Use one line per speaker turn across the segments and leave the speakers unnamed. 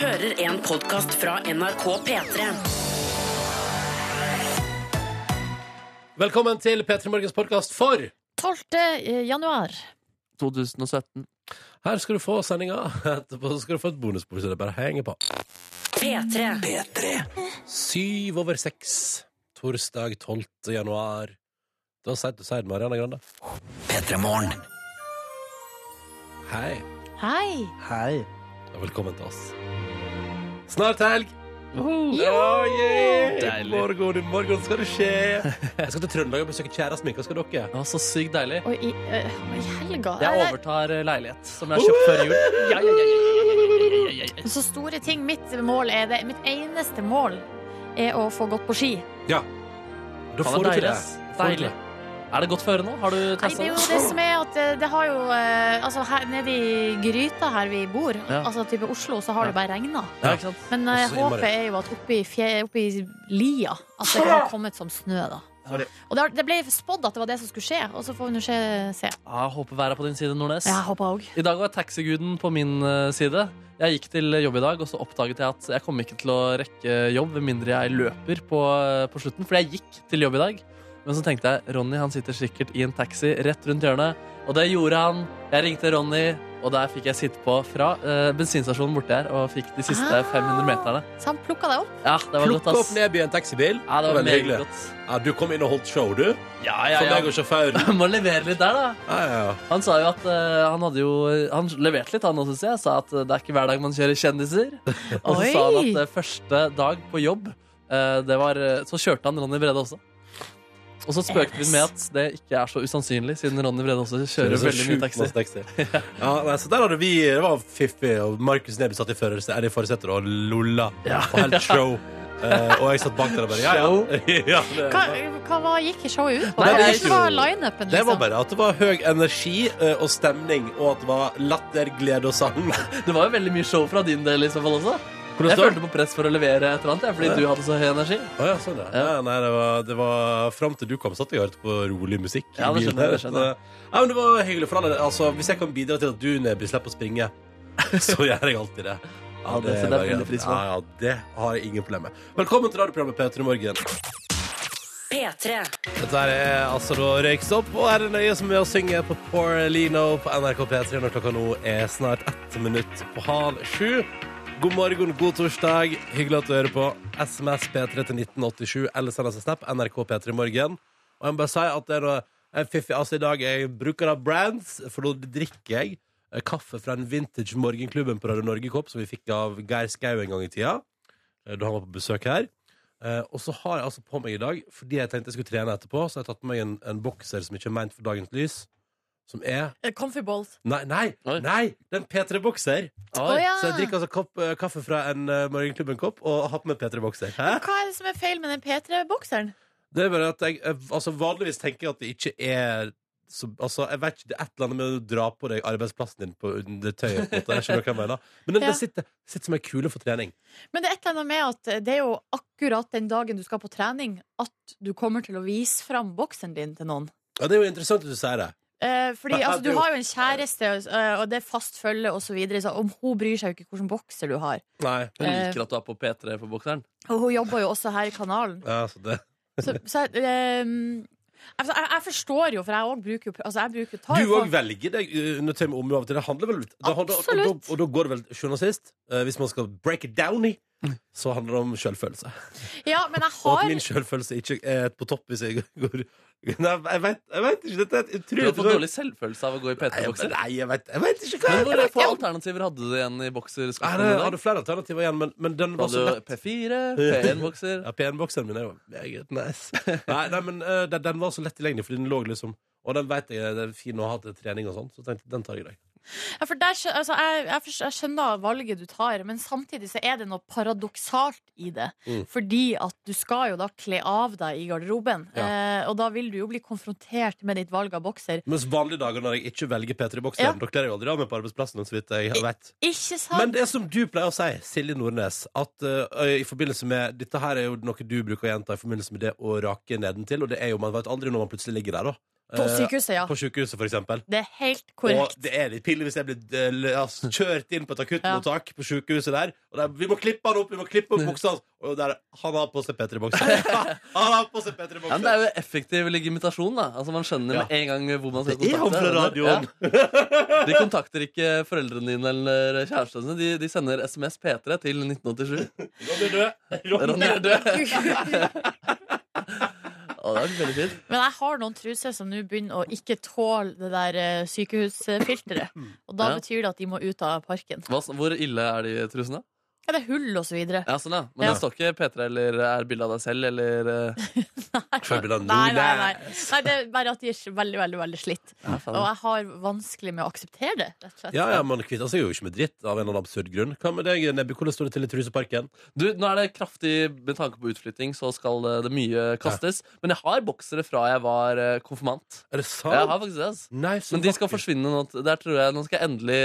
hører en podkast fra NRK P3.
Velkommen til P3 Morgens podkast for
12. eh, januar.
2017.
Her skal du få sendinga. Etterpå så skal du få et bonusbord, så det er bare å henge på.
P3.
Syv over seks, torsdag 12. januar. Da sier du seier Marianne Grande. Hei,
Hei!
Hei.
og velkommen til oss. Snart helg! Oh,
Deilig.
Morgen, i morgen skal det skje. Jeg skal til Trøndelag og besøke kjæresten min. Hva skal dere?
Det var så sykt deilig.
Og i, eh, og i helga
Jeg
Nei,
overtar eh, leilighet som jeg har kjøpt før jul. Ja, ja, ja, ja, ja, ja, ja.
nei, Så store ting. Mitt mål er det. Mitt eneste mål er å få gått på ski.
Da
Faen,
får du
det er
til
deilig.
det.
ass.
Får du til
Deilig. Er det godt føre nå? Har du
Nei, det
testa
er jo
det?
det som er at eh, det har jo eh, Altså her nede i gryta her vi bor,
Ja.
altså type Oslo, så har det bare regna.
Ja, ikke sant?
Men eh,
Og så innmari.
håpet er jo at oppe i, fje, oppe i lia at det kan ha kommet som snø, da.
Sorry.
Og det, har- det ble spådd at det var det som skulle skje, og så får vi nå se. se.
Ja, jeg håper været er på din side, Nordnes.
Jeg håper òg.
I dag var taxiguden på min eh, side. Jeg gikk til jobb i dag, og så oppdaget jeg at jeg kom ikke til å rekke jobb med mindre jeg løper på, eh, på slutten, for jeg gikk til jobb i dag. Men så tenkte jeg Ronny han sitter sikkert i en taxi rett rundt hjørnet, og det gjorde han. Jeg ringte Ronny, og der fikk jeg sitte på fra eh, bensinstasjonen borti her og fikk de siste
Ah.
500 meterne.
Så han plukka deg opp.
Ja, det var
Plukk
godt,
opp
ass.
ned i en taxibil.
Ja, det var
Veldig
meget
hyggelig.
godt.
Ja, du kom inn og holdt show, du.
Ja,
For
ja,
meg
ja.
og sjåføren.
Må levere litt der, da.
Ja, ja, ja.
Han sa jo at eh, han hadde jo Han leverte litt, han også, synes jeg. Sa at eh, det er ikke hver dag man kjører kjendiser. Og så
Oi.
sa han at eh, første dag på jobb, eh, det var eh, Så kjørte han Ronny Brede også. Og så spøkte vi med at det ikke er så usannsynlig, siden Ronny Brede også
Det
kjører
er så
veldig mye
sjukt
taxi.
masse taxi. Ja, nei, så der hadde vi Det var fiffig, og Markus Neby satt i førersetet eller i forsetet og lolla og helt show. Eh, og jeg satt bak der og bare ja, ja. ja
Hva,
det,
hva var, gikk showet ut på?
Nei,
Hva
det gikk
var
jo-
lineupen,
det var
liksom?
bare at det var høy energi eh, og stemning, og at det var latter, glede og sang.
Det var jo veldig mye show fra din del i så fall også. Jeg
står det?
følte på press for å levere et eller annet, jeg, fordi du hadde så høy energi.
Å ja, sånn, ja. Ja, nei, det var, det var fram til du kom, satt jeg og hørte på rolig musikk. i
Ja, det
bilen
skjønner jeg, det
her.
skjønner jeg.
Ja, men det var hyggelig for alle. Altså, hvis jeg kan bidra til at du, Neby, slipper å springe, så gjør jeg alltid det.
Ja, det setter jeg
bare
veldig
greit.
pris på.
Ja, ja, det har jeg ingen problemer med. Velkommen til radioprogrammet P3 Morgen.
P3.
Dette her er altså da røykes opp, og er det nøye som med å synge på Poor Lino på NRK P3 når klokka nå er snart ett minutt på halv sju. God morgen, god torsdag. Hyggelig at du hører på. SMS P3 til 1987 eller send oss en snap NRK P3 Morgen. Og jeg må bare si at det er noe en fiffig altså i dag. Jeg bruker av brands, for nå drikker jeg eh, kaffe fra en vintage morgenklubben på Radio Norge-kopp som vi fikk av Geir Skau en gang i tida, eh, da han var på besøk her. Eh, og så har jeg altså på meg i dag, fordi jeg tenkte jeg skulle trene etterpå, så har jeg tatt på meg en, en bokser som ikke er meint for dagens lys. Som er
Eh, Comfy balls.
Nei, nei!
Oi.
nei det er en P3-bokser.
Å ja.
Så jeg drikker altså kopp, eh, kaffe fra en uh, Morgenklubben-kopp og har på meg P3-bokser. Hæ?
Hva er det som er feil med den P3-bokseren?
Det er bare at jeg eh, altså Vanligvis tenker jeg at det ikke er så, altså, jeg vet ikke, Det er et eller annet med å dra på deg arbeidsplassen din på under tøyet. På en måte. Jeg skjønner hva jeg mener. Men den,
Ja.
den sitter, sitter som ei kule for trening.
Men det er et eller annet med at eh, det er jo akkurat den dagen du skal på trening, at du kommer til å vise fram bokseren din til noen.
Ja, det er jo interessant at du sier det.
Eh, fordi
Men, det er
altså, Du
jo-
har jo en kjæreste, eh, og det er fast følge osv. Så, videre, så om hun bryr seg jo ikke hvilken bokser du har.
Nei.
Hun liker at du er på P3 på bokseren.
Og hun jobber jo også her i kanalen.
Ja, så det.
Så, så jeg, eh, altså, jeg, jeg forstår jo, for jeg òg bruker jo altså, jeg bruker, tar
Du
jo
òg velger deg uh, under tøy med omhu av og til. Det handler vel da, handler- Og,
Absolutt.
da, og da går det vel til sjuende og sist, eh, hvis man skal break it down i, så handler det om sjølfølelse.
Ja, men jeg
Og at
har
min sjølfølelse ikke er på topp hvis jeg går Nei, jeg vet, jeg vet ikke. Dette er
Du
utrolig
har fått dårlig selvfølelse av å gå
Nei,
i
jeg-
P3-bokser.
Nei, jeg vet, jeg vet ikke hva
Men
jeg-
hvor få alternativer hadde du igjen i
Nei, det- Jeg
bokserskuffen?
hadde flere alternativer igjen, men, men den var så
Hadde
lett.
du P4, P1-bokser?
Ja, PN-bokseren min er jo meget nice. Nei, nei men eh, den, den var så lett tilgjengelig, fordi den lå liksom Og den vet jeg det er fin å ha til trening og sånn, så tenkte jeg, den tar jeg i dag.
Ja, for der, skjø- altså, jeg, jeg, forstår- jeg skjønner valget du tar, men samtidig så er det noe paradoksalt i det.
Mm.
Fordi at du skal jo da kle av deg i garderoben, eh, og da vil du jo bli konfrontert med ditt valg av bokser.
Mens vanlige dager når jeg ikke velger P3-bokseren,
Ja.
da kler jeg aldri av meg på arbeidsplassen. så vidt jeg vet.
Ikke sant?
Men det som du pleier å si, Silje Nordnes, at eh, i forbindelse med Dette her er jo noe du bruker å gjenta i forbindelse med det å rake nedentil, og det er jo Man vet aldri når man plutselig ligger der, da.
På
eh,
sykehuset, ja.
på sykehuset, for eksempel.
Det er helt
Og
korrekt.
det er litt pille hvis jeg blir eh, l- altså, kjørt inn på et akuttmottak på sykehuset der. Og der, vi må klippe han opp, vi må klippe
Mm.
opp buksa hans! Og der, han har på seg P3-boksen. han har på seg
Ja, men det
P3-boksen.
er jo effektiv legitimitasjon. da Altså Man skjønner
Ja.
med en gang hvor man skal
Det er han fra radioen.
Ja. De kontakter ikke foreldrene dine eller kjærestene sine. De, de sender SMS P3 til 1987.
Ronny er død. Ronny
Ronny
er
er død. Å, det er veldig fint.
Men jeg har noen truser som nå begynner å ikke tåle det der eh, sykehusfilteret.
Mm.
Og da
Ja.
betyr det at de må ut av parken.
Hva, hvor ille er de trusene?
Ja, det er hull og så videre.
Ja, sånn, ja. Men
Ja.
det står ikke P3 eller eh, er bilde av deg selv eller eh,
død.
Nei, nei, nei. nei, det er bare at de er veldig, veldig veldig slitt.
ja,
Og
faen.
jeg har vanskelig med å akseptere det, rett og slett.
Ja, ja, Man kvitter seg jo ikke med dritt av en eller annen absurd grunn. Hva med deg, Nebby? Hvordan står det til i Truseparken?
Du, Nå er det kraftig med tanke på utflytting, så skal eh, det mye kastes. Men jeg har boksere fra jeg var eh, konfirmant.
Er det sant?
Jeg har faktisk det, altså.
Nei, så
Men de skal
vakkert.
forsvinne nå. Der tror jeg Nå skal jeg endelig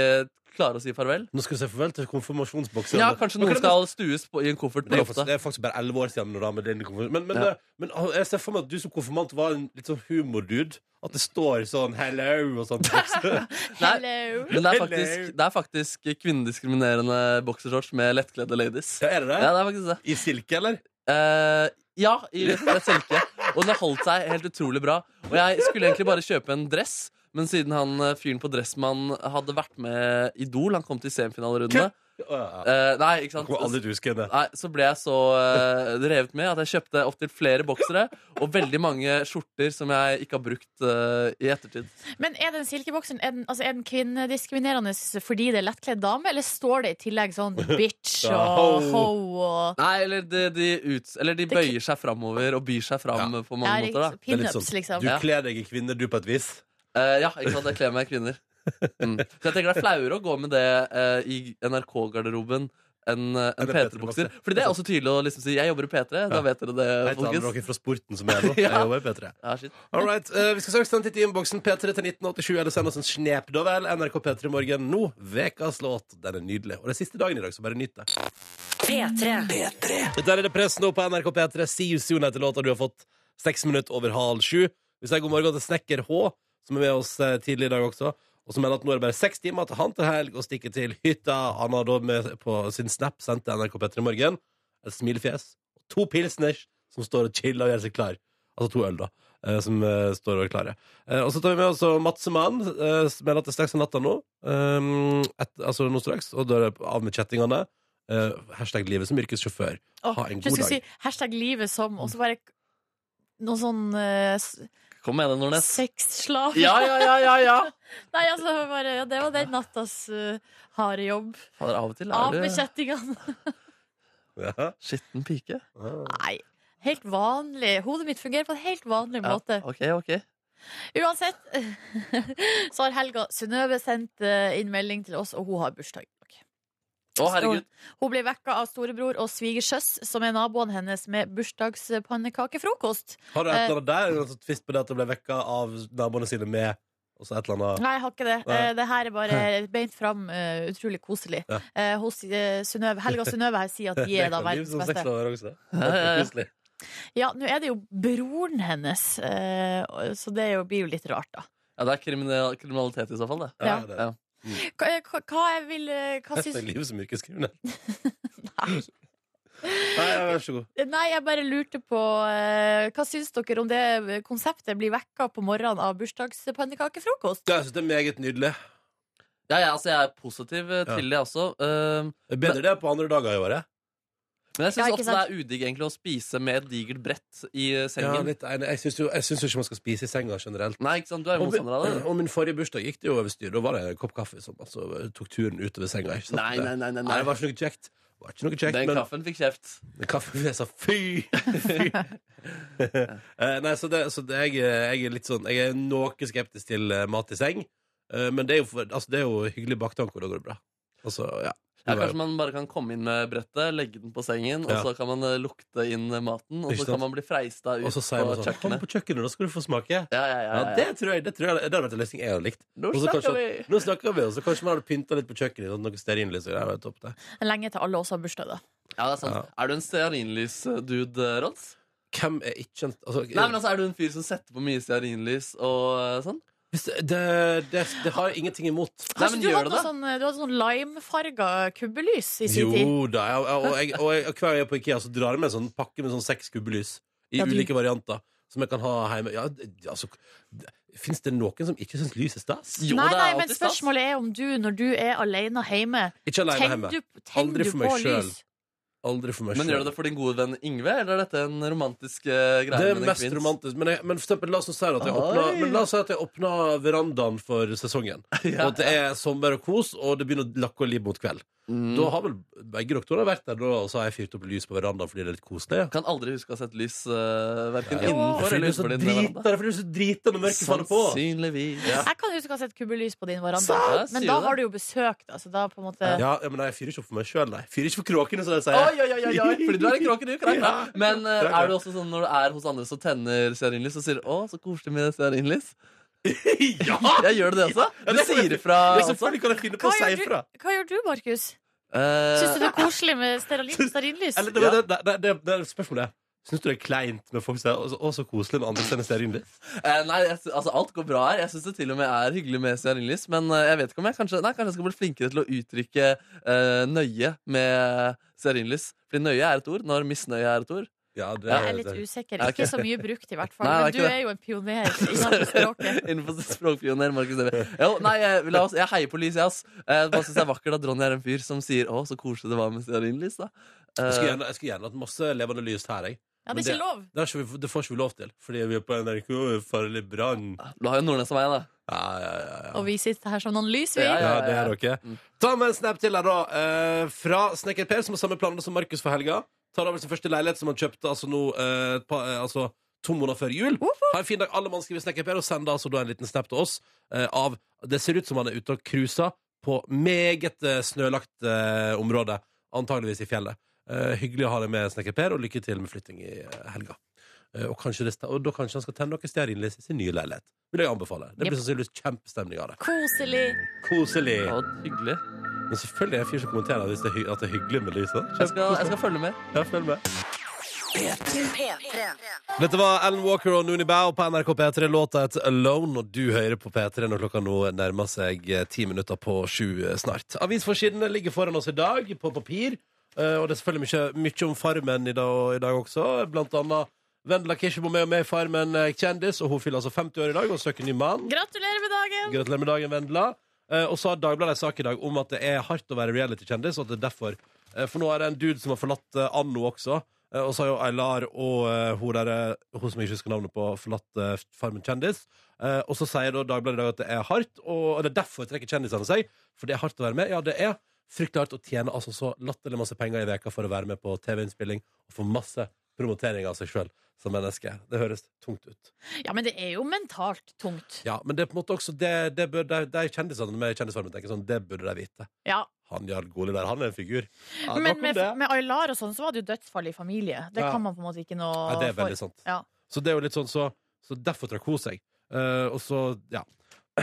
klare å si farvel.
Nå skal vi se farvel til konfirmasjonsboksen.
Ja, Kanskje
Men
noen
kan jeg
skal stues på, i en koffert
Det er,
på
faktisk,
loftet.
det er faktisk bare elleve år siden. nå Da, med din konfirmasjon. men, men,
Ja.
eh, men ah, jeg ser for meg at du som konfirmant var en litt sånn humordude. At det står sånn 'hello' og sånn. på boksen.
Nei,
Hello!
men det er
Hello.
faktisk, det er faktisk kvinnediskriminerende boksershorts med lettkledde ladies.
ja, er det det?
Ja, det er faktisk det.
I silke, eller?
Eh, ja, i rett silke. Og den har holdt seg helt utrolig bra. Og jeg skulle egentlig bare kjøpe en dress, men siden han eh, fyren på Dressmann hadde vært med Idol, han kom til semifinalerundene
Å, ja.
Eh, Nei, ikke
Jeg kommer
sant?
aldri til å huske det.
Nei, så ble jeg så eh, revet med at jeg kjøpte opptil flere boksere og veldig mange skjorter som jeg ikke har brukt eh, i ettertid.
Men er den silkeboksen er den, altså er den kvinnediskriminerende fordi det er lettkledd dame, eller står det i tillegg sånn bitch
Ja,
og
ho.
ho og
Nei, eller de, de, ut, eller de bøyer seg framover og byr seg fram eh, på mange
Ja,
måter. da
riktig. pinups, liksom?
sånn, Du
Ja.
kler deg i kvinner, du, på et vis.
Eh, Ja, ikke sant, jeg kler meg i kvinner. Mm. Så jeg tenker det er flauere å gå med det eh, i NRK-garderoben enn eh, en
Eller
P3-bokser.
P3-bokser.
Fordi det er også tydelig å liksom si 'jeg jobber i P3', da
Ja.
vet dere det,
Jeg tar med
folkens.
noen fra sporten som er nå. Jeg
Ja.
jobber i P3.
Ja, shit.
All right, eh, Vi skal straks sende titt i innboksen P3 til 1987 eller send oss en snep. Da vel, NRK P3 Morgen nå. Vekas låt. Den er nydelig. Og det er siste dagen i dag, så bare nyt det.
P3.
Dette er det press nå på NRK P3. See you soon etter låta du har fått seks minutter over halv sju. Vi sier god morgen til Snekker H, som er med oss eh, tidlig i dag også. Og som mener at nå er det bare seks timer til han til helg og stikker til hytta. Han har da med på sin snap sendt til NRK P3 Morgen et smilefjes og to pilsners som står og chiller og gjør seg klar. Altså to øl, da. eh, Som eh, står og er klare. Eh, Og så tar vi med oss også Matsemann, eh, som melder at det er straks om natta nå. Um, Et, altså nå straks. Og da er det av med kjettingene. Eh, hashtag livet som yrkessjåfør.
Åh,
Ha en
jeg
god
skulle
dag.
si hashtag livet som, og så bare noe sånn uh,
Kom med det, Nordnes.
sexslav.
Ja, ja, ja, ja, ja.
Nei, altså bare ja, Det var den nattas eh, harde jobb.
Fader, av og til
Av
er
med
du
kjettingene.
Ja.
skitten pike.
Nei. Helt vanlig. Hodet mitt fungerer på en helt vanlig
Ja,
måte.
ok, ok.
Uansett så har Helga Synnøve sendt eh, inn melding til oss, og hun har bursdag. i dag.
Å, herregud.
Hun ble vekka av storebror og svigersøs, som er naboen hennes, med bursdagspannekakefrokost.
Har du et eller annet der? En sånn tvist på det at det ble vekka av naboene sine med og så et eller annet
Nei, jeg har ikke det.
Nei.
Eh, Det her er bare beint fram. eh, Utrolig koselig.
Ja.
Eh, Hos eh, Synnøve- Helga og Synnøve her sier at de er da verdens beste.
Ja, ja, ja.
beste.
Ja, nå er det jo broren hennes, eh, og- så det er jo, blir jo litt rart, da.
Ja, det er kriminal, kriminalitet i så fall, det.
Ja.
Ja.
Hva, eh, hva, hva jeg vil eh, Hva
Hashtag
syns
livet som yrkeskriminell.
Nei.
Nei, ja, vær så god.
Nei, jeg bare lurte på eh, Hva syns dere om det konseptet blir vekka på morgenen av bursdagspannekakefrokost?
Ja, Jeg synes det er meget nydelig.
Ja, ja, altså, jeg er positiv eh,
Ja.
til det også. eh,
Det er Bedre det på andre dager i året.
men jeg
Ja,
syns
ikke
ofte det
sant?
er udigg egentlig å spise med et digert brett i eh,
Ja,
sengen.
litt enig. Jeg syns jo, jeg syns jo ikke man skal spise i senga generelt.
Nei, ikke sant, du er jo
Og min,
motstander av det.
og min forrige bursdag gikk det jo over styr. Da var det en kopp kaffe som altså, tok turen utover senga. Ikke sant?
Nei, nei, nei, nei,
Nei,
nei.
det var ikke noe kjekt. Det var ikke noe kjekt
Den
men
kaffen fikk kjeft.
Kaffefjes og fy! fy. Eh, Nei, så, det, så det, jeg, jeg er litt sånn Jeg er noe skeptisk til eh, mat i seng. Eh, Men det er jo, for, altså, det er jo hyggelig baktanke, og da går det bra. Altså, ja.
Ja,
Det var jo-
kanskje man bare kan komme inn med brettet, legge den på sengen,
Ja.
og så kan man eh, lukte inn eh, maten, og
Ikke
så
sant?
kan man bli freista ut
og så sier
på
man sånn Kom
kjøkkenet.
på kjøkkenet, da skal du få smake.
Ja, ja, ja,
Ja,
ja.
det tror jeg, det tror jeg det hadde vært en løsning jeg hadde likt.
Nå
Og så
snakker vi!
kanskje- Nå snakker vi, og så kanskje man hadde pynta litt på kjøkkenet. Sånn, noe stearinlys og greier, det var topp, det.
Lenge til alle også har bursdag, da.
Ja, det er sant.
Ja.
eh, Er du en stearinlys-dude, Rods?
Hvem er ikke en altså,
Nei, men altså, Er du en fyr som setter på mye stearinlys og eh, sånn?
hvis det, det, det, det har jeg ingenting imot.
Nei,
Har
men
ikke du
gjør
hatt
det, da.
noe sånn, du hadde sånn limefarga kubbelys i sin tid?
Jo da. Jeg, og, jeg, og, jeg, og hver gang jeg er på Ikea, så drar jeg med en sånn pakke med sånn seks kubbelys i
Ja, du-
ulike varianter. Som jeg kan ha hjemme. Ja, d- altså, Fins det noen som ikke syns lys er stas?
Jo,
nei,
det er
nei, men
alltid stas.
spørsmålet er om du, når du er alene hjemme,
Ikke alene
tenner
hjemme.
du, tenner
Aldri
du
for
på
meg selv.
lys?
Aldri for meg
Men gjør du
sjøl.
det for din gode venn Yngve, eller er dette en romantisk eh, greie?
Det er
med en
mest
kvinns?
romantisk. Men, jeg, men for eksempel, la oss nå si at jeg
Oi.
åpna, men la oss si at jeg åpna verandaen for sesongen. Og at det er sommer og kos, og det begynner å lakke og liv mot kveld.
Mm.
Da har vel begge doktorer vært der, da, og så har jeg fyrt opp lys på verandaen fordi det er litt koselig.
Kan aldri huske å ha sett lys uh, verken
Ja.
innenfor
Fordi du
eller
er så
utenfor din
drita,
veranda.
det er fordi du er så drita når mørket faller på.
Sannsynligvis. Ja.
Jeg kan huske å ha sett kubbelys på din veranda.
Sant? Jeg
Men
sier
da
det.
har du jo besøk, da, så da på en måte
Ja, ja, men nei, jeg fyrer ikke opp for meg sjøl, nei. Fyrer ikke for kråkene, som de sier.
Oi, oi, oi, oi, oi. Fordi du er en kråke, du. Krakk.
Ja.
Men eh,
Krakk, ja.
er du også sånn når du er hos andre som tenner stearinlys, og sier 'Å, så koselig med stearinlys'?
ja!
Jeg gjør det også.
Ja,
Du
det-
sier ifra
ja,
også.
selvfølgelig kan jeg finne på
Hva
å si
gjør,
ifra.
du, hva gjør du, Markus?
Eh,
Syns du det er koselig med stearin- stearinlys?
Eller, det, det, det, det, det, det er spørsmålet. Syns du det er kleint med folk som sier 'Å, så- å, så koselig' med andre sender stearinlys?
eh, nei, jeg, sy- altså, alt går bra her. Jeg syns det til og med er hyggelig med stearinlys, men eh, jeg vet ikke om jeg kanskje, nei, kanskje jeg skal bli flinkere til å uttrykke eh, nøye med stearinlys. Fordi nøye er et ord når misnøye er et ord.
Ja, det,
Jeg er litt usikker.
Ja, ok.
Ikke så mye brukt, i hvert fall.
Nei,
Men
det er
du
ikke
er jo en pioner innenfor språket.
Innenfor språkpioner Markus Neby. Jo, nei, jeg, la oss, jeg heier på lys, jeg, ass. Eh, bare synes det er vakkert at Ronny er en fyr som sier 'Å, så koselig det var med stearinlys', da. Eh,
Jeg skulle gjerne, jeg skulle gjerne hatt masse levende lys her, jeg.
Ja,
Men
det er ikke lov.
Det, har ikke, vi- det får ikke vi lov til, fordi vi er på NRK farlig brann.
du har jo Nordnes og meg, da.
Ja, ja, ja, ja.
Og vi sitter her som noen lys, vi.
Ja,
Ja, det er dere. Eh, mm. Ta med en snap til her, da. eh, fra Snekker Per, som har samme planer som Markus for helga. Tar over sin første leilighet, som han kjøpte altså, nå, eh, et par- eh, altså, to måneder før jul. Ha en fin dag, alle mann skriver Snekker Per, og send altså, da en liten snap til oss eh, av Det ser ut som han er ute og cruiser på meget eh, snølagt eh, område, antageligvis i fjellet. Eh, hyggelig å ha deg med, Snekker Per, og lykke til med flytting i eh, helga. Eh, Og, kanskje det, sta- og da kanskje han skal tenne noe stearinlys i sin nye leilighet. Vil jeg anbefale. Det blir sannsynligvis kjempestemning av det.
Koselig.
Koselig.
Ja, hyggelig.
Men selvfølgelig er jeg en fyr som kommenterer hvis det er, hy- at det er hyggelig med lyset.
Jeg skal, jeg skal følge med.
Ja, følg med.
P3.
Dette var Alan Walker og Nooni Bao på NRK P3. Låta het Alone, og du hører på P3 når klokka nå nærmer seg eh, ti minutter på sju eh, snart. Avisforsidene ligger foran oss i dag, på papir. eh, Og det er selvfølgelig mye, mye om Farmen i dag, i dag også. Blant annet Vendela Kirsebom er jo med i Farmen eh, kjendis, og hun fyller altså 50 år i dag og søker ny mann.
Gratulerer med dagen!
Gratulerer med dagen, Vendela. Eh, og så har Dagbladet en sak i dag om at det er hardt å være reality-kjendis. Og at det er derfor eh, For nå er det en dude som har forlatt eh, Anno også. Eh, og så har jo Eilar og eh, hun, der, eh, hun som jeg ikke husker navnet på, forlatt eh, Farmen kjendis. Eh, og så sier da Dagbladet i dag at det er hardt, og, og det er derfor trekker kjendisene seg. For det er hardt å være med. Ja, det er fryktelig hardt å tjene altså så latterlig masse penger i veka for å være med på TV-innspilling og få masse promotering av seg sjøl som menneske. Det høres tungt ut.
Ja, men det er jo mentalt tungt.
Ja, men det er på en måte også det, det bør, de, de kjendisene med kjendisfarmen tenker sånn, det burde de vite.
Ja.
Han Jarl Goli der, han er en figur. Ja,
Men
nok om
med,
det.
med Aylar og sånn, så var det jo dødsfall i familie. Det
Ja.
kan man på en måte ikke noe
ja, det er
for.
veldig sant.
Ja.
Så det er jo litt sånn, så, så derfor trakk hun seg. Eh, og så, ja.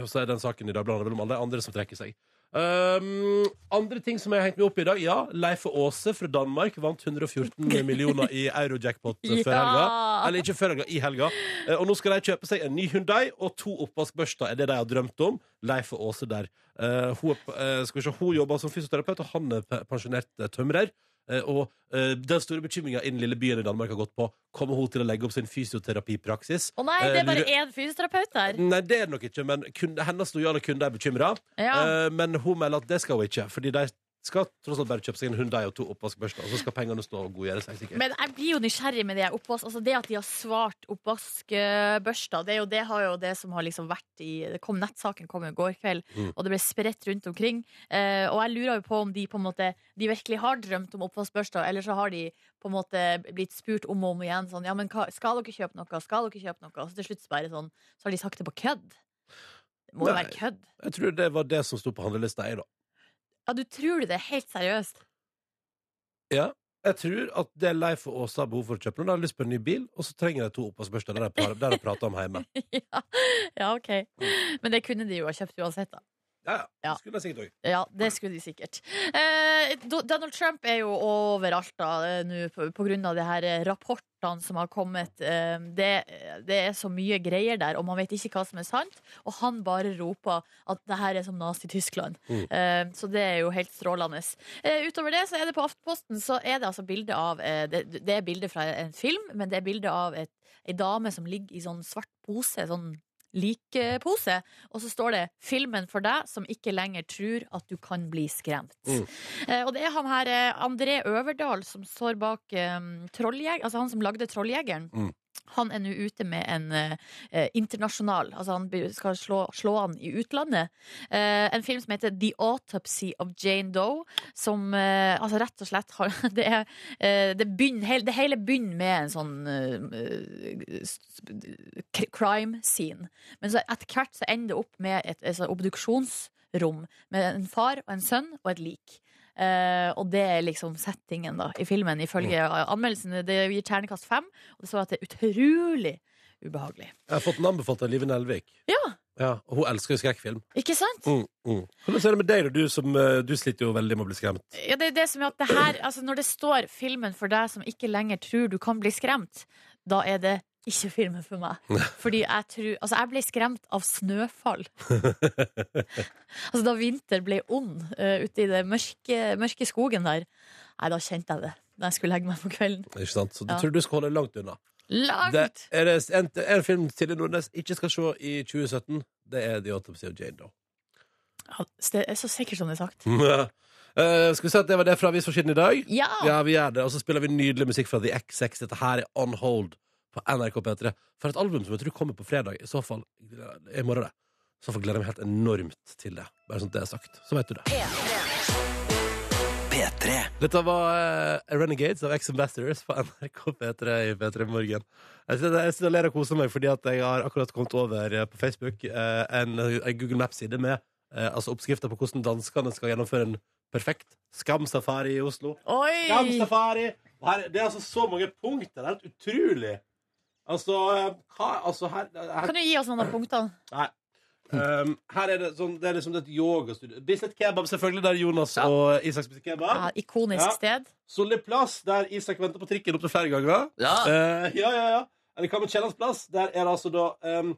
og så er den saken i dag blandet vel om alle andre som trekker seg. Um, andre ting som jeg har hengt meg opp i i dag, ja, Leif Åse fra Danmark vant 114 millioner i Eurojackpot før helga.
Ja.
Eller ikke før helga, i helga. Eh, Og nå skal de kjøpe seg en ny Hyundai og to oppvaskbørster. Er det de har drømt om? Leif og Åse der. Eh, hun, er p- eh, skal vi se, hun jobber som fysioterapeut, og han er pe- pensjonert eh, tømrer. Eh, og eh, den store bekymringa innen lille byen i Danmark har gått på Kommer hun til å legge opp sin fysioterapipraksis.
Å nei,
Eh,
det er bare
lurer-
én fysioterapeut der.
Nei, det er det nok ikke, men kun, hennes lojale kunder er bekymra.
Ja.
men hun melder at det skal hun ikke, fordi de skal tross alt bare kjøpe seg en Hyundai og to oppvaskbørster. Og så skal pengene stå og godgjøre seg, sikkert.
Men jeg blir jo nysgjerrig med det oppvask... Altså det at de har svart oppvaskbørsta, det, er jo, det har jo det som har liksom vært i det kom, Nettsaken kom jo i går kveld,
Mm.
og det ble spredt rundt omkring. Eh, og jeg lurer jo på om de på en måte De virkelig har drømt om oppvaskbørsta, eller så har de på en måte blitt spurt om og om igjen sånn Ja, men hva, skal dere kjøpe noe? Skal dere kjøpe noe? Og så til slutt så bare sånn Så har de sagt det på kødd. Det må jo
Nei.
være kødd.
Jeg tror det var det som sto på handlelista, jeg, da.
Ja, du tror det helt seriøst?
Jeg tror at det Leif og Åsa har behov for å kjøpe nå, de har lyst på en ny bil, og så trenger de to oppvaskbørster. Det har de pratet om hjemme. Mm.
ja. ja, OK. Men det kunne de jo ha kjøpt uansett, da.
Ja, ja.
Ja.
Skulle jeg sikkert òg.
Ja, det skulle de sikkert. Eh, Do- Donald Trump er jo overalt da eh, nå på, på grunn av de her eh, rapportene som har kommet. Eh, det, det er så mye greier der, og man vet ikke hva som er sant. Og han bare roper at det her er som Nazi-Tyskland.
Mm.
Eh, så det er jo helt strålende. Eh, utover det så er det på Aftenposten så er det altså bilde av eh, det, det er bilde fra en film, men det er bilde av et, ei dame som ligger i sånn svart pose. sånn likepose. Og så står det 'Filmen for deg som ikke lenger tror at du kan bli skremt'.
Mm.
Eh, og det er han her, eh, André Øverdal, som står bak eh, Trolljeg... Altså han som lagde 'Trolljegeren'.
Mm.
Han er nå ute med en eh, eh, internasjonal Altså han be- skal slå, slå han i utlandet. Eh, en film som heter 'The Autopsy of Jane Doe', som eh, altså rett og slett har Det, er, eh, det, begynner, hel- det hele begynner med en sånn eh, eh, s- crime scene. Men så etter hvert så ender det opp med et, et sånt obduksjonsrom med en far og en sønn og et lik. Eh, og det er liksom settingen da i filmen, ifølge anmeldelsene. Det gir ternekast fem, og det står at det er utrolig ubehagelig.
Jeg har fått den anbefalt av Live Nelvik.
Ja,
Ja, og hun elsker jo skrekkfilm.
ikke sant?
Mm, mm. Hvordan er det med deg, da? Du, som, eh, du sliter jo veldig med å bli skremt.
Ja, det er det som er at det her, altså Når det står 'filmen for deg som ikke lenger tror du kan bli skremt', da er det ikke filmen for meg. Fordi jeg tror Altså, jeg ble skremt av snøfall. altså, da vinter ble ond eh, ute i den mørke, mørke skogen der, nei, da kjente jeg det. Da jeg skulle legge meg på kvelden.
Ikke sant? Så du
Ja.
tror du skal holde langt unna.
Langt!
Det er det en, en film Silje Nordnes ikke skal se i 2017. Det er The Autopsy of Jane Doe.
Ja, det er så sikkert som det er sagt.
Eh, skal vi si at det var det fra avisforsiden i dag?
Ja!
Ja, vi gjør det. Og så spiller vi nydelig musikk fra The XX. Dette her er On Hold på NRK P3. For et album som jeg tror kommer på fredag. I så fall i morgen, det. I så fall gleder jeg meg helt enormt til det. Bare sånn at det er sagt. Så vet du det.
P3.
Dette var eh, Renegades av Ex-Ambassadors på NRK P3 i P3 Morgen. Jeg sitter jeg sitter og ler og koser meg fordi at jeg har akkurat kommet over eh, på Facebook eh, en, en Google Maps-side med eh, altså oppskrifter på hvordan danskene skal gjennomføre en perfekt skamsafari i Oslo.
Oi!
Skamsafari! Her, det er altså så mange punkter. Det er helt utrolig. Altså, eh, hva Altså, her, her
Kan du gi oss noen av punktene?
Nei. Um, her er det sånn Det er liksom et yogastudio. Bislett Kebab, selvfølgelig, der Jonas og Isak spiser kebab.
Ja, ikonisk
Ja.
sted.
Solli plass, der Isak venter på trikken opptil flere ganger.
Ja.
Eh, ja, ja, ja. Eller hva med Kiellands plass? Der er det altså da ehm,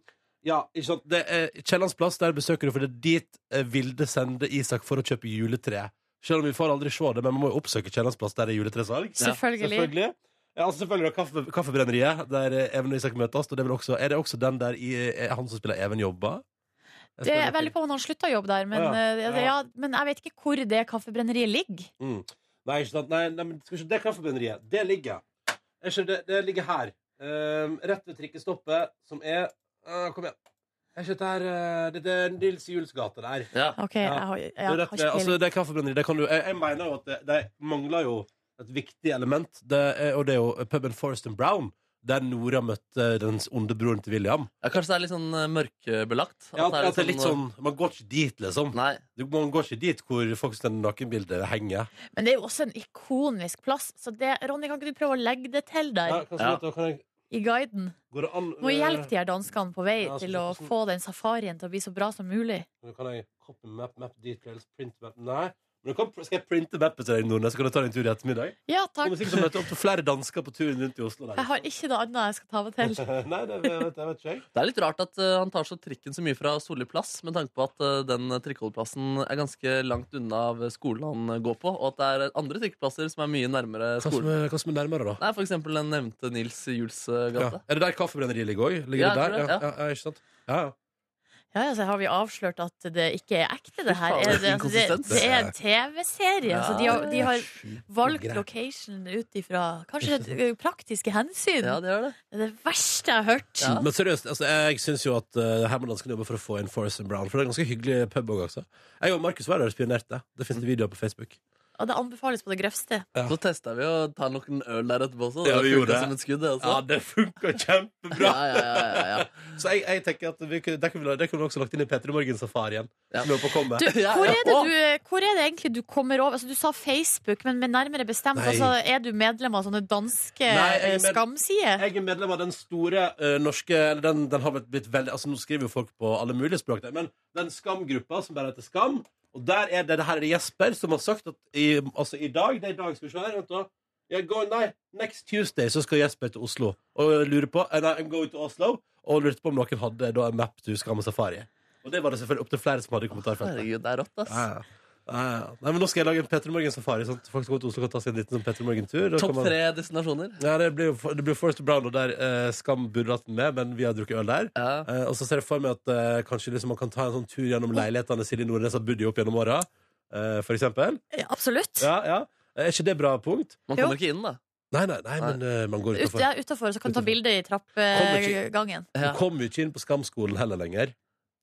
Ja, ikke sant. Det er Kiellands plass, der besøker du, for det er dit eh, Vilde sender Isak for å kjøpe juletre. Selv om vi får aldri se det, men man må jo oppsøke Kiellands plass, der det er juletresalg.
Selvfølgelig.
Selvfølgelig. Ja, altså selvfølgelig da, kaffe, Kaffebrenneriet, der eh, Even og Isak møtes. Og det er, vel også, er det også den der i, er han som spiller Even, jobber? Jeg
Det
spør
er
litt
veldig
til.
på om han slutta å jobbe der, men,
Å, ja.
eh, det- ja, men jeg vet ikke hvor det kaffebrenneriet ligger.
Mm. Nei, ikke sant. Nei, nei, men skal vi se, det kaffebrenneriet, det ligger Er ikke det, det ligger her. Ehm, rett ved trikkestoppet, som er Ah, Kom igjen. Er ikke dette her eh, Det, det er Nils Juels gate der.
Ja.
Ok,
Ja.
jeg har, ja,
det, er
har
rett, ved-
ikke
altså,
peiling.
det er kaffebrenneri. Det kan du, jeg, jeg mener jo at det, det mangler jo et viktig element, det er, og det er jo puben Forest and Brown, der Nora møtte den onde broren til William.
Ja, kanskje det er litt sånn eh, mørkebelagt?
Ja, at,
er liksom
at det er litt sånn Man går ikke dit, liksom.
Nei.
Du, man går ikke dit hvor folk sine nakenbilder henger.
Men det er jo også en ikonisk plass, så det, Ronny, kan ikke du prøve å legge det til der
Ja, kan jeg si
Ja.
at da kan jeg,
i guiden?
går det an
Du må hjelpe de her danskene på vei
Ja, altså, sånn-
til å
så- så-
få den safarien til å bli så bra som mulig.
Nå kan jeg copy map, map details, print map Nei. Men du kan, skal jeg printe mappet til deg, Nordnes, så kan du ta deg en tur i ettermiddag?
Ja,
Kommer
takk.
sikkert til å møte opp til flere dansker på turen rundt i Oslo.
Jeg
Der.
har ikke noe annet jeg skal ta meg til.
Nei, det vet, det vet ikke jeg.
Det er litt rart at eh, han tar så trikken så mye fra Solli plass, med tanke på at eh, den trikkeholdeplassen er ganske langt unna av skolen han eh, går på, og at det er andre trikkeplasser som er mye nærmere
Hva som
skolen.
er, hva som er nærmere, da?
Nei, for eksempel den nevnte Nils Juels
Ja.
eh, gate.
Er det der kaffebrenneriet ligger òg? Ligger
Ja,
det
jeg
der?
tror
Ja,
det,
ja. ja, ikke sant? Ja, ja.
Ja, ja, så har vi avslørt at det ikke er ekte, det her.
Fy faen,
Er det, det,
inkonsistens.
det er en TV-serie, så de har, de har valgt
Greit.
location ut ifra kanskje et- eh, praktiske hensyn.
Ja, det gjør det.
Det er det verste jeg har hørt.
Ja.
Men seriøst, altså, jeg syns jo at uh, Herman Dansken jobber for å få altså. Mm. inn Forest and Brown. For det er en ganske hyggelig pub også. Jeg og Markus var der og spionerte. Det fins det videoer på Facebook.
Og det anbefales på det grøvste.
Ja.
Så testa vi å ta noen øl der etterpå også.
Ja, vi
funket
gjorde det.
som et skudd, det
Ja,
også.
det funka kjempebra!
Ja, ja, ja, ja, ja.
Så jeg, jeg tenker at vi, kunne- det kunne vi la- det kunne vi også lagt inn i Petter Morgen-safarien.
Ja.
Som er på å komme.
Du,
Ja,
hvor,
ja.
er det du, hvor er det egentlig du kommer over? Altså, du sa Facebook, men med nærmere bestemt
Nei.
altså, Er du medlem av sånne danske
Nei, jeg er
eh,
med-
skamsider?
Jeg er medlem av den store eh, norske eller den, den har vel blitt veldig Altså Nå skriver jo folk på alle mulige språk, der, men den Skam-gruppa som bare heter Skam. Og der er det, det her er det Jesper som har sagt at i, altså, i dag Det er i dag, skal vi se her. Vent, da. Jeg går, nei, next Tuesday så skal Jesper til Oslo og lurer på eh, Nei, I'm going to Oslo. Og lurte på om noen hadde da en map to Skam og Safari. Og det var det selvfølgelig opptil flere som hadde i kommentarfeltet.
Herregud, det er rått, ass.
Ja, ja. Ja, ja. Nei, men Nå skal jeg lage en Petter Morgen-safari, sånn at folk som går til Oslo kan ta seg en liten sånn Petter Morgen-tur. Da kan
Topp
man-
tre destinasjoner.
ja, det blir, jo for- det blir Forest Brown og der eh, Skam burde hatt den med, men vi har drukket øl der.
Ja.
Eh, og så ser jeg for meg at eh, kanskje liksom man kan ta en sånn tur gjennom leilighetene Silje Nordnes har bodd i opp gjennom åra, eh, for eksempel.
Ja, Absolutt.
Ja, ja. Eh, Er ikke det bra punkt?
Man
Jo.
kommer ikke inn, da.
Nei, nei, nei, men eh, man går
Ut,
utenfor.
ja, utenfor, så kan du ta
Utenfor.
bilde
Kommer
i
ikke-
trappegangen.
Du
Ja.
kommer jo ikke inn på Skamskolen heller lenger.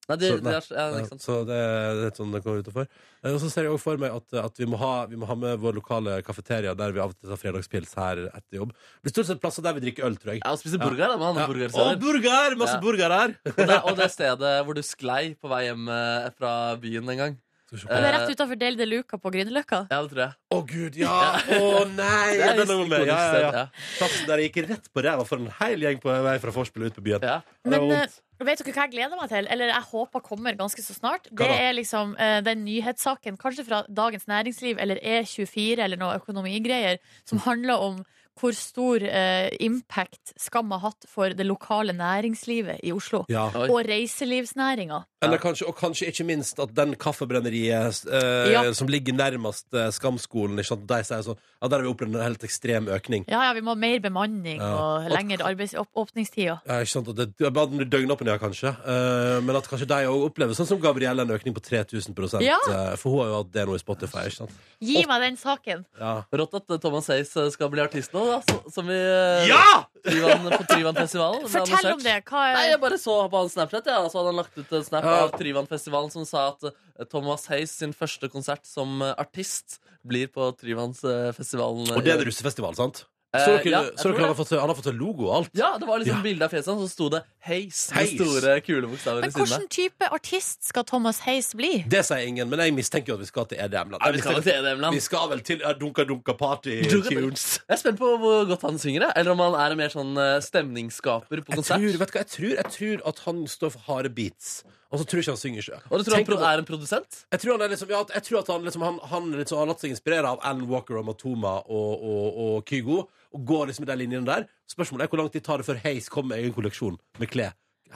Nei, det,
Så-
det er, ja,
Ja,
ikke sant.
så det er litt sånn det går utenfor. Eh, og så ser jeg også for meg at, at vi, må ha, vi må ha med vår lokale kafeteria, der vi av og til tar fredagspils her etter jobb. Det blir stort sett plasser der vi drikker øl, tror jeg.
Ja, og spise burger, da. Man
Ja.
har
Å,
burgersteder.
burger! Masse
Ja. Eh,
burger her!
Og, det- og det stedet hvor du sklei på vei hjem eh, fra byen en gang.
Skal vi se på-
Det
Eh,
er rett utenfor Del de Luca på Grünerløkka.
Ja, det tror jeg.
Å gud, ja! Å nei!
Det er
den er
visst
noe med. Ja,
ikonisk
ja,
sted,
ja. Plassen der jeg gikk rett på ræva for en hel gjeng på vei fra vorspiel og ut på byen.
ja.
Det var
Men eh,
vondt.
vet dere hva jeg gleder meg til? Eller jeg håper kommer ganske så snart. Det
da?
er liksom eh, den nyhetssaken, kanskje fra Dagens Næringsliv eller E24 eller noe økonomigreier, som handler om hvor stor eh, impact Skam har hatt for det lokale næringslivet i Oslo.
ja.
Oi.
Og reiselivsnæringa.
Eller kanskje, og kanskje ikke minst at den kaffebrenneriet eh,
Ja.
som ligger nærmest eh, Skamskolen, ikke sant? de sier sånn Ja, der har vi opplevd en helt ekstrem økning.
Ja, ja, vi må ha mer bemanning
Ja.
og lengre arbeidsåpningstider.
Ja, ikke sant? At det- det bare døgnåpne, ja, kanskje. Eh, men at kanskje de òg opplever sånn som Gabrielle, en økning på 3000
Ja.
eh, For hun har jo hatt det nå i Spotify, ikke sant?
Gi meg den saken!
Ja!
Rått at eh, Thomas Hayes eh, skal bli artist nå, da. så- Som vi eh,
ja!
Tryvann, på Tryvannfestivalen. ble
Fortell om
annonsert.
det! Hva
Nei,
er
jeg bare så på hans Snapchat, ja. så hadde han lagt ut en snap
Ja.
av Tryvannfestivalen som sa at eh, Thomas Hayes sin første konsert som eh, artist blir på eh, Tryvannsfestivalen.
Og det er en russefestival, sant?
Eh,
Så dere,
ja, jeg
så
tror
dere han,
det.
har fått, han har fått logo og alt?
Ja, det var liksom
Ja.
bilde av fjeset hans, og så sto det Hayes med
Hayes.
store, kule bokstaver
Men
i siden av.
hvilken type artist skal Thomas Hayes bli?
Det sier ingen, men jeg mistenker jo at vi skal til E EDM-land.
Nei, vi skal til E EDM-land.
Vi skal vel til eh, Dunka Dunka Party
Dunka Dunka.
Tunes.
Jeg er spent på hvor godt han synger, jeg. eller om han er en mer sånn eh, stemningsskaper på
Jeg
konsert.
tror, vet du hva, jeg tror, jeg tror at han står for harde beats, og så tror jeg ikke han synger sjøl.
Og du tror han pro- er en produsent?
Jeg tror, han er liksom, ja, jeg tror at han, liksom, han, han liksom, har latt seg inspirere av Alan Walker og Matoma og, og, og Kygo. Og går liksom i de linjene der Spørsmålet er hvor lang tid tar det før Haze kommer med egen kolleksjon med klær.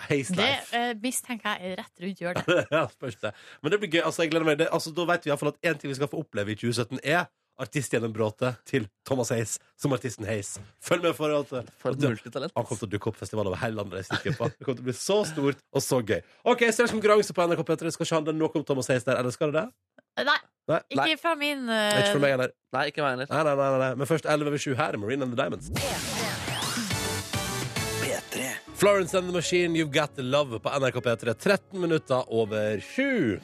Haze
Det
Life.
eh, mistenker jeg er rett rundt hjørnet.
Ja, spørs det. Men det blir gøy. Altså, jeg gleder meg det, altså, Da vet vi i hvert fall at én ting vi skal få oppleve i 2017, er artist gjennom Bråte til Thomas Hayes som artisten Hayes. Følg med for at
For et multitalent.
han kommer til å dukke opp festival over hele landet. Det er jeg sikker på. Det kommer til å bli så stort og så gøy. Ok, Straks konkurranse på NRK P3. Skal ikke handle noe om Thomas Hayes der, eller skal det det?
Nei,
Nei, nei.
ikke fra min eh,
Ikke for meg heller.
Nei, ikke meg heller.
Nei, nei, nei, nei, nei. Men først 11 over 7 her er Marine and the Diamonds.
P3.
Florence and the Machine, You've Got The Love på NRK P3. 13 minutter over 7.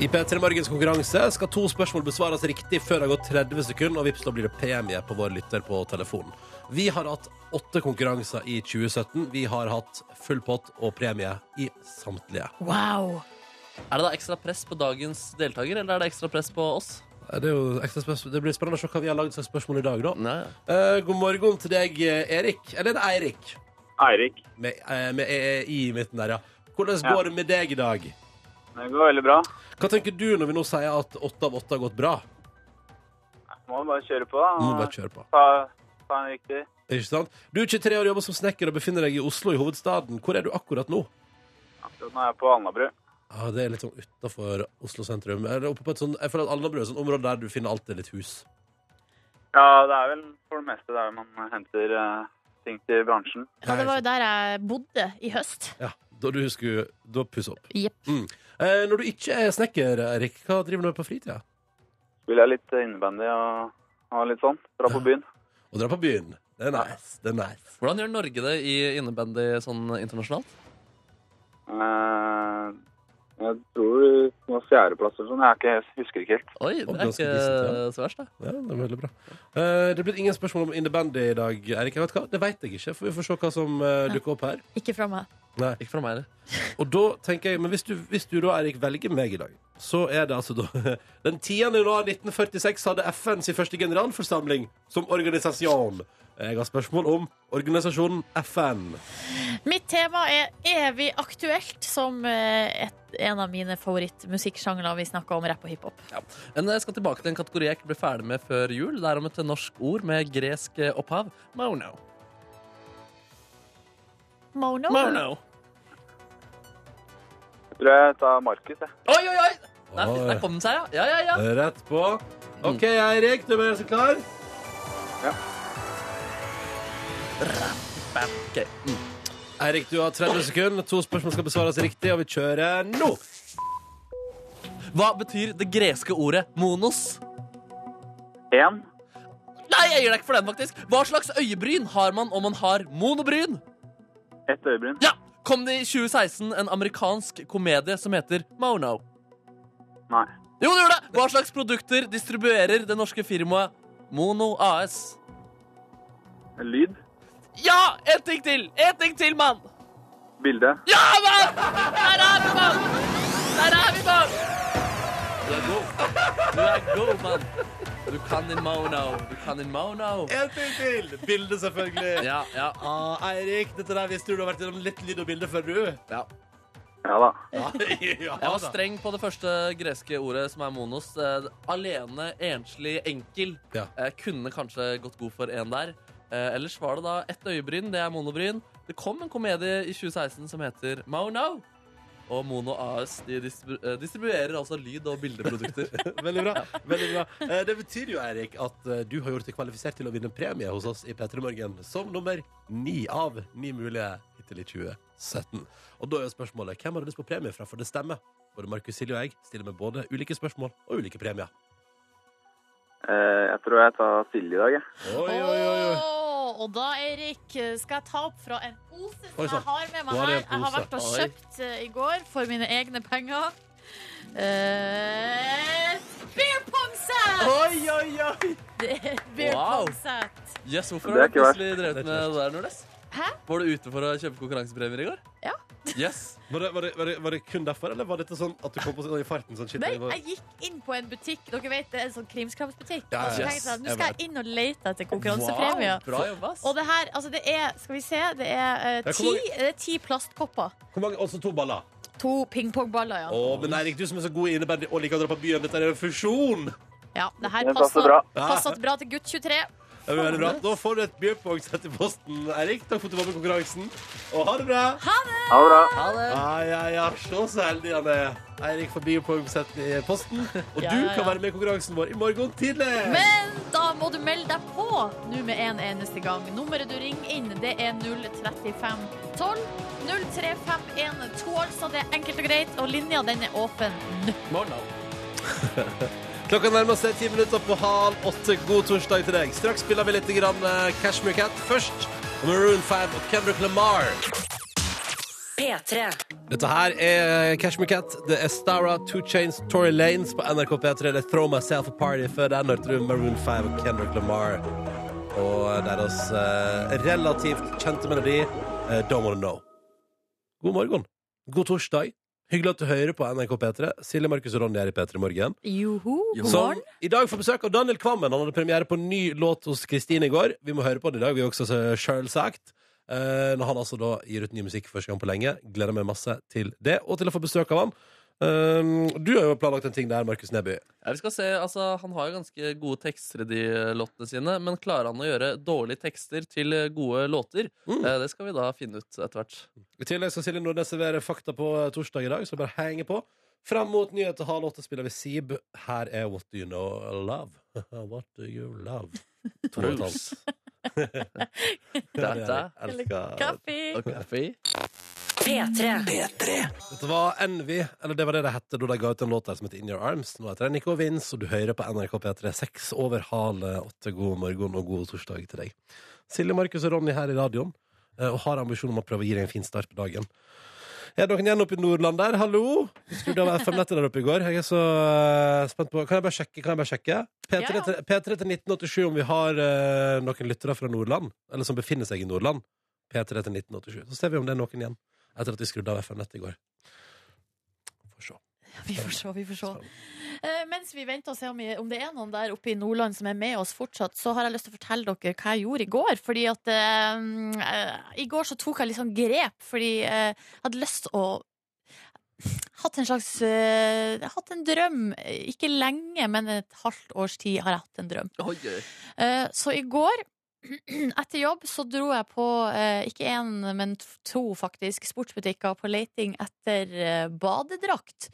I P3 Morgens konkurranse skal to spørsmål besvares riktig før det har gått 30 sekunder, og vips, da blir det premie på vår lytter på telefonen. Vi har hatt åtte konkurranser i 2017. Vi har hatt full pott og premie i samtlige.
Wow.
Er det da ekstra press på dagens deltaker, eller er det ekstra press på oss?
Det, er jo ekstra spørsmål. det blir spennende å se hva vi har lagd slags spørsmål i dag, da.
Nei.
Eh, god morgen til deg, eh, Erik. Eller er det Eirik?
Eirik.
Med, eh, med EEI i midten der, ja. Hvordan
Ja.
går det med deg i dag?
Det går veldig bra.
Hva tenker du når vi nå sier at åtte av åtte har gått bra?
Må bare kjøre på, da.
Du må bare kjøre på.
Ta, ta en riktig.
Ikke sant? Du er 23 år og jobber som snekker og befinner deg i Oslo, i hovedstaden. Hvor er du akkurat nå?
Akkurat nå er jeg på Alnabru.
Ja, Det er litt sånn utafor Oslo sentrum. Er det oppe på et sånn, jeg føler at Alnabru er et sånt område der du finner alltid litt hus.
Ja, det er vel for det meste der man henter eh, ting til bransjen.
Ja, det var jo der jeg bodde i høst.
Ja, Da du skulle da pusse opp.
Jepp.
Mm. Eh, når du ikke er snekker, Erik, hva driver du med på fritida?
Spiller jeg litt eh, innebandy og, og litt sånn. Dra på byen.
Å dra på byen. Det er nice. Det er nice.
Hvordan gjør Norge det i innebandy sånn internasjonalt?
Eh, Jeg tror det var fjerdeplass eller sånn. Jeg er ikke, helt- husker ikke helt.
Oi, det
Og
er
ganske
ikke
decent,
så verst, da.
Ja, det er veldig bra. Eh, det er blitt ingen spørsmål om In The Bandy i dag, Erik. Jeg vet hva, Det vet jeg ikke, for vi får se hva som eh, dukker opp her.
Ikke fra meg.
Nei.
Ikke fra meg heller.
Og da tenker jeg, men hvis du, hvis du da, Erik, velger meg i dag, så er det altså da Den 10. januar 1946 hadde FN sin første generalforsamling som organisasjon. Jeg har spørsmål om organisasjonen FN.
Mitt tema er evig aktuelt, som eh, et, en av mine favorittmusikksjangre vi snakka om rapp og hiphop.
Men jeg skal tilbake til en kategori jeg ikke ble ferdig med før jul. Det er om et norsk ord med gresk eh, opphav. Mono.
Mono?
Mono.
Jeg tror jeg tar Markus, jeg.
Oi, oi, oi! Der,
Oi.
der kom den seg, ja. Ja, ja, ja.
Rett på. OK, Eirik, du er så klar?
Bam.
Eh.
Ok. Mm.
Eirik, du har 30 sekunder. To spørsmål skal besvares riktig, og vi kjører nå.
Hva betyr det greske ordet monos?
Én.
Nei, jeg gir deg ikke for den, faktisk. Hva slags øyebryn har man om man har monobryn?
Ett øyebryn.
Ja! Kom det i 2016 en amerikansk komedie som heter Mono?
Nei.
Jo, det gjør det! Hva slags produkter distribuerer det norske firmaet Mono AS?
Lyd.
Ja! En ting til! En ting til, mann!
Bilde.
Ja, mann! Der er vi, mann! Der er vi, mann! Du er god. Du er god, mann. Du kan din mono. Du kan din mono.
En ting til. Bilde, selvfølgelig.
Ja, ja,
Ah, Eirik, dette der visste du du har vært gjennom litt lyd og bilde før, du.
ja.
Ja da.
Ja,
Jeg var
da.
streng på det første greske ordet, som er monos. Eh, Alene, enslig, enkel.
Ja.
Eh, kunne kanskje gått god for en der. Eh, ellers var det da ett øyebryn, det er monobryn. Det kom en komedie i 2016 som heter Mono. Og Mono AS de distribu eh, distribuerer altså lyd- og bildeprodukter.
Veldig bra. veldig bra Eh, Det betyr jo, Eirik, at eh, du har gjort deg kvalifisert til å vinne en premie hos oss i P3 Morgen som nummer ni av ni mulige hittil i 2017. Og da er jo spørsmålet hvem har du lyst på premie fra, for det stemmer. Både Markus Silje og jeg stiller med både ulike spørsmål og ulike premier.
Eh, Jeg tror jeg tar Silje i dag, jeg.
Oi, oi, oi, oi.
Åh, og da, Eirik, skal jeg ta opp fra en pose som
Oi, sant.
jeg har med
Nå
meg
er
her.
det en
Jeg har
pose.
vært og
Oi.
kjøpt eh, i går for mine egne penger. Eh, beer pong-set!
Oi, oi, oi!
Det er Beer
Wow.
pong-set.
Yes, hvorfor
Det er
har du
ikke verst.
plutselig drevet
Det er ikke
med
verst.
det der, Nordnes?
Hæ?
Var du ute for å kjøpe konkurransepremier i går?
Ja.
Yes.
Var det, var, det, var, det, var det kun derfor, eller var dette sånn at du kom på sånn i farten? Sånn, shit,
Nei,
jeg var-
jeg gikk inn på en butikk. Dere vet, det er en sånn krimskramsbutikk.
Ja,
Og så
ja,
tenkte
yes.
jeg, nå
Jeg
skal
vet.
jeg inn og lete etter konkurransepremier.
Wow, bra jobba, ass.
Og det her, altså det er, skal vi se, det er, eh,
Det er
ti,
hvor mange-
det er ti plastkopper.
Hvor mange? Også to baller.
To pingpongballer, ja.
Å, men Eirik, du som er så god i innebandy og liker å dra på byen, dette er en fusjon!
Ja, det her
Den passer
passer,
bra.
passet bra til gutt 23.
Det er veldig bra. Da får du et bjørnpongsett i posten, Eirik. Takk for at du var med i konkurransen. Og ha det bra!
Ha det bra.
Ha det.
Ja, ja, ja. Se så heldig han er. Eirik får bjørnpongsett i posten. Og
Ja,
du
ja, ja.
kan være med i konkurransen vår i morgen tidlig.
Men da må du melde deg på nå med en eneste gang. Nummeret du ringer inn, det er 03512. 03512, altså. Det er enkelt og greit. Og linja, den er åpen nå.
Mono.
Klokka nærmer seg ti minutter på halv åtte. God torsdag til deg. Straks spiller vi litt grann eh, Cashmere Cat først. Og Maroon 5 og Kendrick Lamar.
P3.
Dette her er Cashmere Cat. Det er Stara, Two Chains, Tory Lanes på NRK P3. Det er Throw Myself a Party. Før den hørte du Maroon 5 og Kendrick Lamar. Og deres eh, relativt kjente melodi, eh, Don't Wanna Know. God morgen. God torsdag. Hyggelig at du hører på NRK P3. Silje, Markus og Ronny er i P3 Morgen.
Joho, god
Som
morgen.
i dag får besøk av Daniel Kvammen. Han hadde premiere på ny låt hos Kristine i går. Vi må høre på den i dag, vi også, så- sjølsagt. Eh, når han altså da gir ut ny musikk for første gang på lenge. Gleder meg masse til det, og til å få besøk av han. Eh, du har jo planlagt en ting der, Markus Neby.
Ja, vi skal se, altså Han har jo ganske gode tekster i de låtene sine, men klarer han å gjøre dårlige tekster til gode låter?
Mm.
Eh, Det skal vi da finne ut etter hvert.
I tillegg skal Silje Nordnes servere fakta på eh, torsdag i dag, så bare henge på. Fram mot nyheter halv åtte spiller vi Sib. Her er What Do You Know Love. What Do You Love. To og et halvt.
Data
Jeg
Eller
elsker-
kaffe.
og kaffe.
P3.
Det var Envy, eller det var det det hette da de ga ut en låt der som heter In Your Arms. Nå heter det Nico Vins, og du hører på NRK P3 seks over halv eh, åtte. God morgen og god torsdag til deg. Silje, Markus og Ronny her i radioen, eh, og har ambisjon om å prøve å gi deg en fin start på dagen. Er det noen igjen oppe i Nordland der? Hallo? Skrudde av FM-nettet der oppe i går. Jeg er så eh, spent på Kan jeg bare sjekke? Kan jeg bare sjekke? P3,
Ja, ja.
Til, P3 til 1987 om vi har eh, noen lyttere fra Nordland, eller som befinner seg i Nordland. P3 til 1987. Så ser vi om det er noen igjen etter at vi skrudde av FM-nettet i går. Får se.
Vi får se, vi får se.
Spennende.
Eh, mens vi venter og ser om, vi- om det er noen der oppe i Nordland som er med oss fortsatt, så har jeg lyst til å fortelle dere hva jeg gjorde i går. Fordi at eh, eh, I går så tok jeg litt sånn grep, fordi eh, jeg hadde lyst til å Hatt en slags eh, jeg har Hatt en drøm. Eh, Ikke lenge, men et halvt års tid har jeg hatt en drøm.
Oi, oi.
Eh, så i går etter jobb så dro jeg på eh, ikke én, men t- to faktisk sportsbutikker på leting etter eh, badedrakt.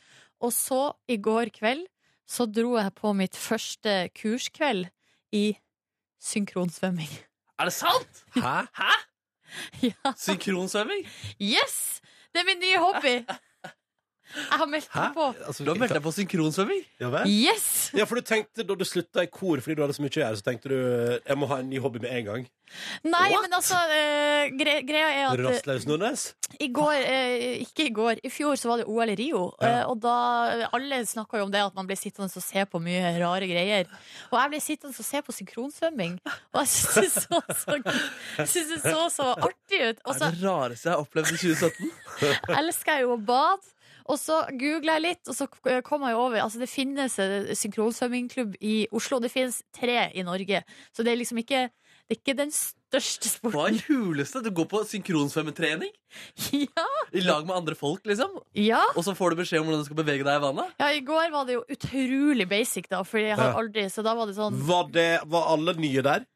Og så i går kveld så dro jeg på mitt første kurskveld i synkronsvømming.
Er det sant?!
Hæ?
ja.
Synkronsvømming?
Yes! Det er min nye hobby! Jeg har meldt
Hæ?
meg på.
Altså,
Du har meldt deg på synkronsvømming?
Ja, vel?
Yes!
Ja, for du tenkte da du slutta i kor fordi du hadde så mye å gjøre, så tenkte du jeg må ha en ny hobby med en gang.
Nei,
What?
men altså, eh, gre greia er at eh,
Rastløs Nordnes.
I går, eh, ikke i går, i fjor så var det OL i Rio.
Ja.
Eh, og da Alle snakka jo om det at man ble sittende og se på mye rare greier. Og jeg ble sittende og se på synkronsvømming, og jeg syns det så så, jeg synes det så, så artig ut. Og
Det
så
er det rareste jeg har opplevd i 2017.
elsker jeg jo å bade. Og så googla jeg litt, og så k- kom jeg jo over Altså, det finnes en synkronsvømmingklubb i Oslo. Det finnes tre i Norge, så det er liksom ikke Det er ikke den største
Hva
sporten.
er huleste? Du går på synkronsvømmetrening
Ja.
i lag med andre folk, liksom.
ja.
Og så får du beskjed om hvordan du skal bevege deg i vannet?
Ja, i går var det jo utrolig basic, da, fordi jeg har
Ja.
aldri Så da var det sånn
Var, det, var alle nye der?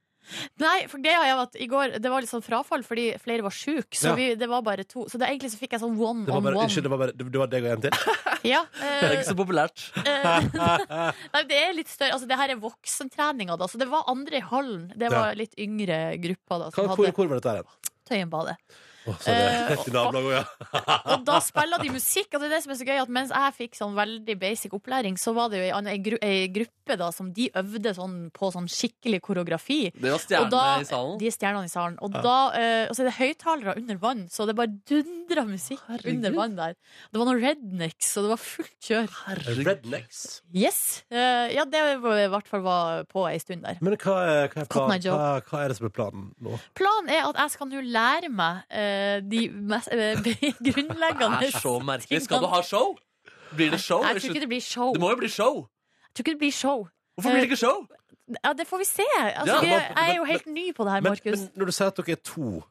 Nei, for greia er jo at i går det var litt sånn frafall fordi flere var sjuke,
Ja.
så vi, det var bare to. Så det, egentlig så fikk jeg sånn one
Det var
on
bare,
one.
unnskyld, det var bare det det var deg og en til?
Ja,
Det er
eh,
ikke så populært.
eh, nei, det er litt større Altså, det her er voksentreninga, da, så det var andre i hallen.
Ja.
Det var litt yngre grupper da, som
Hva, hvor,
hadde
hvor var dette her?
Tøyenbadet.
Å, så det- i
Eh,
nabolaget også, ja.
Og da spiller de musikk, og det er det som er så gøy, at mens jeg fikk sånn veldig basic opplæring, så var det jo ei anna- ei gru ei gruppe da som de øvde sånn på sånn skikkelig koreografi.
Det var
Og
stjernene
da-
i salen.
De er stjernene i salen. Og, da, eh, og så er det høyttalere under vann, så det bare dundra musikk
Herregud.
under vann der. Det var noen rednecks, og det var fullt kjør.
Rednecks.
Yes! Eh, ja, det var i hvert fall var på ei stund der.
Men hva er, hva, er
Cotton Eye
planen,
Joe.
hva, hva er det som er planen nå?
Planen er at jeg skal nå lære meg eh, de mest eh,
Det
grunnleggende
er så merkelig. Skal du ha show? Blir det show?
sånn Jeg
i
tror ikke
slutt-
det blir show.
Det må jo bli show!
Jeg tror ikke det blir show.
Hvorfor blir det ikke show?
Ja, det får vi se. Altså,
Ja,
vi-
men-
jeg er jo helt ny på det her,
Men,
Markus.
men når du sier at dere er to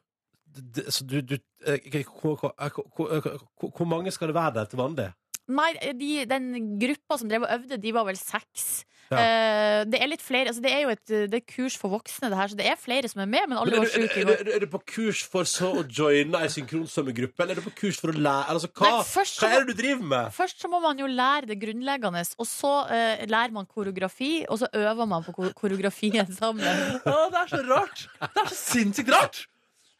det, det- så du, du, eh, hvor, hvor, hvor, hvor, hvor mange skal det være der til vanlig?
Nei, de, den gruppa som drev og øvde, de var vel seks.
Ja.
Eh, det er litt flere altså, Det er jo et det er kurs for voksne, det her, så det er flere som er med, men alle
Men
var
er, du,
sjuke i
er,
går.
du, er du på kurs for så å joine ei synkronsvømmegruppe, eller er du på kurs for å lære altså, hva,
Nei, først så
hva er det du driver med?
Først så må man jo lære det grunnleggende, og så eh, lærer man koreografi, og så øver man på ko- koreografien sammen.
Eh, Å, det er så rart! Det er så sinnssykt rart!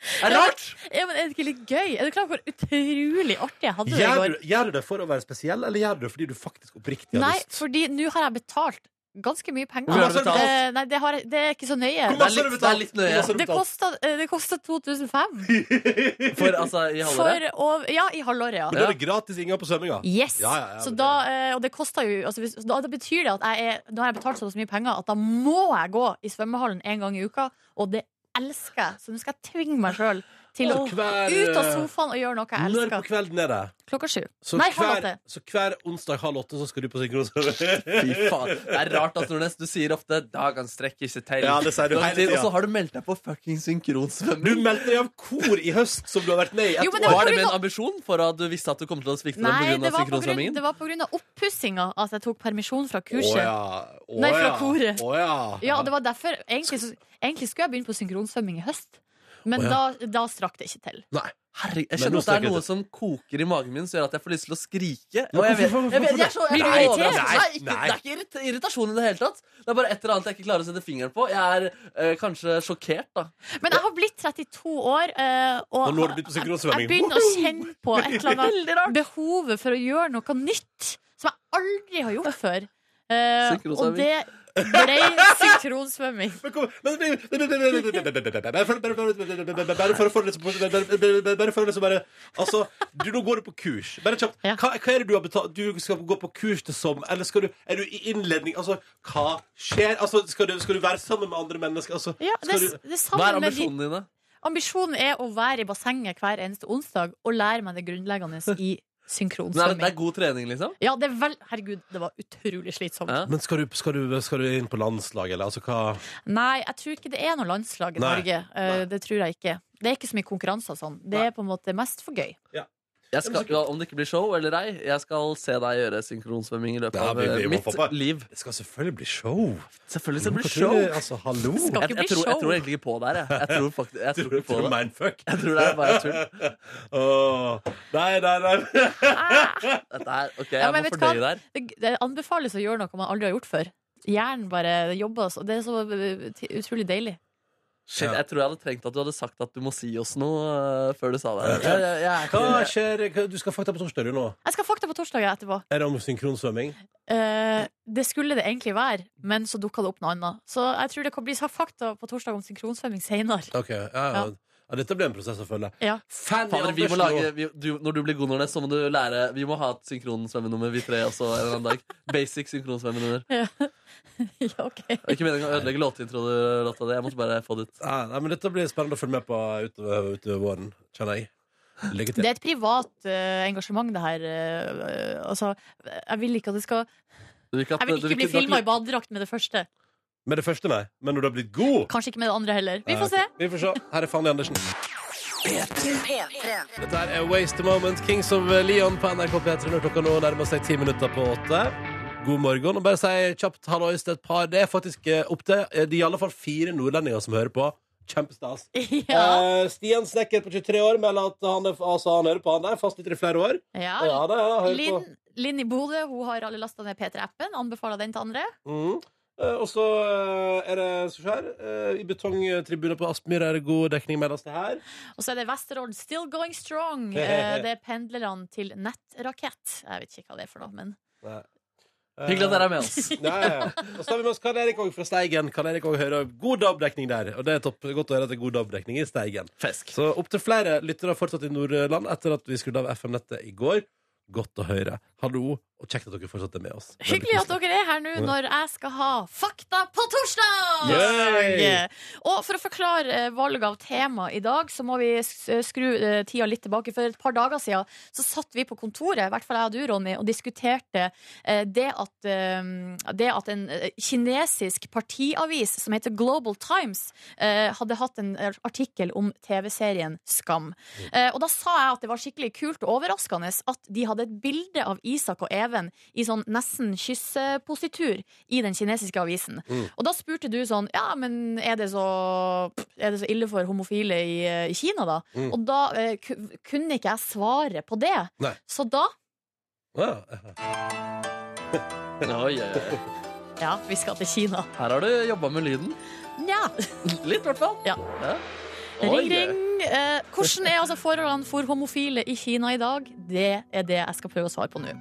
Det er rart!
Ja, men Er det ikke litt gøy? Er du klar over hvor utrolig artig jeg hadde det i
Gjør
går?
du, gjør du det for å være spesiell, eller gjør du det fordi du faktisk oppriktig har
Nei,
lyst?
fordi nå har jeg betalt ganske mye penger.
Hvor mye har du betalt?
Eh, nei, det, har, jeg- det er ikke så nøye.
Hvor
Det er
masse har du
litt- det er
betalt?
litt nøye.
Hvor masse har du
Det
betalt?
kosta, eh, det kosta 2005
For altså, i halvåret
for å Ja, i halvåret, ja.
Men Da er det gratis Inga på svømminga.
Yes!
Ja, ja, ja,
så
men
da, eh, og det koster jo altså hvis, da, da betyr det at jeg er, da har jeg betalt såpass mye penger at da må jeg gå i svømmehallen en gang i uka, og det elsker jeg. Så nå skal jeg tvinge meg sjøl til å
Så hver, eh,
ut av sofaen og gjøre noe jeg
Når på
elsker.
kvelden er det?
Klokka sju.
Så,
Nei, halv
hver,
åtte.
så hver onsdag halv åtte så skal du på synkronsvømming?
Fy faen. Det er rart, altså, Nordnes. Du sier ofte 'dagen strekker ikke til'.
Ja, det sier du
Dagen
hele
til,
tida.
Og så har du meldt deg på fucking synkronsvømming.
Du meldte deg av kor i høst, som du har vært med i
Jo,
ett år.
men var
Var det
fordi
med en
nå-
ambisjon for at du visste at du kom til å svikte dem
Nei, det var på
pga.
grunn-
synkronsvømmingen?
det var pga. oppussinga at jeg tok permisjon fra
Å
kurset. ja.
ja. Å
Nei, fra
ja.
koret.
Å ja.
det var derfor egentlig, så- egentlig skulle jeg begynne på synkronsvømming i høst, men
Å
da, da strakk det ikke til.
Nei.
Herregud,
Men
jeg
nå
kjenner at det
snakker
er
vi
noe
til-
som koker i magen min, som gjør at jeg får lyst til å skrike.
Men
Og
hvorfor-
jeg vet,
hvorfor-
jeg vet, jeg er så, jeg er
Blir du irritert?
overrasket. Nei, ikke,
Nei.
det er ikke irrit- irritasjon i det hele tatt. Det er bare et eller annet jeg ikke klarer å sette fingeren på. Jeg er eh, kanskje sjokkert, da.
Men jeg har blitt 32 år, eh, og,
Og nå har du begynt på synkronsvømming.
jeg begynner å kjenne på et eller annet behovet for å gjøre noe nytt som jeg aldri har gjort før. Eh, og
Sikronsvømming.
det ble sikronsvømming.
Men kom- men- men- men- men- men- men- men- men- Bare for bare- bare- bare- bare for å få det liksom på- bare- bare- bare- bare for å liksom bare Altså, du, nå går du på kurs. Bare kjapt.
Ja.
Hva, hva er det du har betalt Du skal gå på kurs til som, eller skal du Er du i innledning? Altså, hva skjer? Altså, skal du, skal du være sammen med andre mennesker? Altså,
Ja, det,
skal du
det er
Hva er
sammen med de
ambisjonene dine?
Ambisjonen er å være i bassenget hver eneste onsdag og lære meg det grunnleggende i
Men er det, det
synkronsvømming.
er god trening, liksom?
Ja, det er vel Herregud, det var utrolig slitsomt.
Ja.
Men skal du, skal, du, skal du inn på landslag, eller altså hva
Nei, jeg tror ikke det er noe landslag i
Nei.
Norge. Eh, Det tror jeg ikke. Det er ikke så mye konkurranser og sånn. Det er på en måte mest for gøy.
Jeg skal, ja, om det ikke blir show eller ei, jeg skal se deg gjøre synkronsvømming i løpet
Ja,
av
vi- vi
eh,
må
mitt
få på.
liv.
Det skal selvfølgelig bli show.
Selvfølgelig skal det bli
Hva tror
show.
du? Altså, hallo.
Skal
Jeg,
ikke
jeg,
bli
tror, jeg
show.
tror egentlig ikke på det her. Jeg, jeg tror faktisk jeg tror ikke på det.
Mindfuck.
Jeg tror det er bare tull.
Åh. Nei, nei, nei.
Dette er, ok,
Ja,
jeg
men
må
vet du
fordøye det
hva?
her.
Det, det anbefales å gjøre noe man aldri har gjort før. Hjernen bare jobber, så- det er så eh, t- utrolig deilig.
Shit,
Ja.
jeg tror jeg hadde trengt at du hadde sagt at du må si oss noe eh, før du sa det. Jeg, jeg, jeg, er
Hva
ikke-
skjer? Hva- Du skal fakta på torsdag, du nå.
Jeg skal ha fakta på torsdag etterpå.
Er det om synkronsvømming?
Eh, det skulle det egentlig være, men så dukka det opp noe annet. Så jeg tror det kan bli så fakta på torsdag om synkronsvømming senere.
Ok, ja, ja.
Ja.
ja Dette ble en prosess å følge.
Ja.
Fanny
Fader, vi må
Andersen
lage,
nå.
vi, du, når du blir god, Nordnes, så må du lære Vi må ha et synkronsvømmenummer, vi tre også, en eller annen dag. Basic synkronsvømmenummer.
ja, ok.
Det var Ikke meningen å ødelegge låtintrolåta di. Jeg måtte bare få det ut.
Ja, nei, men Dette blir spennende å følge med på utover, utover våren, kjenner jeg. Lykke
Det
til.
er et privat eh, engasjement, det her. eh, eh, altså, jeg vil ikke at det skal
Du vil
Jeg vil
du
ikke bli
du har
filma i badedrakt med det første.
Med det første, nei. Men når du har blitt god
Kanskje ikke med det andre heller. Vi
Ja,
får se.
ok. Vi får se. Her er Fanny Andersen.
P3.
Dette her er Waste a Moment, Kings of Leon på NRK P3 når klokka nå nærmer seg ti minutter på åtte. God morgen. og Bare si kjapt hallois til et par. Det er faktisk eh, opp til eh, Det er i alle fall fire nordlendinger som hører på. Kjempestas.
Ja.
Eh, Stian Snekker på 23 år melder at han, er, altså, han hører på han der, fastlytter i flere år. Ja,
ja.
det er det, hører på.
Linn, Linn i Bodø hun har alle lasta ned P3-appen. Anbefaler den til andre.
Mm. Eh, og så eh, er det sånn her. eh, I betongtribuner på Aspmyra er det god dekning mellom det her.
Og så er det Vesterålen Still Going Strong. Eh, det er pendlerne til Nettrakett. Jeg vet ikke hva det er for noe, men
Nei. Eh,
ikke- Hyggelig at dere er med oss.
Ja, ja, ja. Og så har vi med oss Karl Erik òg fra Steigen. Karl Erik også hører God DAB-dekning der. Og det er topp. godt å høre at det er god DAB-dekning i Steigen.
Fisk.
Så opptil flere lyttere fortsatt i Nordland etter at vi skrudde av FM-nettet i går. Godt å høre. Hallo, og kjekt at dere fortsatt er med oss. Veldig
Hyggelig at dere er her nå når jeg skal ha fakta på torsdag!
Yay!
Og for å forklare eh, valget av tema i dag, så må vi s- skru eh, tida litt tilbake. For et par dager siden så satt vi på kontoret, i hvert fall jeg og du, Ronny, og diskuterte eh, det at, eh, det at en eh, kinesisk partiavis som heter Global Times, eh, hadde hatt en artikkel om TV-serien Skam. Eh, Og da sa jeg at det var skikkelig kult og overraskende at de hadde et bilde av Isak og Even i sånn nesten kyssepositur i den kinesiske avisen.
Mm.
Og da spurte du sånn Ja, men er det så, er det så ille for homofile i, eh, i Kina, da?
Mm.
Og da eh, ku- kunne ikke jeg svare på det.
Nei.
Så da
Ja.
Oi, oi, oi.
Ja, vi skal til Kina.
Her har du jobba med lyden.
Nja.
Litt, i hvert fall.
Ja. Ring, ring. Eh, hvordan er altså forholdene for homofile i Kina i dag? Det er det jeg skal prøve å svare på nå.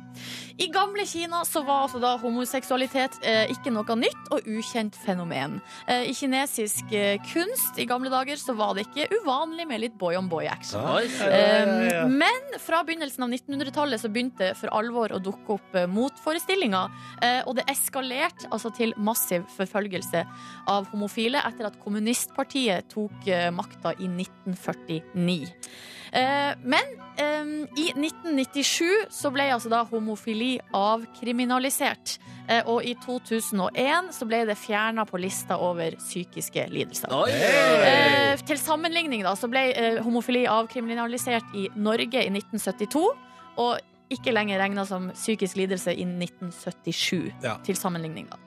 I gamle Kina så var altså da homoseksualitet eh, ikke noe nytt og ukjent fenomen. Eh, I kinesisk eh, kunst i gamle dager så var det ikke uvanlig med litt boy-on-boy-action.
Oi,
Eh, Men fra begynnelsen av 1900-tallet så begynte for alvor å dukke opp eh, motforestillinger. eh, Og det eskalerte altså til massiv forfølgelse av homofile etter at kommunistpartiet tok eh, makta i 1949. Eh, Men eh, i 1997 så ble altså da homofili avkriminalisert. Eh, Og i 2001 så ble det fjerna på lista over psykiske lidelser.
Oi,
Hey!
Eh, til sammenligning da, så ble eh, homofili avkriminalisert i Norge i 1972, og ikke lenger regna som psykisk lidelse i 1977.
Ja.
Til sammenligning, da.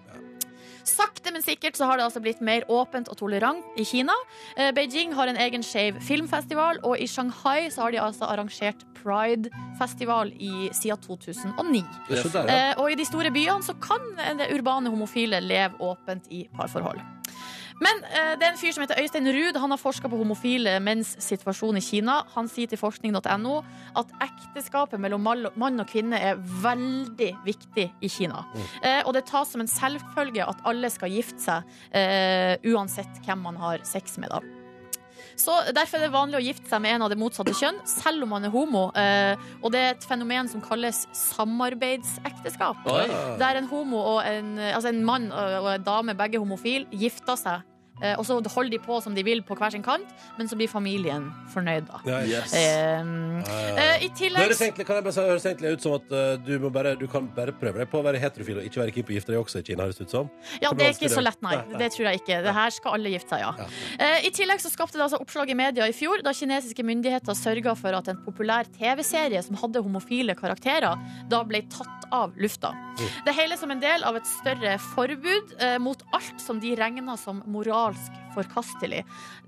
Sakte, men sikkert så har det altså blitt mer åpent og tolerant i Kina. Eh, Beijing har en egen skeiv filmfestival, og i Shanghai så har de altså arrangert Pride-festival i- siden 2009.
Det er så der, ja.
Eh, og i de store byene så kan det urbane homofile leve åpent i parforhold. Men eh, det er en fyr som heter Øystein Ruud. Han har forska på homofile menns situasjon i Kina. Han sier til forskning.no at ekteskapet mellom mal- mann og kvinne er veldig viktig i Kina. Eh, og det tas som en selvfølge at alle skal gifte seg, eh, uansett hvem man har sex med, da. Så Derfor er det vanlig å gifte seg med en av det motsatte kjønn, selv om man er homo. Eh, og det er et fenomen som kalles samarbeidsekteskap.
Oi.
Der en homo og en, altså en mann og en dame, begge homofil, gifter seg. Eh, Og så holder de på som de vil på hver sin kant, men så blir familien fornøyd, da.
Ja, ja.
Eh, eh, I
Nå høres
tillegg
egentlig, kan jeg bare si, høres egentlig ut som at eh, du, må bare, du kan bare prøve deg på å være heterofil og ikke være keen på å gifte deg også i Kina, høres det ut som.
Ja,
Kommer
det er
vanskelig
ikke så
ut.
lett, nei.
Nei, nei.
Det tror jeg ikke. Det her skal alle gifte seg, ja. Eh, I tillegg så skapte det altså oppslag i media i fjor da kinesiske myndigheter sørga for at en populær TV-serie som hadde homofile karakterer, da ble tatt av lufta. Det hele som en del av et større forbud eh, mot alt som de regna som moralsk forkastelig.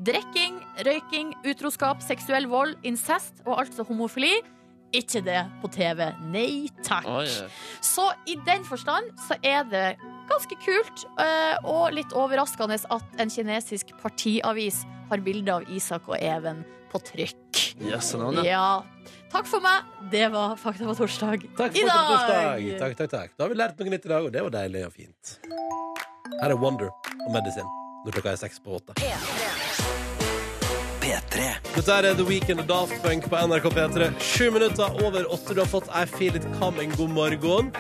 Drikking, røyking, utroskap, seksuell vold, incest og altså homofili. Ikke det på TV. Nei takk.
Oi.
Så i den forstand så er det ganske kult eh, og litt overraskende at en kinesisk partiavis har bilde av Isak og Even på trykk.
Yes, navn, ja.
Ja. Takk for meg. Det var Fakta på torsdag
Takk
i
for
dag.
torsdag! Takk, takk, takk. Da har vi lært noe nytt i dag, og det var deilig og fint. Her er Wonder og Medisin når klokka er seks på åtte.
P3.
Dette er The Weekend og Daft Punk på NRK P3. Sju minutter over åtte. Du har fått I Feel It Coming. God morgen.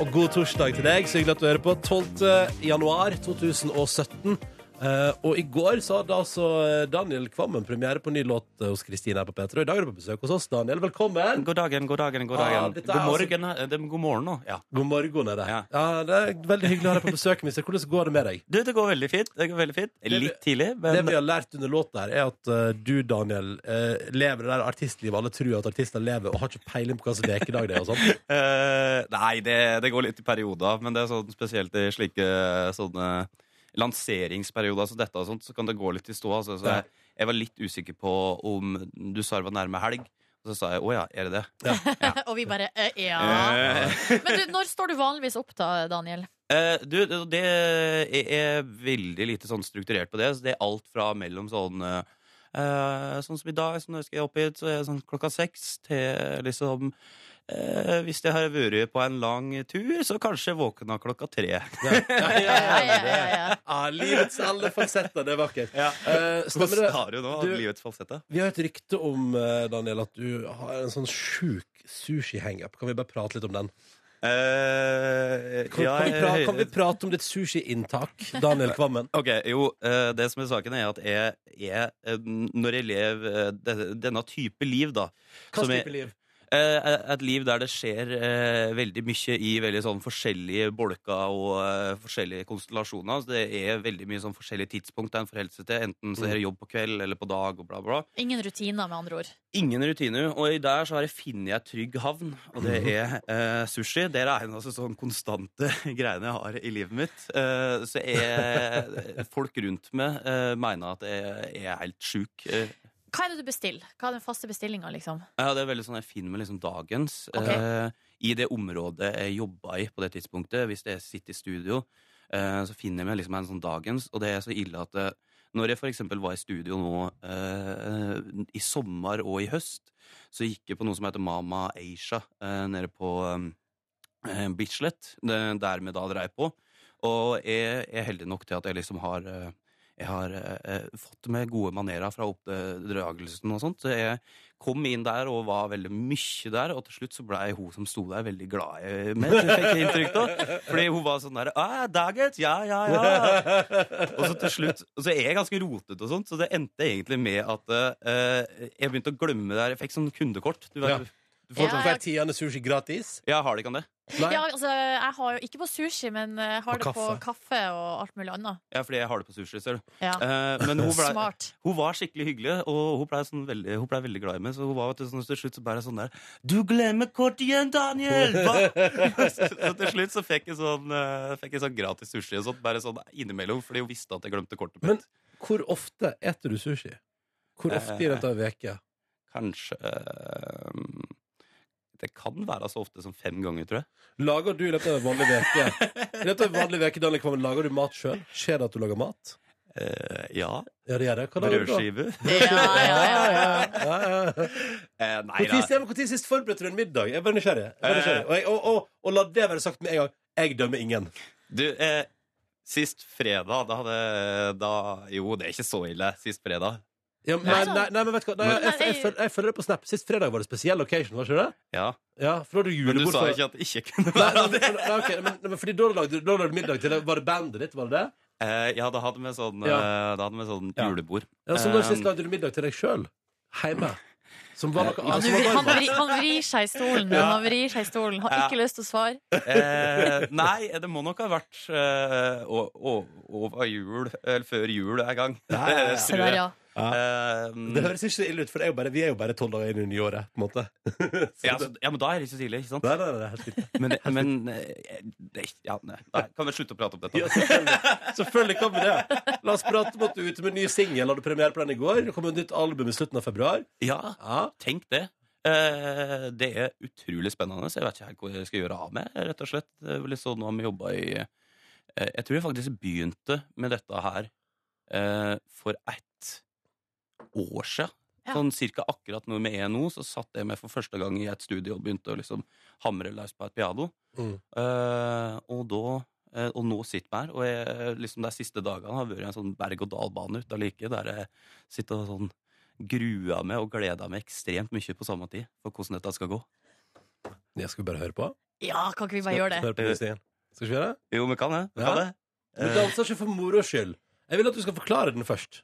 Og god torsdag til deg. Så hyggelig at du hører på. 12. januar 2017. Eh, og i går så hadde altså Daniel Kvammen premiere på ny låt hos Kristine her på P3. Og i dag er du på besøk hos oss, Daniel. Velkommen.
God dagen, god dagen, god
Ah,
dagen.
dette er
god
altså-
morgen. eh, Det er god morgen nå. Ja.
God morgen er det. Ja.
Ja.
det er veldig hyggelig å ha deg på besøk, mister. Hvordan går det med deg?
Du, det går veldig fint. Det går veldig fint.
vi-
Litt tidlig,
Det
men
vi har lært under låta her, er at eh, du, Daniel, eh, lever det der artistlivet alle tror at artister lever, og har ikke peiling på hva slags ukedag det er og sånn.
eh, Nei, det, det går litt i perioder. Men det er sånn spesielt i slike eh, sånne lanseringsperioder som dette og sånt, så kan det gå litt i stå. Altså. Så
Ja.
jeg, jeg var litt usikker på om du sa det var nærme helg. Og så sa jeg å ja, er det det?
og vi bare eh, ja.
Eh,
Men du, når står du vanligvis opp da, Daniel?
Eh, du, det det er er veldig lite sånn strukturert på det. Så det er alt fra mellom sånn eh, eh, Sånn som i dag, så når jeg skal opp hit, så er det sånn klokka seks til liksom eh, Hvis jeg har vært på en lang tur, så kanskje jeg våkna klokka tre.
Ja, ja, ja, ja.
Ja, livets alle fasetter, det er vakkert.
Ja.
Eh, stemmer
Hvordan
det?
har du nå
Du-
livets falsette?
Vi har et rykte om eh, Daniel, at du har en sånn sjuk sushi-hangup. Kan vi bare prate litt om den?
Eh,
Kan,
ja,
kan, vi, prate,
jeg-
kan vi prate om ditt sushi-inntak, Daniel Kvammen?
Ok, jo, eh, det som er saken er at jeg, jeg eh, når jeg lever eh, de- denne type liv da
Hva
som jeg-
type liv?
Eh, et liv der det skjer eh, veldig mye i veldig sånn forskjellige bolker og eh, forskjellige konstellasjoner. Så det er veldig mye sånn forskjellige tidspunkt en forholder seg til. Enten så er det jobb på kveld eller på dag og bla, bla.
Ingen rutiner, med andre ord.
Ingen rutiner. Og i der så har jeg funnet ei trygg havn, og det er eh, sushi. Det er en av de sånn konstante greiene jeg har i livet mitt. Eh, så jeg, folk rundt meg eh, mener at jeg er helt sjuk. Eh,
Hva er det du bestiller? Hva er den faste bestillinga, liksom?
ja, det er veldig sånn jeg finner meg liksom dagens.
Ok.
eh, I det området jeg jobba i på det tidspunktet, hvis jeg sitter i studio, eh, så finner jeg meg liksom en sånn dagens, og det er så ille at eh, når jeg for eksempel var i studio nå eh, i sommer og i høst, så gikk jeg på noe som heter Mama Asia eh, nede på eh, Bislett, det- der vi da dreier på. Og jeg er heldig nok til at jeg liksom har eh, jeg har eh, eh, fått med gode manerer fra oppdragelsen og sånt. Så jeg kom inn der og var veldig mye der, og til slutt så blei hun som sto der, veldig glad i meg. Fikk jeg inntrykk av. Fordi hun var sånn der «Ah, Daget! Ja, ja, ja. Og så til slutt Så er jeg ganske rotete og sånt, så det endte egentlig med at eh, jeg begynte å glemme det her. Jeg fikk sånn kundekort. Du
Ja.
vet, du
Får
får,
du
Ja,
hver tiende sushi gratis?
ja, har de ikke han det?
Nei?
Ja, altså, jeg har jo ikke på sushi, men eh, har
På
det på kaffe og alt mulig annet.
Ja, fordi jeg har det på sushi, ser du.
Ja.
Eh, men hun blei
Smart.
Hun var skikkelig hyggelig, og hun blei sånn veldig, hun ble veldig glad i meg. Så hun var vet du, sånn, til slutt så bare sånn der Du glemmer kortet igjen, Daniel! Hva? så, så til slutt så fikk jeg sånn, eh, fikk jeg sånn gratis sushi og sånt, bare sånn innimellom, fordi hun visste at jeg glemte kortet mitt.
Men hvor ofte eter du sushi? Hvor
Eh.
ofte i løpet av ei uke?
Kanskje eh, Det kan være så ofte som fem ganger, tror jeg.
Lager du i løpet av en vanlig uke I løpet av en vanlig uke, Daniel Kvammen, lager du mat sjøl? Skjer det at du lager mat?
Eh, ja.
Ja, det gjør det. Hva da?
Brødskive.
Ja, ja, ja, ja.
Ja, ja, ja.
Eh, nei da. Eh.
Når sist, hvor tid sist forberedte du en middag? Jeg er bare nysgjerrig. Jeg er bare nysgjerrig. Og, jeg, og, og, og la det være sagt med en gang. Jeg dømmer ingen.
Du, eh, sist fredag, da hadde da, Jo, det er ikke så ille. Sist fredag.
Ja, men, nei,
Altså-
nei, nei, men vet du hva? Nei, jeg, jeg, jeg, føl- jeg følger det på Snap. Sist fredag var det spesiell location, var ikke det?
Ja.
Ja, for da hadde du
Men
julebord
du sa
for-
ikke at det ikke kunne
Nei,
være
nei,
det.
nei, nei, ok, men, nei, men fordi da lagde da lagde du middag til Var det bandet ditt, var det det?
Eh, ja, da hadde vi sånn, eh, da hadde vi sånn
Ja.
julebord.
Ja, Så når
Eh,
sist lagde du middag til deg sjøl? Hjemme? Som var noe
Han,
annet.
vri,
som
han,
var varmt.
vri, han vrir seg i stolen.
Ja.
Han vrir seg i stolen. Har ikke lyst til å svare.
Eh, nei, det må nok ha vært eh, å- å- over jul, eller før jul en gang.
Ja, ja, ja.
Se der, ja.
Eh,
Det høres ikke så ille ut, for det er jo bare, vi er jo bare tolv dager inn i nyåret. på en måte. Så
ja,
det-
så, ja, men da er det ikke så ille, ikke sant?
Nei, nei, nei, det er helt fint.
Men, men eh, det, ja, nei. nei. Kan vi slutte å prate om dette?
Ja, selvfølgelig. selvfølgelig kan vi det. La oss prate om at du er ute med en ny singel. Hadde premiere på den i går. Det kommer et nytt album i slutten av februar.
Ja,
Ja.
tenk det. Eh, det er utrolig spennende. Så jeg vet ikke helt hva jeg skal gjøre av meg, rett og slett. Det er vel litt sånn nå har vi jobba i eh, Jeg tror jeg faktisk begynte med dette her eh, for ett år siden.
Ja.
Sånn cirka akkurat når vi er nå, så satt jeg meg for første gang i et studio og begynte å liksom hamre løs på et piano.
Mm.
Eh, og da eh, og nå sitter vi her, og jeg, liksom de siste dagene har vært en sånn berg-og-dal-bane ut av like, der jeg sitter og sånn gruer meg og gleder meg ekstremt mye på samme tid for hvordan dette skal gå.
Ja, skal vi bare høre på?
Ja, kan ikke vi bare gjøre det?
Høre på musikken. Skal vi gjøre det?
Jo, vi kan det. Vi
Ja.
kan det.
Du danser ikke for moro skyld. Jeg vil at du skal forklare den først.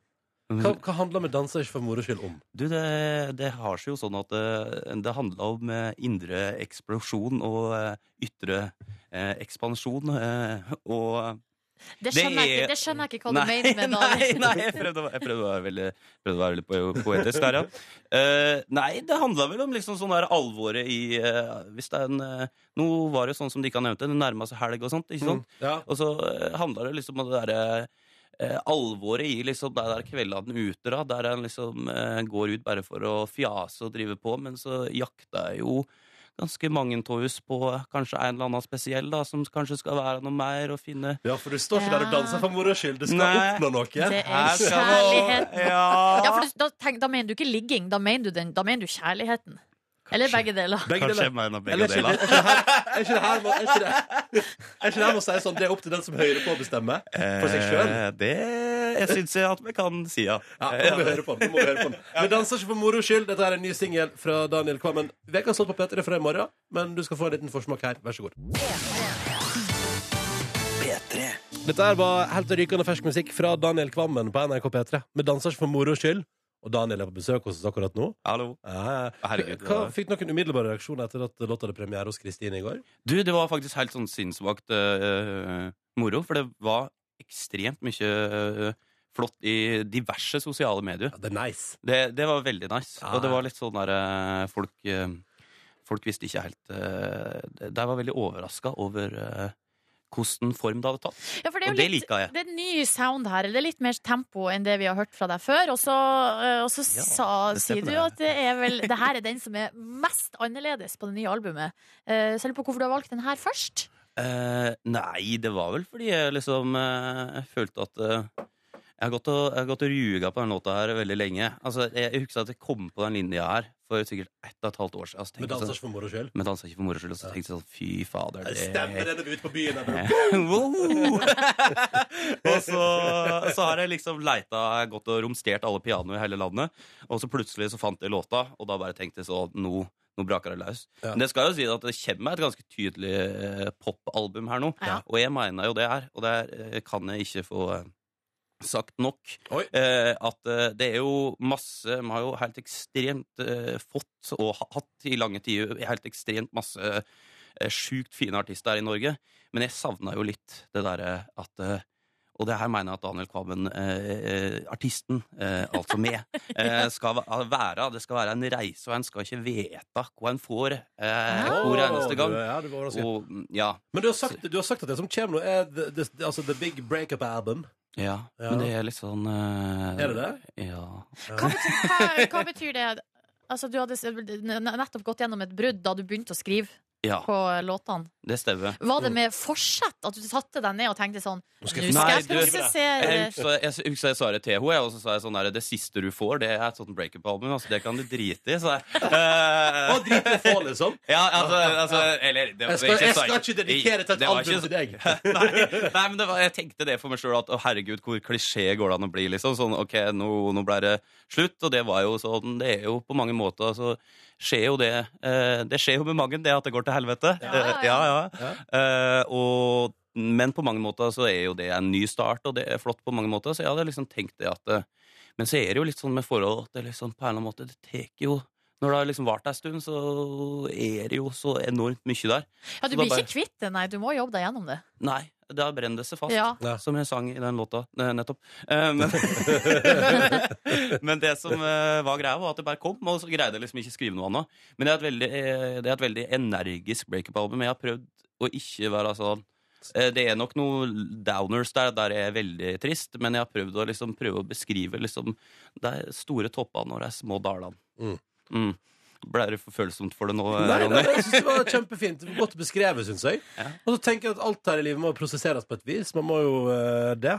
Eh,
Hva, hva handler med 'danser ikke for moro skyld' om?
Du, det, det har seg jo sånn at det, det handler om eh, indre eksplosjon og eh, ytre eh, ekspansjon. eh, og
Det skjønner jeg
Det er-
ikke, det skjønner jeg ikke hva du mener med
nei,
det.
nei, jeg prøvde, å- jeg prøvde å være veldig, prøvde å være veldig po- poetisk der, ja. Eh, nei, det handla vel om liksom sånn der alvoret i eh, Hvis det er en eh, Nå var det jo sånn som Dikka nevnte, det nærma seg helg og sånt. ikke sant?
Ja.
Og så uh, handla det liksom om det derre eh, alvoret i liksom de der kveldene ute, da, der en liksom eh, går ut bare for å fjase og drive på, men så jakter jeg jo ganske mange av oss på kanskje en eller annen spesiell, da, som kanskje skal være noe mer, og finne
ja, for du står ikke der og
Ja.
danser for moro skyld. Du skal
Nei.
oppnå noe.
Det
Her
er
skal
kjærligheten.
nå- Ja.
Ja, for du, da, tenk, da mener du ikke ligging, da mener du, den, da mener du kjærligheten. Eller begge deler.
Begge deler.
Kanskje jeg mener
Eller
begge
er ikke det- er ikke det
deler.
her- er ikke det her må- er ikke det- er ikke det her må si sånn, det er opp til den som hører på å bestemme? For seg sjøl?
Eh, Det jeg syns jeg at vi kan si, ja.
Ja, nå må vi høre på den. nå må vi høre på den. Vi danser ikke for moro skyld. Dette er en ny singel fra Daniel Kvammen. Vekas låt på P3 fra i morgen, men du skal få en liten forsmak her. Vær så god.
P3.
Dette her var helt rykende fersk musikk fra Daniel Kvammen på NRK P3. Vi danser ikke for moro skyld. Og Daniel er på besøk hos oss akkurat nå.
Hallo.
Ja, ja.
Herregud,
Hva,
det
fikk noen umiddelbare reaksjoner etter at låta hadde premiere hos Kristine i går?
Du, det var faktisk helt sånn sinnssvakt eh, moro, for det var ekstremt mye eh, flott i diverse sosiale medier.
Ja, det er nice.
Det, det var veldig nice.
Ja.
Og det var litt sånn der eh, folk eh, Folk visste ikke helt eh, De de var veldig overraska over eh, hvordan form det hadde tatt.
Ja, for det er
Og
jo
det
litt,
liker jeg.
Det er en ny sound her. Det er litt mer tempo enn det vi har hørt fra deg før. Og så, eh, og så
Ja,
sa,
det
sier
stemmer
du
det.
at det er vel Det her er den som er mest annerledes på det nye albumet. Eh, Så jeg lurer på hvorfor du har valgt den her først.
Eh, nei, det var vel fordi jeg liksom eh, jeg følte at eh, jeg har gått og, jeg har gått og ruga på den låta her veldig lenge. Altså, jeg, jeg husker at jeg kom på den linja her for sikkert ett og et halvt år siden. Altså,
Vi
tenkte jeg
danser
sånn,
ikke for moro skyld.
men danser ikke for moro skyld. Og så tenkte jeg sånn, fy fader det-
Stemmer det når du er ute på byen? Er
Wow! og så, så har jeg liksom leita jeg har gått og romstert alle pianoer i hele landet. Og så plutselig så fant jeg låta, og da bare tenkte jeg så nå, nå braker det løs.
Ja.
Men det skal jo si at det kommer et ganske tydelig eh, popalbum her nå.
Ja.
Og jeg mener jo det her, og det eh, kan jeg ikke få eh, sagt nok.
Oi.
Eh, at eh, det er jo masse Vi har jo helt ekstremt eh, fått, og ha- hatt i lange tider, helt ekstremt masse eh, sjukt fine artister her i Norge. Men jeg savna jo litt det derre at eh, og det her mener jeg at Daniel Kvammen, eh, eh, artisten, eh, altså meg, eh, skal va- være. Det skal være en reise, og en skal ikke vite hva en får eh,
Ah.
hver eneste gang.
Ja, du var overrasket.
Og, mm, ja,
Men du har, sagt, du har sagt at det som kommer nå, er the, the, the, altså the big breakup album.
ja,
Ja.
men det er litt sånn eh,
Er det det?
Ja.
Hva betyr, hva, hva betyr det? Altså, du hadde s- nettopp gått gjennom et brudd da du begynte å skrive.
Ja, Mm.
på låtene.
det stemmer.
Var det med forsett at du satte deg ned og tenkte sånn Nå skal jeg,
Nei, du- Jeg
produsere
husker jeg husker jeg sa det til henne, jeg, og så sa jeg sånn der, det siste du får, det er et sånt breakup-album. Altså, det kan du drite i. Så jeg, eh,
Og drit i å få, liksom.
ja, altså, altså Eller det,
Jeg skal,
ikke
jeg
så-
skal ikke dedikere til et
det var ikke
album til deg.
Nei, nei, men det var, jeg tenkte det for meg sjøl. At å, herregud, hvor klisjé går det an å bli? liksom Sånn, ok, nå, nå ble det slutt. Og det var jo sånn Det er jo på mange måter så skjer jo det eh, Det skjer jo med mange, det at det går til helvete.
Ja,
Eh, ja, ja. Eh, og, men på mange måter så er jo det en ny start, og det er flott på mange måter. Så jeg hadde liksom tenkt det at eh, Men så er det jo litt sånn med forhold at det liksom på en eller annen måte, det tar jo når det har liksom vart ei stund, så er det jo så enormt mye der.
Ja, du blir ikke kvitt det, nei. Du må jobbe deg gjennom det.
Nei, da brenner det seg fast.
Ja.
Ja.
Som jeg sang i den låta eh, nettopp. Eh, men, men det som eh, var greia, var at det bare kom, og så greide jeg liksom ikke skrive noe annet. Men det er et veldig, eh, det er et veldig energisk breakup-album. Jeg har prøvd å ikke være sånn eh, Det er nok noen downers der, der jeg er veldig trist, men jeg har prøvd å liksom prøve å beskrive liksom de store toppene og de små dalene.
Mm.
Mm. Ble det for følsomt for det nå,
Nei, nei,
Ronny?
men jeg synes det var kjempefint. Det var Godt beskrevet, syns jeg. Og så tenker jeg at alt her i livet må prosesseres på et vis. Man må jo eh, det.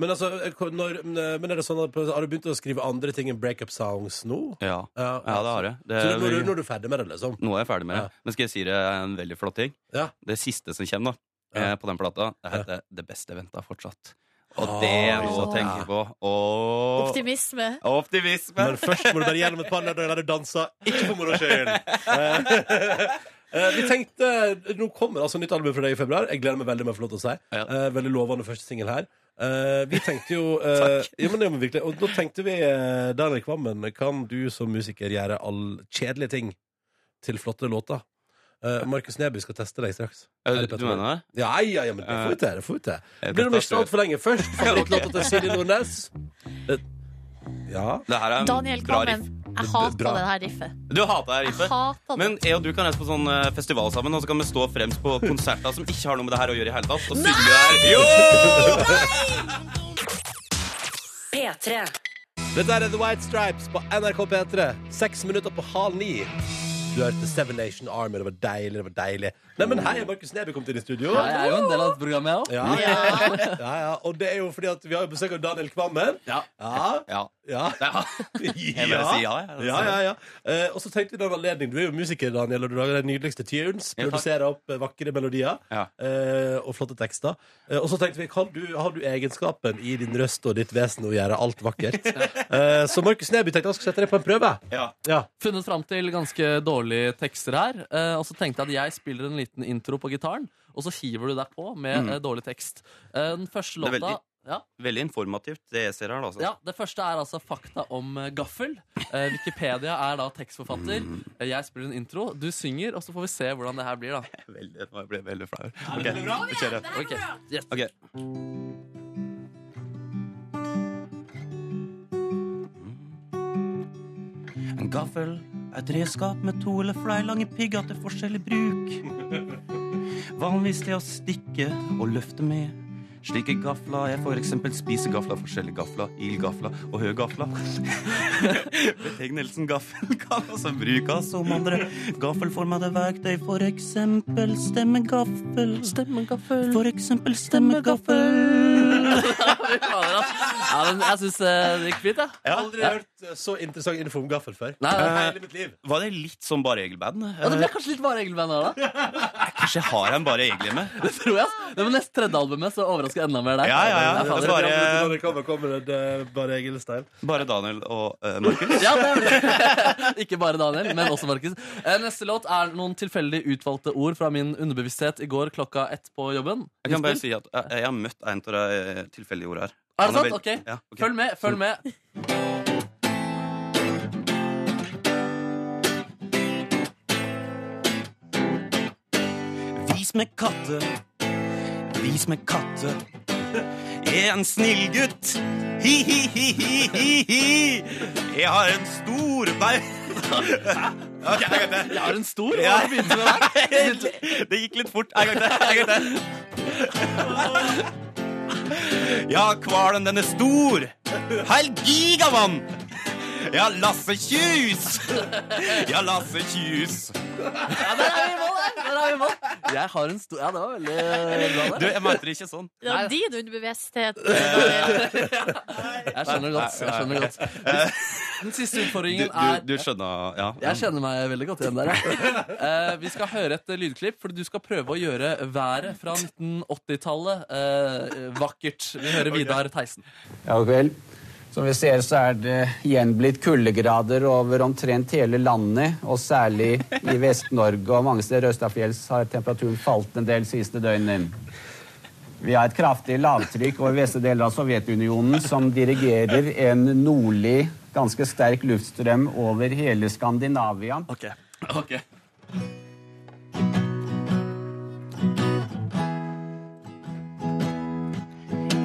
Men, altså, når, men er det sånn at, har du begynt å skrive andre ting enn breakup songs nå?
Ja. ja, det har jeg. Det
Så
er
når,
veldig-
du- når du er ferdig med det, liksom?
Nå er jeg ferdig med det.
Ja.
Men skal jeg si det er en veldig flott ting?
Ja.
Det siste som kommer da,
Ja.
eh, på den plata, det heter 'Det beste venta fortsatt'. Og det er noe å
Ah.
tenke på. Og
Optimisme.
optimisme!
Men først må du bare gjennom et par lørdager der du danser, ikke for moro skyld. Eh, Vi tenkte, Nå kommer altså nytt album fra deg i februar. Jeg gleder meg veldig. Med å få lov til å si
Ja.
Eh, Veldig lovende første singel her. Eh, vi tenkte jo eh, ja, men det må vi virkelig, Og da tenkte vi, eh, Daniel Kvammen, kan du som musiker gjøre all kjedelige ting til flotte låter? Eh, Markus Neby skal teste deg straks.
Eh, Du, du mener det?
Ja, ja, ja, men det får vi til. Det får vi til.
Eh,
Blir det
dette
ikke så altfor lenge først? Favorittlåta til Silje Nordnes? Eh, Ja.
Det her er en
Daniel
bra
Kvammen.
riff.
Jeg hater
Bra.
det her riffet.
Du hater det her
Jeg
riffet.
hater det.
Men jeg og du kan reise på sånn eh, festival sammen, og så kan vi stå fremst på konserter som ikke har noe med det her å gjøre i hele tatt, og synge det her. Jo!
P3.
Dette er The White Stripes på NRK P3. Seks minutter på halv ni. Du hørte Seven Nation Army. Det var deilig. det var deilig Neimen, hei, Markus Neby kom til inn i studio.
Ja, jeg er jo en del av dette programmet, jeg òg.
Ja, ja. ja, ja. Og det er jo fordi at vi har jo besøk av Daniel Kvammen.
Ja.
Ja,
Ja.
ja,
ja. Jeg bare sier ja, jeg.
ja, ja, ja. Eh, og så tenkte vi den anledning Du er jo musiker, Daniel, og du lager de nydeligste tunes.
Ja, takk.
Produserer opp eh, vakre melodier
Ja.
eh, og flotte tekster. Eh, og så tenkte vi kan du, har du egenskapen i din røst og ditt vesen å gjøre alt vakkert? Eh, så Markus Neby tenkte jeg skulle sette deg på en prøve.
Ja.
Ja.
funnet fram til ganske dårlige tekster her. eh, Og så tenkte jeg at jeg spiller en liten intro på gitaren, og så hiver du deg på med
Mm.
eh, dårlig tekst. Eh, Den første
Det er
låta
veldig-
ja,
Veldig informativt, det jeg ser her. da, Altså.
ja, Det første er altså fakta om eh, gaffel. Eh, Wikipedia er da tekstforfatter.
Mm.
Eh, Jeg spiller en intro, du synger, og så får vi se hvordan det her blir, da.
Veldig, nå ble jeg veldig flau. Okay. vi kjører.
Ok, yes.
Ok. En gaffel er et redskap med to eller flere lange pigger til forskjellig bruk. Vanligvis til å stikke og løfte med. Slike gafler er for eksempel spisegafler, forskjellige gafler, ildgafler og høygafler. Betegnelsen gaffel kan også brukes som andre gaffelformede verktøy, for eksempel stemmegaffel.
Stemmegaffel.
For eksempel stemmegaffel.
Fy fader, ass. Ja, men jeg syns det gikk fint, jeg. Ja.
Aldri hørt eh, så interessant info om gaffel før.
Nei, nei.
Hele mitt liv.
Var det litt som bare egelband?
Ja, det ble kanskje litt bare Egil-band her, da.
Kanskje jeg har en bare egel hjemme?
Det tror jeg. ass. Det var nest tredje albumet, så overrasker jeg enda mer der.
Ja, ja, ja.
fader.
Det var- Bare-
Daniel Kvammen kommer med det, bare Egil Stein.
Bare Daniel og eh, Markus?
Ja, det er det. Ikke bare Daniel, men også Markus. Eh, Neste låt er noen tilfeldig utvalgte ord fra min underbevissthet i går klokka ett på jobben.
Jeg kan bare
Innspill?
si at eh, jeg, jeg har møtt en av de eh, tilfeldige ordene her.
Er det
Han
sant?
veld-
Ok.
Ja, ok.
Følg med, følg med.
Vis meg katte, vis meg katte. Jeg er en snill gutt. Hi-hi-hi-hi-hi. Jeg har en stor bau...
Jeg har en stor.
Ja.
Hva begynte du med der?
Det gikk litt fort. En gang til. En gang til. Ja, hvalen, den er stor. Hel gigamann! Ja, Lasse Kjus! Ja, Lasse Kjus!
Ja, der er vi i mål! der! Der er vi i mål. Jeg har en stor Ja, det var veldig veldig bra.
Du,
Der.
jeg mente det ikke sånn.
Det var din underbevissthet.
Jeg skjønner godt. jeg skjønner godt Den siste
Du,
utfordringen
du,
er
du skjønner Ja.
Jeg kjenner meg veldig godt igjen der. Ja. Eh, vi skal høre et eh, lydklipp, for du skal prøve å gjøre været fra 1980-tallet eh, vakkert. Vi hører Vidar Theisen.
Ja, god kveld. Som vi ser, så er det igjen blitt kuldegrader over omtrent hele landet. Og særlig i Vest-Norge og mange steder østafjells har temperaturen falt en del siste døgnet. Vi har et kraftig lavtrykk over vestre deler av Sovjetunionen som dirigerer en nordlig, ganske sterk luftstrøm over hele Skandinavia.
Ok,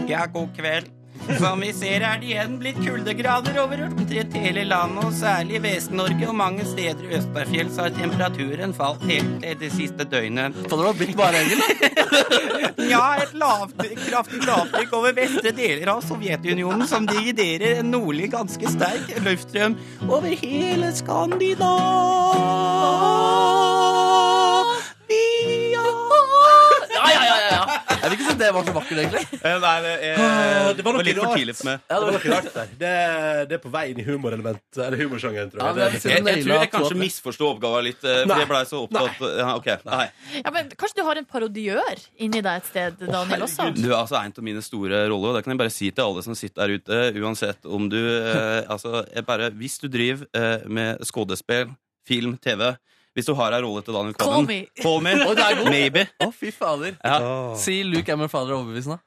Ja, god kveld. Som vi ser er det igjen blitt kuldegrader over omtrent hele landet, og særlig i Vest-Norge og mange steder i Østbergfjells har temperaturen falt helt eh, det siste døgnet.
Så det var blitt bare engel, da.
Ja, et lavtrykk, kraftig lavtrykk over vestre deler av Sovjetunionen som dividerer en nordlig ganske sterk luftstrøm over hele Skandinavia.
Ja, ja, ja, ja, ja. Jeg vil ikke si det var så vakkert, egentlig.
Eh, Nei, det,
Ah,
er,
det var noe
litt for
rart.
tidlig for meg.
Ja,
Det var
det var,
ikke rart der. Det, det er på vei inn i humorelement Eller humorsjangeren, tror
Ja,
jeg.
men-
Det er-
Jeg, jeg tror jeg
Naila,
kanskje
to-
misforsto oppgaven litt, eh,
Nei.
for jeg blei så opptatt eh, ja, Ok, nei.
Ja, men Kanskje du har en parodiør inni deg et sted, Daniel, også?
Du er altså en av mine store roller, og det kan jeg bare si til alle som sitter der ute, uansett om du eh, Altså, jeg bare Hvis du driver eh, med skuespill, film, TV Hvis du har ei rolle til Daniel
Call
Kvammen
me.
Call me!
Oi, det er god.
Maybe.
Å, fy fader.
Ja.
Åh.
Si Luke er min fader overbevisende.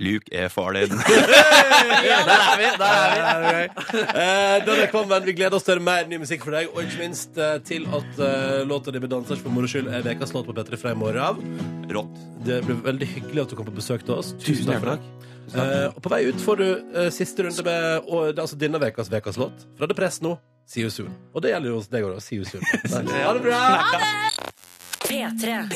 Luke er far din.
Der er vi! der er vi
Eh, Daniel Kvammen, vi gleder oss til mer ny musikk for deg, og ikke minst eh, til at eh, låta di med 'Dansers for moro skyld' er ukas låt på P3 fra i morgen av.
Rått.
Det ble veldig hyggelig at du kom på besøk til oss. Tusen
Tusen
takk for
hjertelig
det. Eh, og på vei ut får du eh, siste runde med og, det er altså denne ukas ukas låt. Fra The Press nå, See You Soon. Og det gjelder jo hos deg òg, da. See You Soon. Ha det bra!
P3.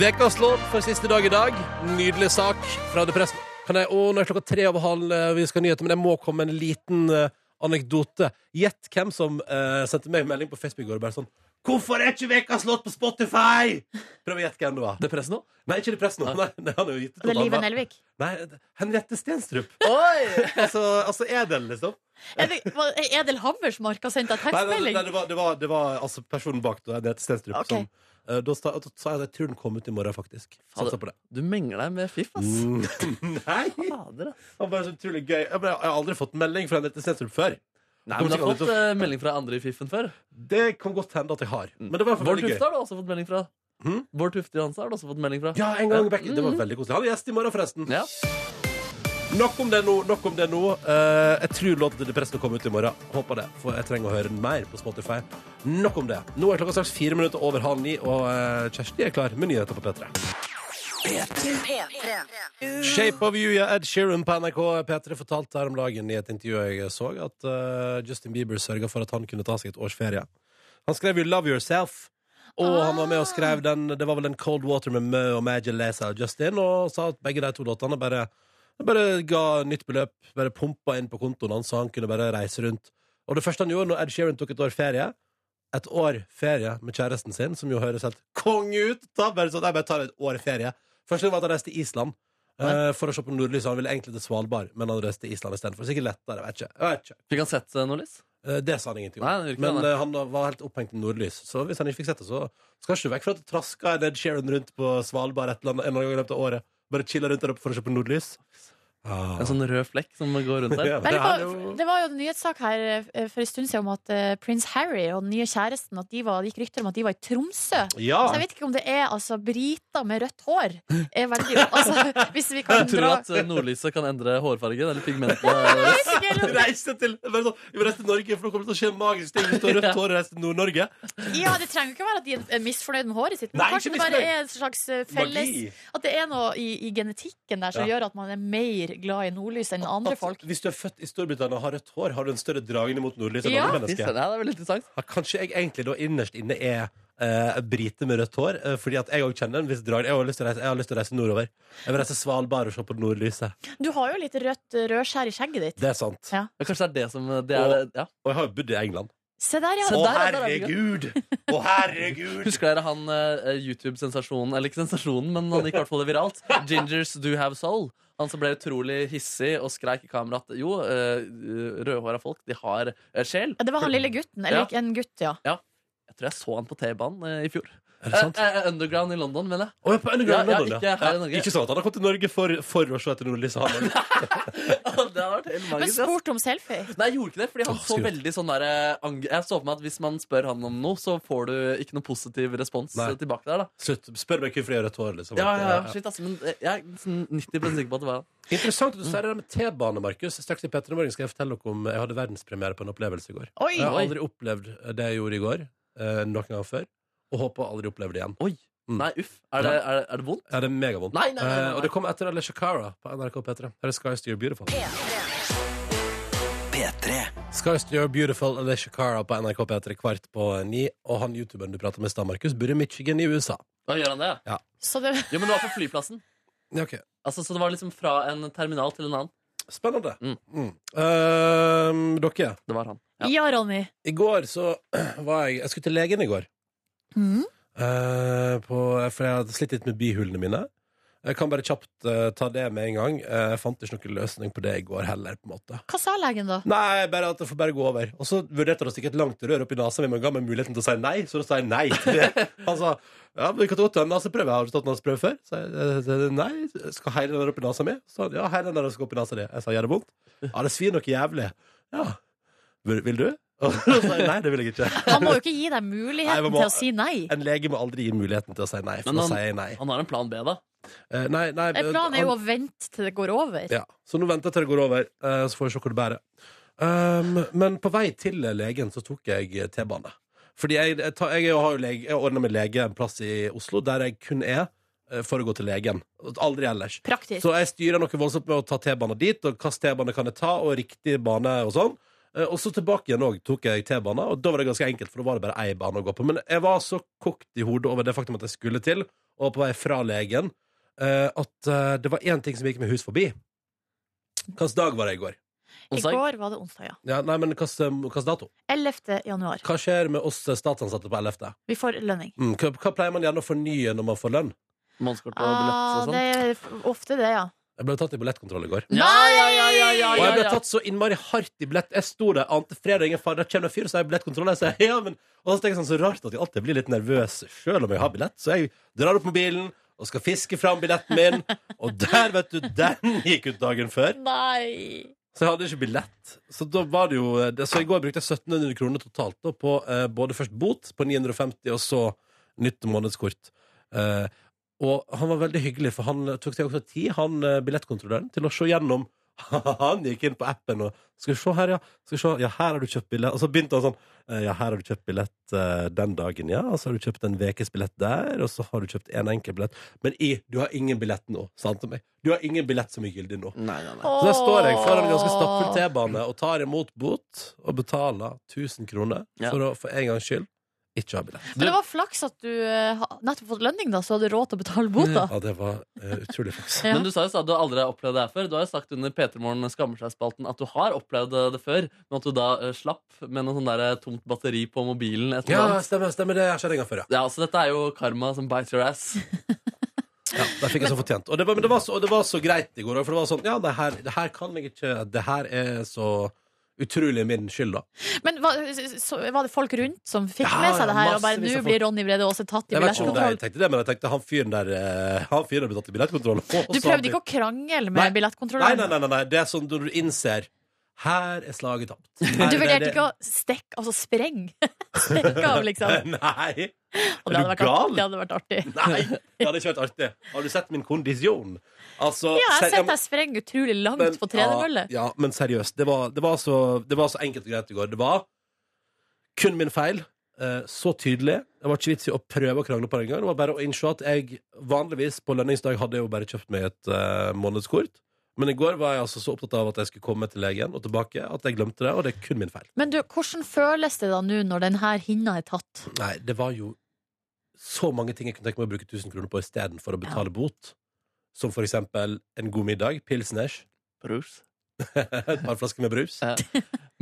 Vekas låt for siste dag i dag. Nydelig sak fra The Press. Kan jeg, å, nå er klokka tre over halv, eh, vi skal ha nyheter, men jeg må komme med en liten eh, anekdote. Gjett hvem som eh, sendte meg en melding på Facebook i går og bare sånn 'Hvorfor er ikke Vekas låt på Spotify?' Prøv å gjette hvem det var.
Det presser nå?
Nei, ikke det press nå. Nei, nei, han er jo gitt ut
Det er
til
Live
alle.
Nelvik.
Nei, Henriette Stenstrup.
Oi!
Altså, altså Edel, liksom.
Er det- var- er Edel Hammersmark har sendt deg
Nei, nei, nei,
tekstmelding?
det var, det var, det var altså personen bak da, Henriette Stenstrup.
Ok.
Som, eh, da sa da sa jeg at jeg tror den kom ut i morgen, faktisk. Satsa på det.
Du mengler deg med fiff, ass.
Mm. Nei!
Fader, ass.
Det var bare så utrolig gøy. Jeg, bare, jeg har aldri fått melding fra Henriette Stenstrup før.
Nei, men Du har fått eh, melding fra andre i fiffen før.
Det kan godt hende at jeg har.
Mm.
Men det var i hvert fall
Bård
veldig
Tufte
gøy.
har du også fått melding fra.
Hm?
Bård Tufte Johansen har du også fått melding fra.
Ja, en gang back. Det var veldig koselig. Han er gjest i morgen, forresten.
Mm-hmm. Ja.
Nok om det nå. nok om det nå Eh, Jeg tror låten til Depressen kommer ut i morgen. Håper det, for jeg trenger å høre den mer på Spotify. Nok om det. Nå er klokka straks fire minutter over halv ni, og eh, Kjersti er klar med nyheter på P3.
P3.
Shape of You, ja. Ed Sheeran på NRK P3 fortalte her om dagen i et intervju jeg så, at eh, Justin Bieber sørga for at han kunne ta seg et års ferie. Han skrev jo 'Love Yourself', og han var med og skrev den Det var vel den 'Cold Water' med Mø og Major Lazer og Justin, og sa at begge de to låtene bare, bare ga nytt beløp. Bare pumpa inn på kontoen hans, så han kunne bare reise rundt. Og det første han gjorde når Ed Sheeran tok et år ferie et år ferie med kjæresten sin, som jo høres helt konge ut. Da bare sånn, jeg bare tar et år ferie. Første gang var at han reiste til Island eh, for å se på nordlys. Han ville egentlig til Svalbard, men han reiste til Island istedenfor. Sikkert lettere, jeg vet ikke. Jeg vet ikke.
Fikk han sett eh, noe, Liss?
Eh, Det sa han ingenting om.
Nei, det virker
men
det, nei.
eh, han var helt opphengt i nordlys. Så hvis han ikke fikk sett det, så skal han ikke vekk fra at det traska en Ed Sheeran rundt på Svalbard et eller annet en eller annen gang i løpet av året. Bare chilla rundt der oppe for å se på nordlys. Ah.
En sånn rød flekk som går rundt der.
Ja,
Nei,
det er
det, var,
jo
det var jo en nyhetssak her eh, for en stund siden om at eh, prins Harry og den nye kjæresten At de var, det gikk rykter om at de var i Tromsø.
Ah. Ja!
Så jeg vet ikke om det er altså, briter med rødt hår. Er veldig, altså, hvis vi kan
Jeg tror
dra
at eh, nordlyset kan endre hårfargen eller eh, pigmentene. deres.
Reise til, bare sånn, vi reiser til Norge, for det kommer til å skje magiske ting. Hvis du har rødt hår og reiser til Nord-Norge.
Ja, Det trenger jo ikke være at de er misfornøyd med håret sitt. Men
Nei,
kanskje
ikke
det bare
misfornøyd.
er en slags eh, felles
Magi.
At det er noe i, i genetikken der som gjør at man er mer glad i nordlys enn andre
At
folk.
Hvis du er født i Storbritannia og har rødt hår, har du en større dragning mot nordlys enn
Ja.
andre
Fy
mennesker.
søren, ja, det er veldig interessant.
Ja, Kanskje jeg egentlig da innerst inne er eh, brite med rødt hår. eh, fordi at jeg òg kjenner en viss drag. Jeg har lyst til å reise, jeg har lyst til å reise nordover. Jeg vil reise til Svalbard og se på nordlyset.
Du har jo litt rødt eh, rødskjær i skjegget ditt.
Det er sant.
Ja.
Ja, kanskje det er det som eh, det er,
Og-
det- ja.
Og jeg har jo bodd i England.
Se der, ja.
Se
Å,
der, ja, der er vi i gang.
herregud! Å, herregud!
Husker dere han eh, YouTube-sensasjonen Eller ikke sensasjonen, men han gikk i hvert fall viralt. Gingers Do Have Soul. Han som ble utrolig hissig og skreik i kamera at jo, eh, rødhåra folk, de har eh, sjel.
Ja, Det var han lille gutten. Eller
Ja.
ikke en gutt, ja.
Jeg tror jeg så han på T-banen eh, i fjor.
Er det sant?
Eh, eh, underground i London, mener jeg.
Å, jeg er på Underground
Ja, ja,
London,
ikke her i Norge.
Ikke sånn at han har kommet til Norge for, for å se etter nordlyset. han, men-
det hadde vært helt
Men
magisk. ass.
spurte om selfie.
Nei, jeg gjorde ikke det, fordi han
Åh,
så
skummelt.
veldig sånn der eh, ang- Jeg så for meg at hvis man spør han om noe, så får du ikke noe positiv respons
Nei.
eh, tilbake der, da.
Slutt. Spør meg hvorfor jeg har rødt hår. Liksom.
Ja, ja,
At,
ja, shit, ass, men eh, jeg er sånn 90 sikker på at det var han.
Interessant at du sier det der med T-bane, Markus. Straks i Petter i morgen skal jeg fortelle dere om jeg hadde verdenspremiere på en opplevelse i går.
Oi!
Jeg har
Oi.
aldri opplevd det jeg gjorde i går, eh, noen gang før. Og håper å aldri oppleve det igjen.
Oi.
Mm.
Nei, uff. Er det, er, det- er det vondt?
Ja, det er megavondt.
Nei, nei, nei, nei,
Eh,
nei.
Og det kom etter Alicia Cara på NRK P3. Her er Skies to Your Beautiful. Skies to Your Beautiful, Alicia Cara på NRK P3 kvart på ni. Og han youtuberen du prater med i stad, Markus, bor i Michigan i USA.
Da gjør han det, ja.
Så det,
Jo, men det var på flyplassen.
Ja, ok.
Altså, så det var liksom fra en terminal til en annen.
Spennende.
Mm.
Mm. Eh, dere,
Det var han. Ja.
ja, Ronny.
i går så var jeg Jeg skulle til legen i går.
Mm.
Eh, på, for jeg hadde slitt litt med bihulene mine. Jeg kan bare kjapt eh, ta det med en gang. Eh, Jeg fant ikke noen løsning på det i går heller. på en måte
Hva sa legen, da?
Nei, bare at det får bare gå over. Og så vurderte han å stikke et langt rør opp i nesa mi, men ga meg muligheten til å si nei, så da sa jeg nei. til det. Han sa ja, men vi kan ta ta en naseprøve. Har du tatt naseprøve før? Så jeg eh, nei. Skal hele den der opp i nesa mi? Så han ja, hele den der skal opp i nesa di. Jeg sa gjør det vondt? Ja, det svir noe jævlig. Ja. Vil, vil du? Og så sa jeg nei, det vil jeg ikke.
Han må jo ikke gi deg
Nei,
muligheten
men må- Eh,
til å si nei.
En lege må aldri gi muligheten til å si nei, for
Men
da
han-
sier jeg nei.
Han har en plan B, da.
Eh, nei, nei,
Eh, Planen er jo å vente til det går over.
ja. Så nå venter jeg til det går over, eh, så får vi se hvor det bærer. Um, men på vei til legen så tok jeg T-bane. Fordi jeg, jeg, tar, jeg, har jo lege, jeg ordner med lege en plass i Oslo, der jeg kun er eh, for å gå til legen. Aldri ellers.
Praktisk.
Så jeg styrer noe voldsomt med å ta T-banen dit, og hvilken T-bane kan jeg ta, og riktig bane og sånn. Eh, Og så tilbake igjen òg tok jeg T-bana, og da var det ganske enkelt, for da var det bare én bane å gå på. Men jeg var så kokt i hodet over det faktum at jeg skulle til, og på vei fra legen, eh, at eh, det var én ting som gikk meg hus forbi. Hvilken dag var det i går?
I
Onsdag.
går var det onsdag, ja.
Ja, nei, men hvilken hvilken dato?
11. januar.
Hva skjer med oss statsansatte på 11.?
Vi får lønning.
Mm, hva, hva pleier man gjerne å fornye når man får lønn?
Månedskort og billett
Ah,
og sånn.
det er f- ofte det, ja.
Jeg ble tatt i billettkontroll i går.
Ja, ja, ja, ja, ja,
Og jeg ble
ja, ja.
tatt så innmari hardt i billett. Jeg sto der, ante fredag ingen fare. Da kommer det en fyr, så har jeg billettkontroll. Jeg sier, ja, men... Og så tenker jeg sånn, så rart at jeg alltid blir litt nervøs selv om jeg har billett. Så jeg drar opp mobilen og skal fiske fram billetten min. Og der, vet du, den gikk ut dagen før.
Nei!
Så jeg hadde ikke billett. Så da var det jo det- Så i går brukte jeg 1700 kroner totalt da, på eh, både først bot på 950 og så nytt månedskort. Eh, og han var veldig hyggelig, for han eh, tok seg også tid, han eh, billettkontrolløren, til å se gjennom han gikk inn på appen og Skal vi se her, ja. Skal vi se, ja, her har du kjøpt billett. Og så begynte han sånn. eh, Ja, her har du kjøpt billett eh, den dagen, ja. Og så har du kjøpt en ukes billett der, og så har du kjøpt en enkel billett. Men i, du har ingen billett nå, sa han til meg. Du har ingen billett som er gyldig nå.
Nei, nei, nei.
Så der står jeg foran en ganske stappfull T-bane og tar imot bot og betaler 1000 kroner
Ja.
for å for en gangs skyld ikke ha billett.
Men det var flaks at du eh, ha- nettopp fått lønning, da, så hadde du råd til å
Mm.
betale bota.
Ja, det var eh, utrolig flaks.
Ja.
Men du sa jo at du aldri har opplevd det her før. Du har jo sagt under P3morgen skammer seg-spalten at du har opplevd eh, det før, men at du da eh, slapp med noe sånn der eh, tomt batteri på mobilen. Et
Ja,
eller annet.
stemmer, stemmer det. har skjedd en gang før, ja.
Ja, altså Dette er jo karma som bites your ass.
ja der fikk jeg så fortjent. Og det var, men det var så, og det var så greit i går òg, for det var sånn Ja, det her, det her kan jeg ikke Det her er så utrolig min skyld, da.
Men var, så, var det folk rundt som fikk
Ja,
med seg det her?
ja,
Og bare
massevis
nå
av folk.
blir Ronny Brede Aase tatt i
Jeg vet ikke om de
billettkontroll?
tenkte det, men jeg tenkte han fyren der eh, Han fyren har blitt tatt i billettkontroll.
Du prøvde ikke å krangle
Nei.
med
Nei, nei,
billettkontrolløren?
nei. nei, nei. Det er sånn når du innser Her er slaget tapt.
Du vurderte ikke å stikke, altså sprenge? Stikke av, liksom?
Nei!
Og det hadde vært artig. Det hadde vært artig.
Nei, det hadde ikke vært artig. Har du sett min kondisjon? Altså,
Ja, jeg
ser-
har sett deg sprenge utrolig
men-
langt på tredemølle.
Ja, ja, men seriøst. Det var, det, var så, det var så enkelt og greit i går. Det var kun min feil. eh, Så tydelig. Det var ikke vits i å prøve å krangle på det engang. Det var bare å innse at jeg vanligvis på lønningsdag hadde jeg jo bare kjøpt meg et eh, månedskort. Men i går var jeg altså så opptatt av at jeg skulle komme til legen og tilbake, at jeg glemte det. Og det er kun min feil.
Men du, hvordan føles det da nå når den her hinna er tatt?
Nei, det var jo så mange ting jeg kunne tenke meg å bruke 1000 kroner på istedenfor å betale bot. Som for eksempel en god middag, pilsners,
Brus.
et par flasker med brus.
Ja.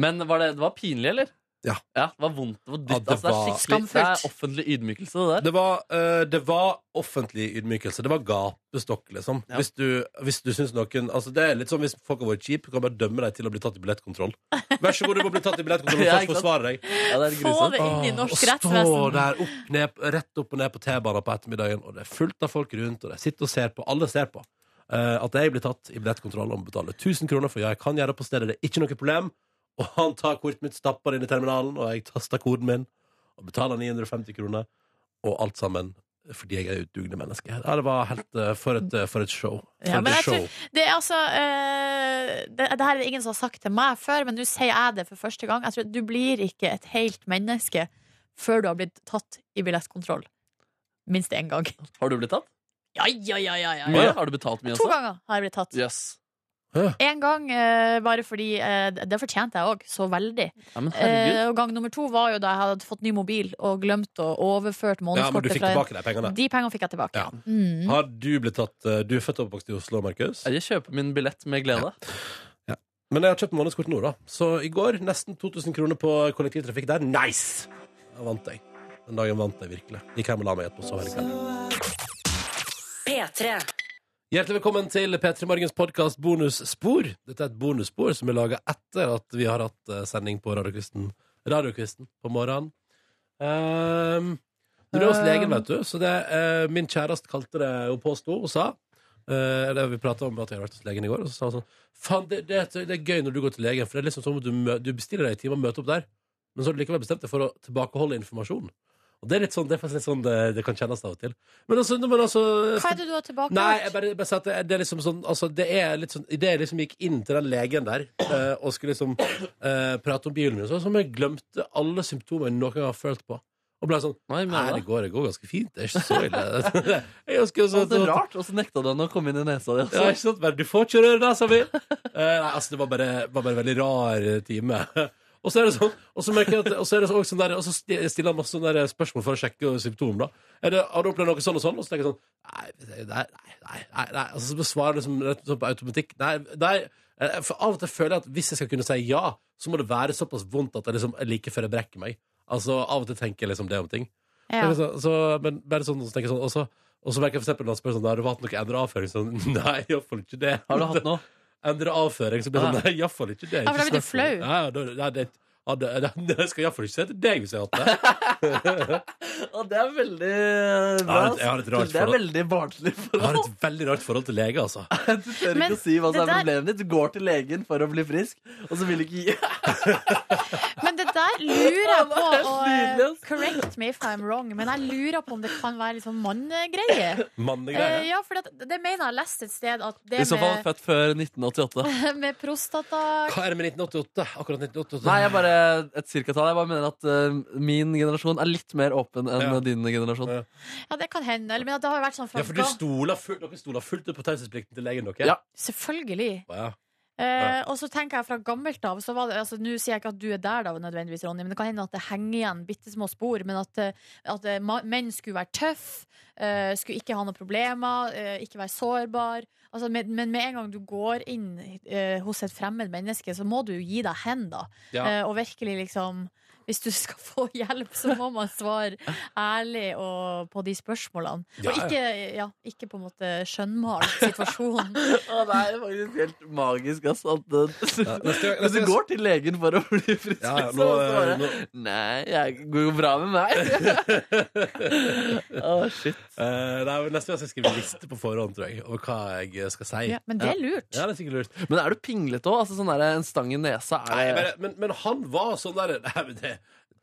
Men var det, det var pinlig, eller?
Ja.
Det var vondt. Det, var dytt,
Ja, det
altså, det
var-
er skikkelig det
Skamfullt.
er offentlig ydmykelse, det der.
Det var, eh, det var offentlig ydmykelse. Det var gapestokk, liksom.
Ja.
Hvis du, hvis du syns noen Altså, det er litt sånn hvis folk har vært kjipe, kan man dømme dem til å bli tatt i billettkontroll. Vær så god, du må bli tatt i billettkontroll og
Ja,
først
ikke sant?
forsvare deg.
Ja, det er
Få
grusomt.
det inn i
Åh,
norsk
Og stå
rettsvesen.
der opp, ned, rett opp og ned på T-banen på ettermiddagen, og det er fullt av folk rundt, og de sitter og ser på. Alle ser på. eh, at jeg blir tatt i billettkontroll og må betale 1000 kroner for ja, jeg kan gjøre det på stedet, det er ikke noe problem. Og han tar kortet mitt, stapper det inn i terminalen, og jeg taster koden min og betaler 950 kroner, og alt sammen fordi jeg er et dugende menneske. Ja, det var helt eh, for, et, eh, for et show. For
Ja, men
et
jeg
show.
Det er altså eh, det, det her er det ingen som har sagt til meg før, men nå sier jeg det for første gang. Jeg tror at Du blir ikke et helt menneske før du har blitt tatt i billettkontroll. Minst én gang.
Har du blitt tatt?
Ja, ja, ja, ja, ja.
Mye? Har du betalt mye
To
Altså.
også?
ganger har jeg blitt tatt.
Yes.
Én gang eh, bare fordi eh, Det fortjente jeg òg, så veldig.
Ja, men herregud.
Eh, og gang nummer to var jo da jeg hadde fått ny mobil og glemt å
Ja,
overført
men du
månedskortet
fikk tilbake de pengene.
De pengene fikk jeg tilbake.
Ja.
Mm.
Har du blitt tatt eh, Du er født og oppvokst i Oslo, Markus?
Jeg kjøper min billett med glede.
Men jeg har kjøpt månedskort nå, da. Så i går nesten 2000 kroner på kollektivtrafikk der. Nice! Da vant jeg. Den dagen vant jeg virkelig. Gikk hjem og la meg etterpå. Så hele kvelden.
P3.
Hjertelig velkommen til P3 Morgens podkast Bonusspor. Dette er et bonusspor som er laga etter at vi har hatt eh, sending på Radiokvisten Radiokvisten på morgenen. Um, du er hos legen, vet du. Så det eh, min kjæreste kalte det og påsto og sa eh, det Vi prata om at jeg har vært hos legen i går, og så sa han sånn Faen, det, det, er- det er gøy når du går til legen, for det er liksom som om du, mø du bestiller deg en time og møter opp der, men så har du likevel bestemt deg for å tilbakeholde informasjon. Og Det er litt sånn, det er faktisk litt sånn det, det kan kjennes av og til. Men altså, men altså
Hva er det du har tilbake?
Nei, jeg bare, bare sier at det, er- det er liksom sånn Altså, det er litt sånn Idet jeg liksom gikk inn til den legen der eh, og skulle liksom eh, prate om bilen min, og sånn, så jeg glemte alle symptomer jeg noen gang har følt på. Og ble sånn
Nei, men,
Nei, det
det
går, det går ganske fint. Det er ikke så ille. jeg husker jo
er
sånn
så rart, og så nekta den å komme inn i nesa di. altså.
Ja,
også.
ikke sant? Men du får ikke røre det, sa vi. Eh, nei, altså, det var bare, var bare en veldig rar eh, time. Og så er det sånn, og så merker jeg at, og så er det så- også sånn der, og så sti- stiller han masse sånne der eh, spørsmål for å sjekke symptomer, da. Er det, har du opplevd noe sånn og sånn? Og så tenker jeg sånn, nei, nei, nei, nei, nei. Altså, så besvarer det som rett og slett på automatikk. Nei, nei. Eh, For av og til føler jeg at hvis jeg skal kunne si ja, så må det være såpass vondt at jeg liksom er like før jeg brekker meg. Altså, av og til tenker jeg liksom det om ting.
Ja.
Så, så, men bare sånn, så tenker jeg sånn Og så og så merker jeg for eksempel når han spør sånn, har du hatt noe endret avføring? Sånn, nei, i hvert fall ikke det.
Har du hatt noe? Ah.
Endret avføring, så blir det sånn, nei, i hvert fall ikke det.
Ja, for da blir du
Ikke snakk om det.
flau.
Ja, ja, da- ja, det, ja, det, det, det skal jeg i hvert fall ikke si til deg hvis jeg har hatt det.
Ja, det er veldig
Jeg
bra.
har et- jeg har et
ass.
rart
det er
forhold.
veldig barnslig
Jeg har
forhold.
et veldig rart forhold til lege, altså.
Du tør
Men
ikke å si hva som
det
er
der-
problemet ditt. Du går til legen for å bli frisk, og så vil du ikke gi
Men det der lurer jeg på
Det er
og,
nydelig,
eh,
ass.
Correct me if I'm wrong, men jeg lurer på om det kan være litt sånn mannegreie. Eh,
Mannegreier.
ja, for det, det mener jeg har lest et sted at
I
det
så fall
med,
født før 1988.
med prostata
Hva er det med 1988? Akkurat 1988.
Nei, jeg bare et cirkatall. Jeg bare mener at eh, min generasjon er litt mer åpen enn
Ja.
din generasjon.
Ja.
Ja, det kan hende. Eller, men at det har vært sånn
Ja,
fra
for du
ga-
stoler fullt, dere stoler fullt ut på taushetsplikten til legen, dere?
Ja.
Selvfølgelig.
Ja.
Eh, og så tenker jeg fra gammelt av så var det, altså, Nå sier jeg ikke at du er der, da, nødvendigvis, Ronny, men det kan hende at det henger igjen bitte små spor. Men at, eh, at eh, ma- menn skulle være tøff, eh, skulle ikke ha noen problemer, eh, ikke være sårbar. Altså, men, men med en gang du går inn eh, hos et fremmed menneske, så må du jo gi deg hen, da.
Ja.
Eh, og virkelig liksom Hvis du skal få hjelp, så må man svare ærlig og på de spørsmålene.
Ja,
og
ja.
ikke, ja, ikke på en måte skjønnmale situasjonen.
Å, det er faktisk helt magisk, ass. At, eh,
neste gang-
hvis
neste
du
gang-
går til legen for å bli frisk,
Ja, ja,
så
nå,
så
eh,
bare
nå-
Nei, jeg går jo bra med meg. Å, shit.
Eh, nei, men neste gang skal jeg skrive en liste på forhånd, tror jeg, over hva jeg eh, skal si.
Ja, men det er lurt.
Ja, det er sikkert lurt.
Men er du pinglete òg? Altså, sånn der, en stang i nesa er
Nei,
det
men, men, men han var sånn der Nei, men det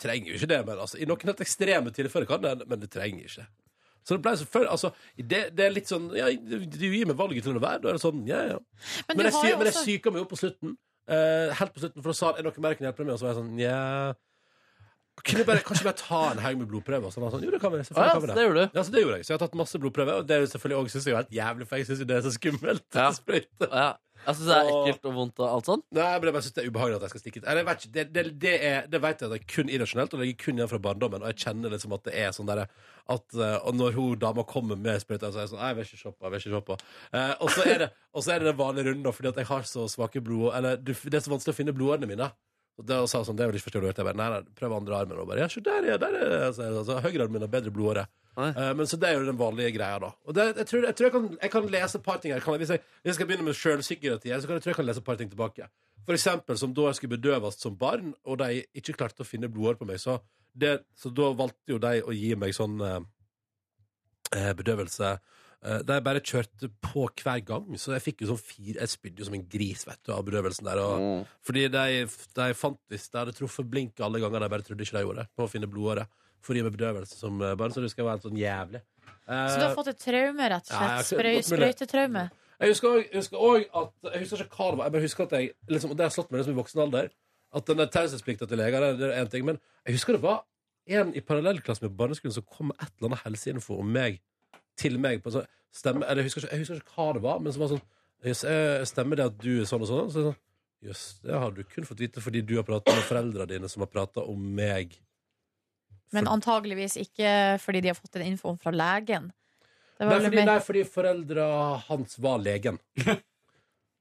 trenger jo ikke det. Men altså, I noen helt ekstreme tilfeller kan det, men det trenger ikke. Så det ble selvfølgelig altså, det, det er litt sånn ja, Du du gir meg valget til å være, da er det sånn. Ja, ja.
Men,
Men,
du
jeg,
har
sy-
jo
men jeg
også
psyka meg opp på slutten. eh, helt på slutten, for da sa han er det noe mer jeg kan hjelpe deg med, og så var jeg sånn ja Kunne jeg bare, kanskje bare ta en haug med blodprøver? Og sånn, og sånn. Jo, det kan vi.
Å,
selvfølgelig
ja,
kan vi
det gjorde du.
Ja, så det gjorde jeg. Så jeg har tatt masse blodprøver, og det er jo selvfølgelig også, synes jeg er helt jævlig, for jeg synes jo det er så skummelt.
Ja.
Sprøyte.
Ja. Jeg syns det er
Åh.
ekkelt og vondt og alt sånn.
Nei, men jeg bare synes det er ubehagelig at jeg skal stikke ut. Eller, jeg vet ikke, Det, det, det, er, det vet jeg at det er kun irrasjonelt, og det ligger kun igjen fra barndommen, og jeg kjenner liksom at det er sånn der, at eh, og når hun dama kommer med sprøyta, så er jeg sånn, nei, jeg vil ikke shoppe, jeg vil ikke shoppe. Eh, og, så er det, og så er det den vanlige runden, da, fordi at jeg har så svake blod, eller du, det er så vanskelig å finne blodårene mine. Og det og sa hun sånn, det vil jeg ikke forstå du hørte. Jeg bare, nei, nei, prøv andre armen, og hun bare, ja, se der, ja, der er så, er det, altså, høyre armen har bedre blodåre.
Nei.
Eh, Men så det er jo den vanlige greia, da. Og det, jeg, tror, jeg tror jeg kan, jeg kan lese et par ting her. Kan jeg, hvis, jeg, hvis jeg skal begynne med sjølpsykiatri, så kan jeg, tror jeg kan lese et par ting tilbake. For eksempel som da jeg skulle bedøves som barn, og de ikke klarte å finne blodår på meg, så, det, så da valgte jo de å gi meg sånn eh, eh, bedøvelse. Eh, der jeg bare kjørte på hver gang, så jeg fikk jo sånn fire Jeg spydde jo som en gris, vet du, av bedøvelsen der. Og, Fordi de, de fant hvis de hadde truffet blink alle ganger, de bare trodde ikke de gjorde det, på å finne blodåret. For å gi meg bedøvelse som eh, barn, så det skal være helt sånn jævlig. Eh,
Så du har fått et traume, rett og
Ja,
slett?
jeg har
Sprøy,
ikke-
sprøytetraume?
jeg husker, også, jeg husker også at Jeg husker ikke hva det var. Jeg bare husker at jeg liksom, Og det har slått meg liksom i voksen alder. At den der taushetsplikta til leger, det, det er en ting. Men jeg husker det var en i parallellklassen med barneskolen som kom med et eller annet helseinfo om meg til meg. På en sånn stemme, eller jeg husker, ikke, jeg husker ikke hva det var, men som var sånn «Jøss, eh, Stemmer det at du er sånn og sånn? Så jeg sånn Jøss, det har du kun fått vite fordi du har prata med foreldrene dine, som har prata om meg.
Men
For-
antageligvis ikke fordi de har fått den infoen fra legen. Det
Nei,
var vel
fordi,
mer-
nei, fordi foreldra hans var legen.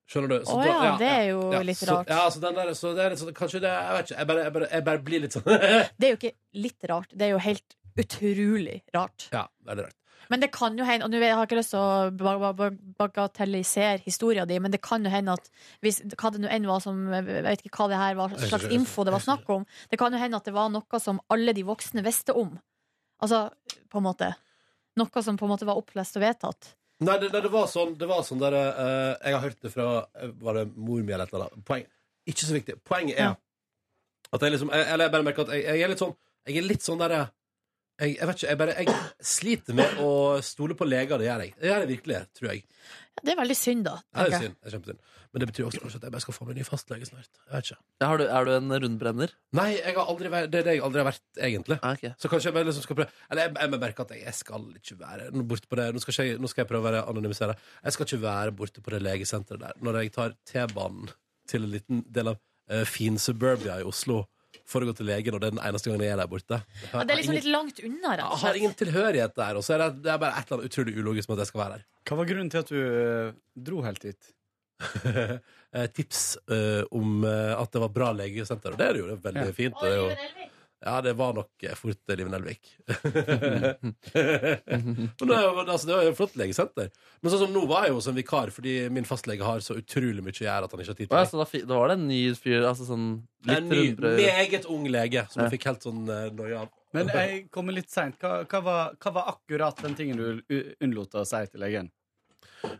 Skjønner du?
Å ja, det er jo litt
så,
rart.
Ja, så den der, så det er litt sånn, kanskje det Jeg vet ikke. Jeg bare, jeg bare, jeg bare blir litt sånn Ja,
Det er jo ikke litt rart, det er jo helt utrolig rart.
det er rart.
Men det kan jo hende, og nå har jeg ikke lyst til å ba- ba- ba- bagatellisere historien din, men det kan jo hende at hvis, hva det nå enn var som Jeg vet ikke hva det her var, hva slags info det var snakk om. Det kan jo hende at det var noe som alle de voksne visste om. Altså, på en måte. Noe som på en måte var opplest og vedtatt.
Nei, det, nei, det var sånn, det var sånn der eh, Jeg har hørt det fra eh, Var det mor mi eller et eller annet? Poeng, ikke så viktig. Poenget er
Ja.
at jeg liksom jeg, Eller jeg bare merker at jeg, jeg er litt sånn Jeg er litt sånn der eh, jeg, jeg vet ikke, jeg bare Jeg sliter med å stole på leger. Det gjør jeg. Det gjør jeg virkelig, tror jeg.
Ja, det er veldig synd, da.
Ja, det
tenker
er
jeg.
synd. Det er kjempesynd. Men det betyr også kanskje at jeg bare skal få meg ny fastlege snart. Jeg vet ikke.
Ja, har du, er du en rundbrenner?
Nei, jeg har aldri vært, det er det jeg aldri har vært, egentlig.
Ah, ok.
Så kanskje jeg bare liksom skal prøve Eller jeg, jeg må merke at jeg, jeg skal ikke være nå borte på det Nå skal, ikke, jeg- nå skal jeg prøve å være anonymisere. Jeg skal ikke være borte på det legesenteret der når jeg tar T-banen til en liten del av eh, fin suburbia i Oslo for å gå til legen, og det er den eneste gangen jeg er der borte. Jeg har,
Ja, det er liksom
ingen,
litt langt unna, rett
jeg
og
har
slett.
ingen tilhørighet der, og så er det, det er bare et eller annet utrolig ulogisk med at jeg skal være der.
Hva var grunnen til at du eh, dro helt dit?
Eh, tips eh, om eh, at det var bra legesenter, og det er det jo. Det er veldig fint. Og det er jo, Ja, det var nok eh, fort eh, Liv Nelvik. Men det, var- altså, det var jo et flott legesenter. Men sånn som nå var jeg jo som vikar, fordi min fastlege har så utrolig mye å gjøre at han ikke har tid til
Å, ja,
meg.
så da, fi- da var det en ny fyr, altså sånn
Det er
litt
En ny,
rundbrød
meget ung lege som jeg
Ja.
fikk helt sånn eh, noia av.
Men jeg kommer litt seint. Hva, hva, var- hva var akkurat den tingen du u- unnlot å si til legen?
Eh,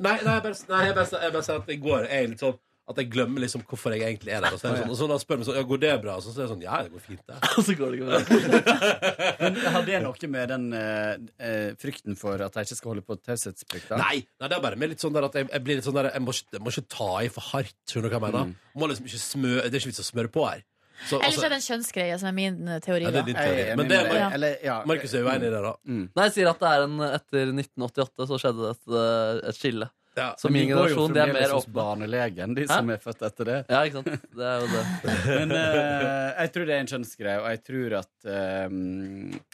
nei, nei, jeg bare, nei, jeg bare, jeg bare sier at i går er jeg litt sånn at jeg glemmer liksom hvorfor jeg egentlig er der. Og så er det sånn, og så når han spør meg sånn, ja, går det bra? Og så er jeg sånn, ja, det går fint det.
Og så går det ikke bra.
Men Har det noe med den eh, eh, frykten for at jeg ikke skal holde på taushetsplikta?
Nei, nei, det er bare med litt sånn der at jeg, jeg blir litt sånn der Jeg må, ikke- jeg må ikke ta i for hardt, skjønner du hva jeg
Mm.
mener? Må liksom ikke smø, det er ikke vits å smøre på her. Så,
Ellers
altså-
er det en kjønnsgreie som er min eh, teori.
Ja, det er
da.
din
Jeg
teori.
er
Men
enig
det
med deg. Mm.
er Mar-
Eller, ja.
Markus er jo enig i det, da.
Nei, jeg sier at det er en etter 1988 så skjedde det et, eh, et skille.
Ja.
Så min
Vi går jo
generasjon, de er
fremdeles
mer
liksom,
hos
åpne.
barnelegen, de
Hæ?
som er født etter det.
Ja, ikke sant? Det er jo det.
Men eh, jeg tror det er en kjønnsgreie, og jeg tror at eh,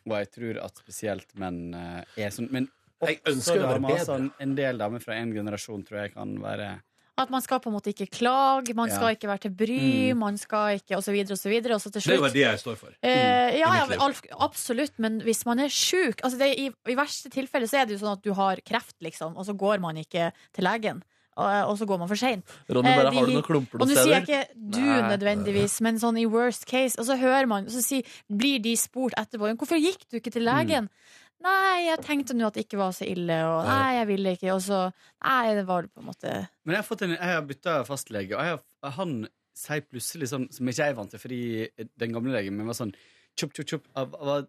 Og jeg tror at spesielt menn eh, er sånn. Men
Jeg ønsker
også
å være
damer,
bedre.
sånn, en del damer fra en generasjon tror jeg kan være
At man skal på en måte ikke klage, man
Ja.
skal ikke være til bry, man skal ikke Og så videre og så videre. Og så til
Mm. Det er jo
slutt
det jeg står for.
Eh, ja,
i
ja,
mitt liv.
alf- absolutt, men hvis man er sjuk altså det, i, I verste tilfelle så er det jo sånn at du har kreft, liksom, og så går man ikke til legen. Og, og så går man for seint.
Ronny,
Eh,
bare
de-
har du noen klumper
Og nå
noen
sier jeg
steder?
ikke du nødvendigvis, men sånn i worst case. Og så hører man, og så sier, blir de spurt etterpå «Men 'Hvorfor gikk du ikke
Mm.
til legen?' 'Nei, jeg tenkte nå at det ikke var så ille', og 'nei, jeg ville ikke', og så Nei, det var det på en måte
Men jeg har, fått en- jeg har bytta fastlege, og jeg har, han sier plutselig sånn som ikke jeg er vant til, fordi den gamle legen min var sånn Chup, chup, chup. av- av-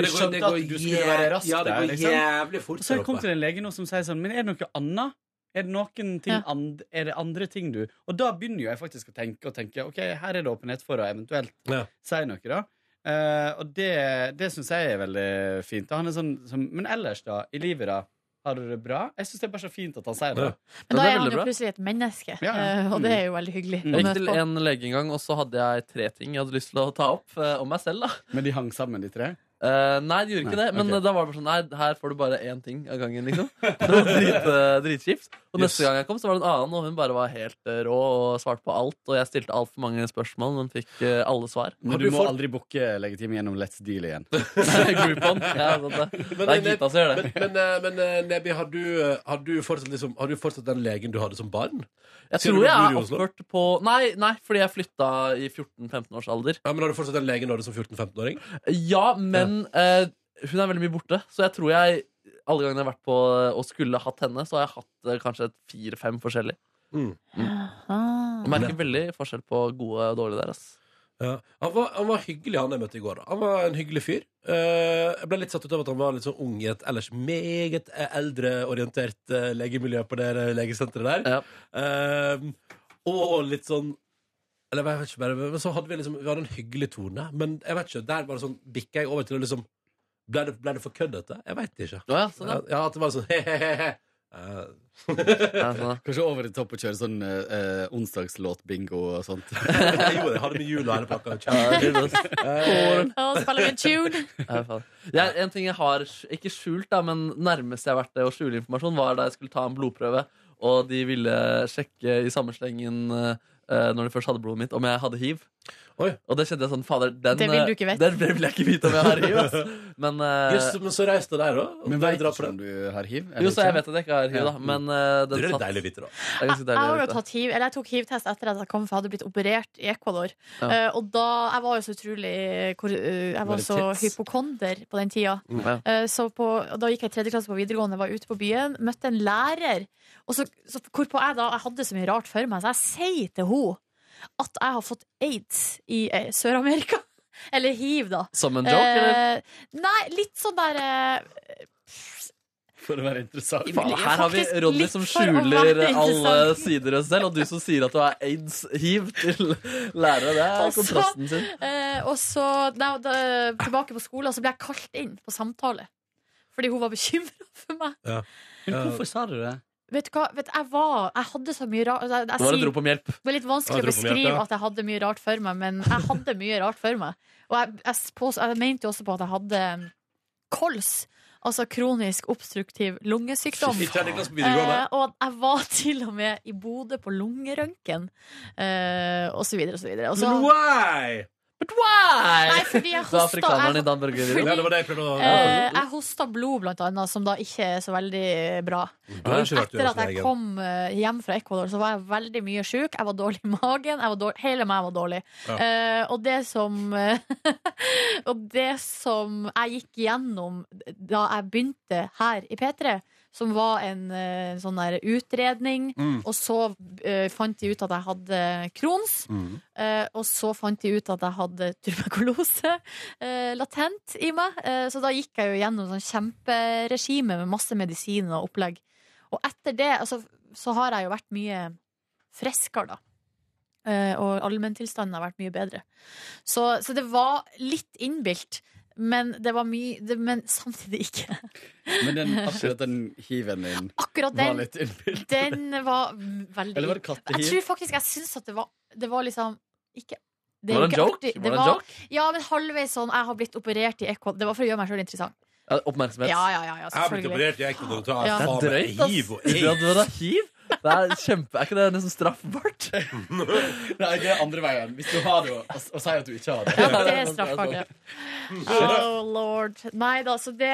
Ja, det går-
skjønte
det
at
går
du skulle være rask
Ja, det
der,
går
liksom.
jævlig fort.
Og så
der
har jeg kommet
oppe.
til en lege nå som sier sånn Men er det noe annet? Er det noen ting
Ja.
and, Er det andre ting du Og da begynner jo jeg faktisk å tenke og tenke Ok, her er det åpenhet for å eventuelt
Ja.
si noe da Eh, og det, det syns jeg er veldig fint. Og Han er sånn, som, men ellers, da? I livet, da? Har du det bra? Jeg syns det er bare så fint at han sier det.
Men da
det er
er han
veldig
jo
bra.
plutselig et menneske,
Ja, ja.
eh, og det er jo veldig hyggelig.
Mm.
å
Jeg gikk
møte
til
på.
en lege en gang, og så hadde jeg tre ting jeg hadde lyst til å ta opp eh, om meg selv. da
Men de hang sammen, de tre?
Eh, Nei, det gjorde ikke
Nei,
det, men
ok.
eh, da var det bare sånn Nei, her får du bare én ting av gangen, liksom. Det var drit, eh, dritkjipt. Og
Yes.
neste gang jeg kom, så var det en annen, og hun bare var helt eh, rå og svarte på alt. Og jeg stilte altfor mange spørsmål, men fikk eh, alle svar.
Men du må aldri booke legetime gjennom Let's Deal igjen.
Groupon. Ja, sånn det. det er Gita som gjør det.
Men, men, eh, men eh, Nebi, har du, eh, har, du fortsatt, liksom, har du fortsatt den legen du hadde som barn?
Jeg
Sier du
tror
du
jeg
bor i
er
Oslo?
oppført på Nei, nei, fordi jeg flytta i 14-15 års alder.
Ja, men Har du fortsatt den legen du hadde som 14-15-åring?
Ja, men eh, hun er veldig mye borte, så jeg tror jeg alle gangene jeg har vært på eh, og skulle hatt henne, så har jeg hatt eh, kanskje et fire-fem forskjellig. Mm.
Ah.
Jeg merker veldig forskjell på gode og dårlige der. ass.
Ja. Han, var, han var hyggelig, han jeg møtte i går. Da. Han var en hyggelig fyr. Eh, jeg ble litt satt ut av at han var litt sånn ung i et ellers meget eh, eldreorientert eh, legemiljø på det eh, legesenteret der.
Ja.
Eh, og litt sånn Eller jeg vet ikke, bare, men så hadde vi liksom Vi hadde en hyggelig tone, men jeg vet ikke, der var det sånn bikka jeg over til å liksom Ble det, ble det for køddete? Jeg veit ikke.
Å ja, sånn, ja.
Ja, ja, at det var sånn he-he-he. Eh,
Ja, sånn, ja.
Kanskje over the top og kjøre sånn eh, eh, onsdagslåt-bingo og sånt.
Jeg gjorde det. Jeg hadde med jula hele pakka. Kjære.
Og spiller vi en tune.
Ja, faen. Jeg, en ting jeg har sk- ikke skjult, da, men nærmest jeg har vært det å skjule informasjon, var da jeg skulle ta en blodprøve, og de ville sjekke i samme slengen eh, når de først hadde blodet mitt, om jeg hadde hiv.
Oi.
Og det kjente jeg sånn Fader, den,
Det vil du
eh,
ikke vite.
den vil jeg ikke vite om jeg har hiv. Ass. Men eh,
Jøss, men så reiste der, da. Og
Men
der
veit
drar
ikke
på
om
den.
du har hiv? eller
jo, så jeg
ikke?
vet at jeg ikke har hiv, da. Men eh,
Det
den
er litt
satt.
deilig å vite, da.
Det er ganske
Jeg,
deilig å
har jo
vite.
tatt hiv, eller jeg tok hivtest etter at jeg kom, for jeg hadde blitt operert i Ecuador.
Ja.
Eh, og da, jeg var jo så utrolig hvor, eh, Jeg var
det
så
tits?
hypokonder på den tida.
Mm, Ja.
Eh, så på, og da gikk jeg i tredje klasse på videregående, var ute på byen, møtte en lærer. Og så, så hvorpå jeg da Jeg hadde så mye rart for meg, så jeg sier til henne at jeg har fått aids i eh, Sør-Amerika. Eller hiv, da.
Som en joke, eller?
Eh, nei, litt sånn der eh,
For å være interessant.
Faen,
blir
her har vi
faktisk
Ronny
litt
som
for å
skjuler
være
alle
interessant.
sider av seg selv, og du som sier at du har aids-hiv til lærere. Det er
Altså,
kontrasten sin.
Eh, og så da, da, tilbake på skolen, så ble jeg kalt inn på samtale. Fordi hun var bekymra for meg.
Eh,
Men hvorfor sa du det?
Vet du hva, vet, du, jeg var Jeg hadde så mye rart altså, jeg, jeg,
Nå var det et
sier-
rop om hjelp.
Det er litt
Ja,
vanskelig
jeg
å
tror på mye
beskrive
hjelp, ja.
at jeg hadde mye rart for meg, men jeg hadde mye rart for meg. Og jeg, jeg, spås, jeg mente jo også på at jeg hadde um, kols, altså kronisk obstruktiv lungesykdom.
I tredje klasse på videregående.
Eh, og jeg var til og med i Bodø på lungerøntgen, eh, og så videre og så videre. Og så,
sånn.
Men why?
nei,
Why?
fordi jeg
Så afrikaneren i
hosta,
Dan Børge
Fordi-
Rud.
Ja, det var det jeg prøvde å
jeg, eh, jeg hosta blod, blant annet, som da ikke er så veldig bra.
Du har ikke vært
Etter at jeg
legen.
kom eh, hjem fra Ecuador, så var jeg veldig mye sjuk. Jeg var dårlig i magen. Jeg var dårlig, hele meg var dårlig.
Ja.
Eh, og det som eh, Og det som jeg gikk gjennom da jeg begynte her i P3, som var en eh, sånn der utredning,
Mm.
og så eh, fant de ut at jeg hadde Crohns.
Mm.
Eh, og så fant de ut at jeg hadde tuberkulose eh, latent i meg. Eh, så da gikk jeg jo gjennom sånn kjemperegime med masse medisiner og opplegg. Og etter det altså, så har jeg jo vært mye friskere, da. Eh, og allmenntilstanden har vært mye bedre. Så, så det var litt innbilt. Men det var mye det, Men samtidig ikke.
Men den, akkurat den hiven din
Akkurat
var
den,
litt innbilt.
den var mm, veldig
Eller var det
Jeg
kattehiv?
tror faktisk jeg syns at det var Det var liksom ikke det er
Var det
ikke
en joke?
artig.
Var det en
var-
joke?
ja, men halvveis sånn Jeg har blitt operert i Ecuador. Det var for å gjøre meg sjøl interessant.
Ja, Oppmerksomhet.
Ja, ja, ja, ja
Jeg har blitt
selvfølgelig.
operert i Ecuador. og tar
Ja.
Det
faen
er
meg
drøyt, ass.
hiv og
Du hadde vært hiv? Det er kjempe Er ikke det nesten straffbart?
Nei, det er andre veien. Hvis du har det, og, og sier at du ikke har det.
Ja, det er straffbart, ja.
Mm.
Oh lord. Nei da, så det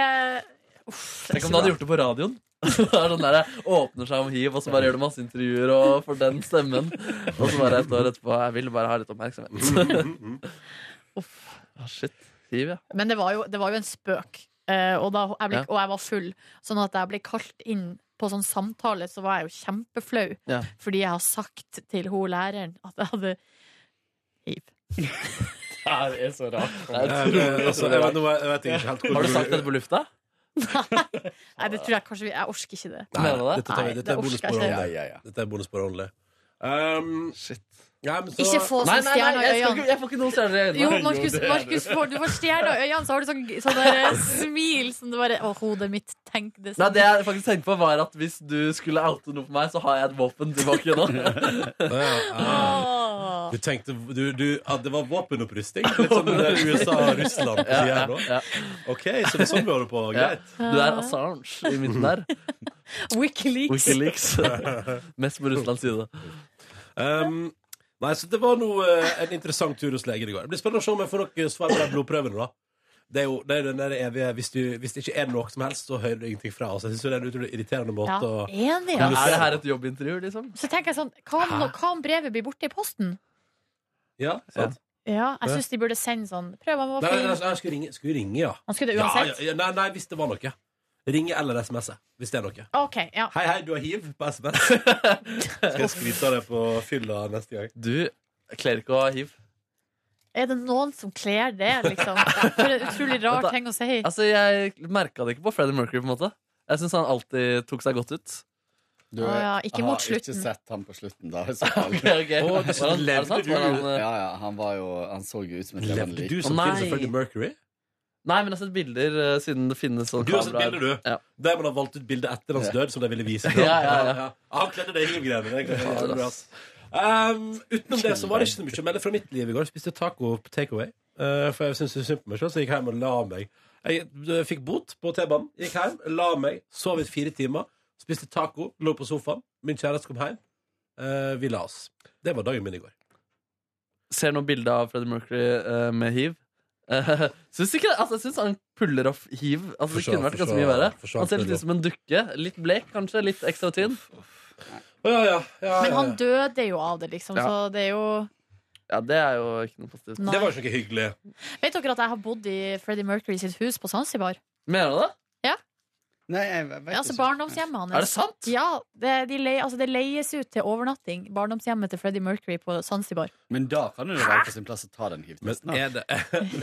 Uff. det er
Tenk
ikke
om du hadde
bra.
gjort det på radioen. Det er sånn der, Åpner seg om hiv, og så bare gjør du masse intervjuer og får den stemmen. Og så bare et år etterpå Jeg vil bare ha litt
Mm,
oppmerksomhet.
Uff.
Ah, shit. Hiv, ja.
Men det var jo, det var jo en spøk. Eh, og, da, jeg ble,
Ja.
og jeg var full, sånn at jeg ble kalt inn på sånn samtale, så var jeg jo kjempeflau.
Ja.
Fordi jeg har sagt til hun læreren at jeg hadde hiv.
Det er så rart.
Det er
Jeg,
utrolig.
altså, jeg, vet- nå vet jeg ikke helt hvor
Har du sagt dette på lufta?
Nei, det tror jeg kanskje vi Jeg orker ikke det.
Nei,
Mener du det?
dette, tar vi-
Nei,
dette er
det orker jeg
bonusbord
ikke.
Ja,
only.
ja, ja.
Dette er bonusbord only. Um,
Shit.
Ja, men så-
Ikke få
Nei,
sånn
nei, nei,
stjerner i
jeg, skal,
øynene.
ikke- jeg får ikke noen stjerner i øynene.
Jo,
Nei, jo,
Markus,
det er det.
Markus får, du får stjerner i øynene, så har du sånn, sånn der, eh, smil som du bare Å, hodet mitt, tenk det
Nei,
sånn.
det jeg faktisk tenkte på var at Hvis du skulle oute noe for meg, så har jeg et våpen tilbake nå.
Ja, ja.
sånn. Åh.
Du tenkte du, du, at det var våpenopprustning? Litt som det der USA og Russland på siden her nå?
Ja.
OK, så det er sånn vi holder på.
Ja.
Greit.
Du er Assange i midten der.
Wikileaks.
Wikileaks. Mest på Russlands side.
Um, nei, så det var nå eh, en interessant tur hos legen i går. Det blir spennende å se om jeg får noe svar på de blodprøvene, da. Det er jo det er den der evige hvis, du, hvis det ikke er noe som helst, så hører du ingenting fra oss. Jeg synes jo det er en utrolig irriterende
Ja,
måte å
enig, ja.
Ja, er det her et jobbintervju, liksom?
Så tenker jeg sånn, hva om, hva om brevet blir borte i posten?
Ja, sant?
Ja, jeg syns de burde sende sånn. Prøv, han var
Nei, nei,
fin.
nei, jeg skulle ringe, skulle ringe ja.
Han skulle det
Ja,
uansett.
ja, ja. Nei, nei, hvis det var noe. Ringe eller SMS-e hvis det er noe.
OK, ja.
Hei, hei, du har hiv på SMS. Skal jeg skryte av det på fylla neste gang?
Du kler ikke å ha hiv.
Er det noen som kler det, liksom? For en utrolig rar ting å si.
Altså, Jeg merka det ikke på Freddie Mercury. på en måte Jeg syns han alltid tok seg godt ut.
Du,
Å ja, ikke
jeg
mot
har ikke
slutten.
sett ham på slutten, da. i så fall.
Ok, ok
Å,
Var
det
han- er det sant? Var han, eh,
Ja, ja, han var jo Han så jo ut som et levende
Levde du
lik.
samtidig
Å, nei.
som Freddie Mercury?
Nei, men jeg har sett bilder eh, siden det finnes sånn
Du har sett
kameraer.
bilder, du.
Ja.
Der man har valgt ut bildet etter hans død, som de ville vise. fram.
Ja, ja, ja.
Han kledde det i hivgreiene. det er egentlig
Fader,
jævlig bra,
ass.
ass. Um, utenom det så var det ikke så mye å melde fra mitt liv i går. Spiste taco på takeaway. Uh, for jeg syntes det var synd på meg selv, så jeg gikk hjem og la meg. Jeg eh, fikk bot på T-banen, gikk hjem, la meg, sov i fire timer, spiste taco, lå på sofaen. Min kjæreste kom hjem. Eh, vi la oss. Det var dagen min i går.
Ser nå bilde av Freddie Mercury eh, med hiv. Uh, syns ikke, altså, jeg syns han puller off hiv. Altså, det
Forsvar,
kunne vært ganske
forsvar,
mye verre.
forsvar,
Han ser litt
forsvar.
ut som en dukke. Litt blek, kanskje. Litt ekstra tynn.
Å, ja, ja, ja,
Men
ja,
han
ja.
døde jo av det, liksom,
Ja.
så det er jo
Ja, Det er jo ikke noe positivt.
Nei.
Det var jo ikke noe hyggelig.
Vet dere at jeg har bodd i Freddie Mercury sitt hus på Zanzibar?
Mener du det?
Nei, jeg vet
Ja, altså
ikke.
barndomshjemmet
Er det
hans.
sant?
Ja, det, de lei- altså det leies ut til overnatting. Barndomshjemmet til Freddie Mercury på Zanzibar.
Men da kan det jo være på sin plass å ta den
Men
hivtesten. da.
er det,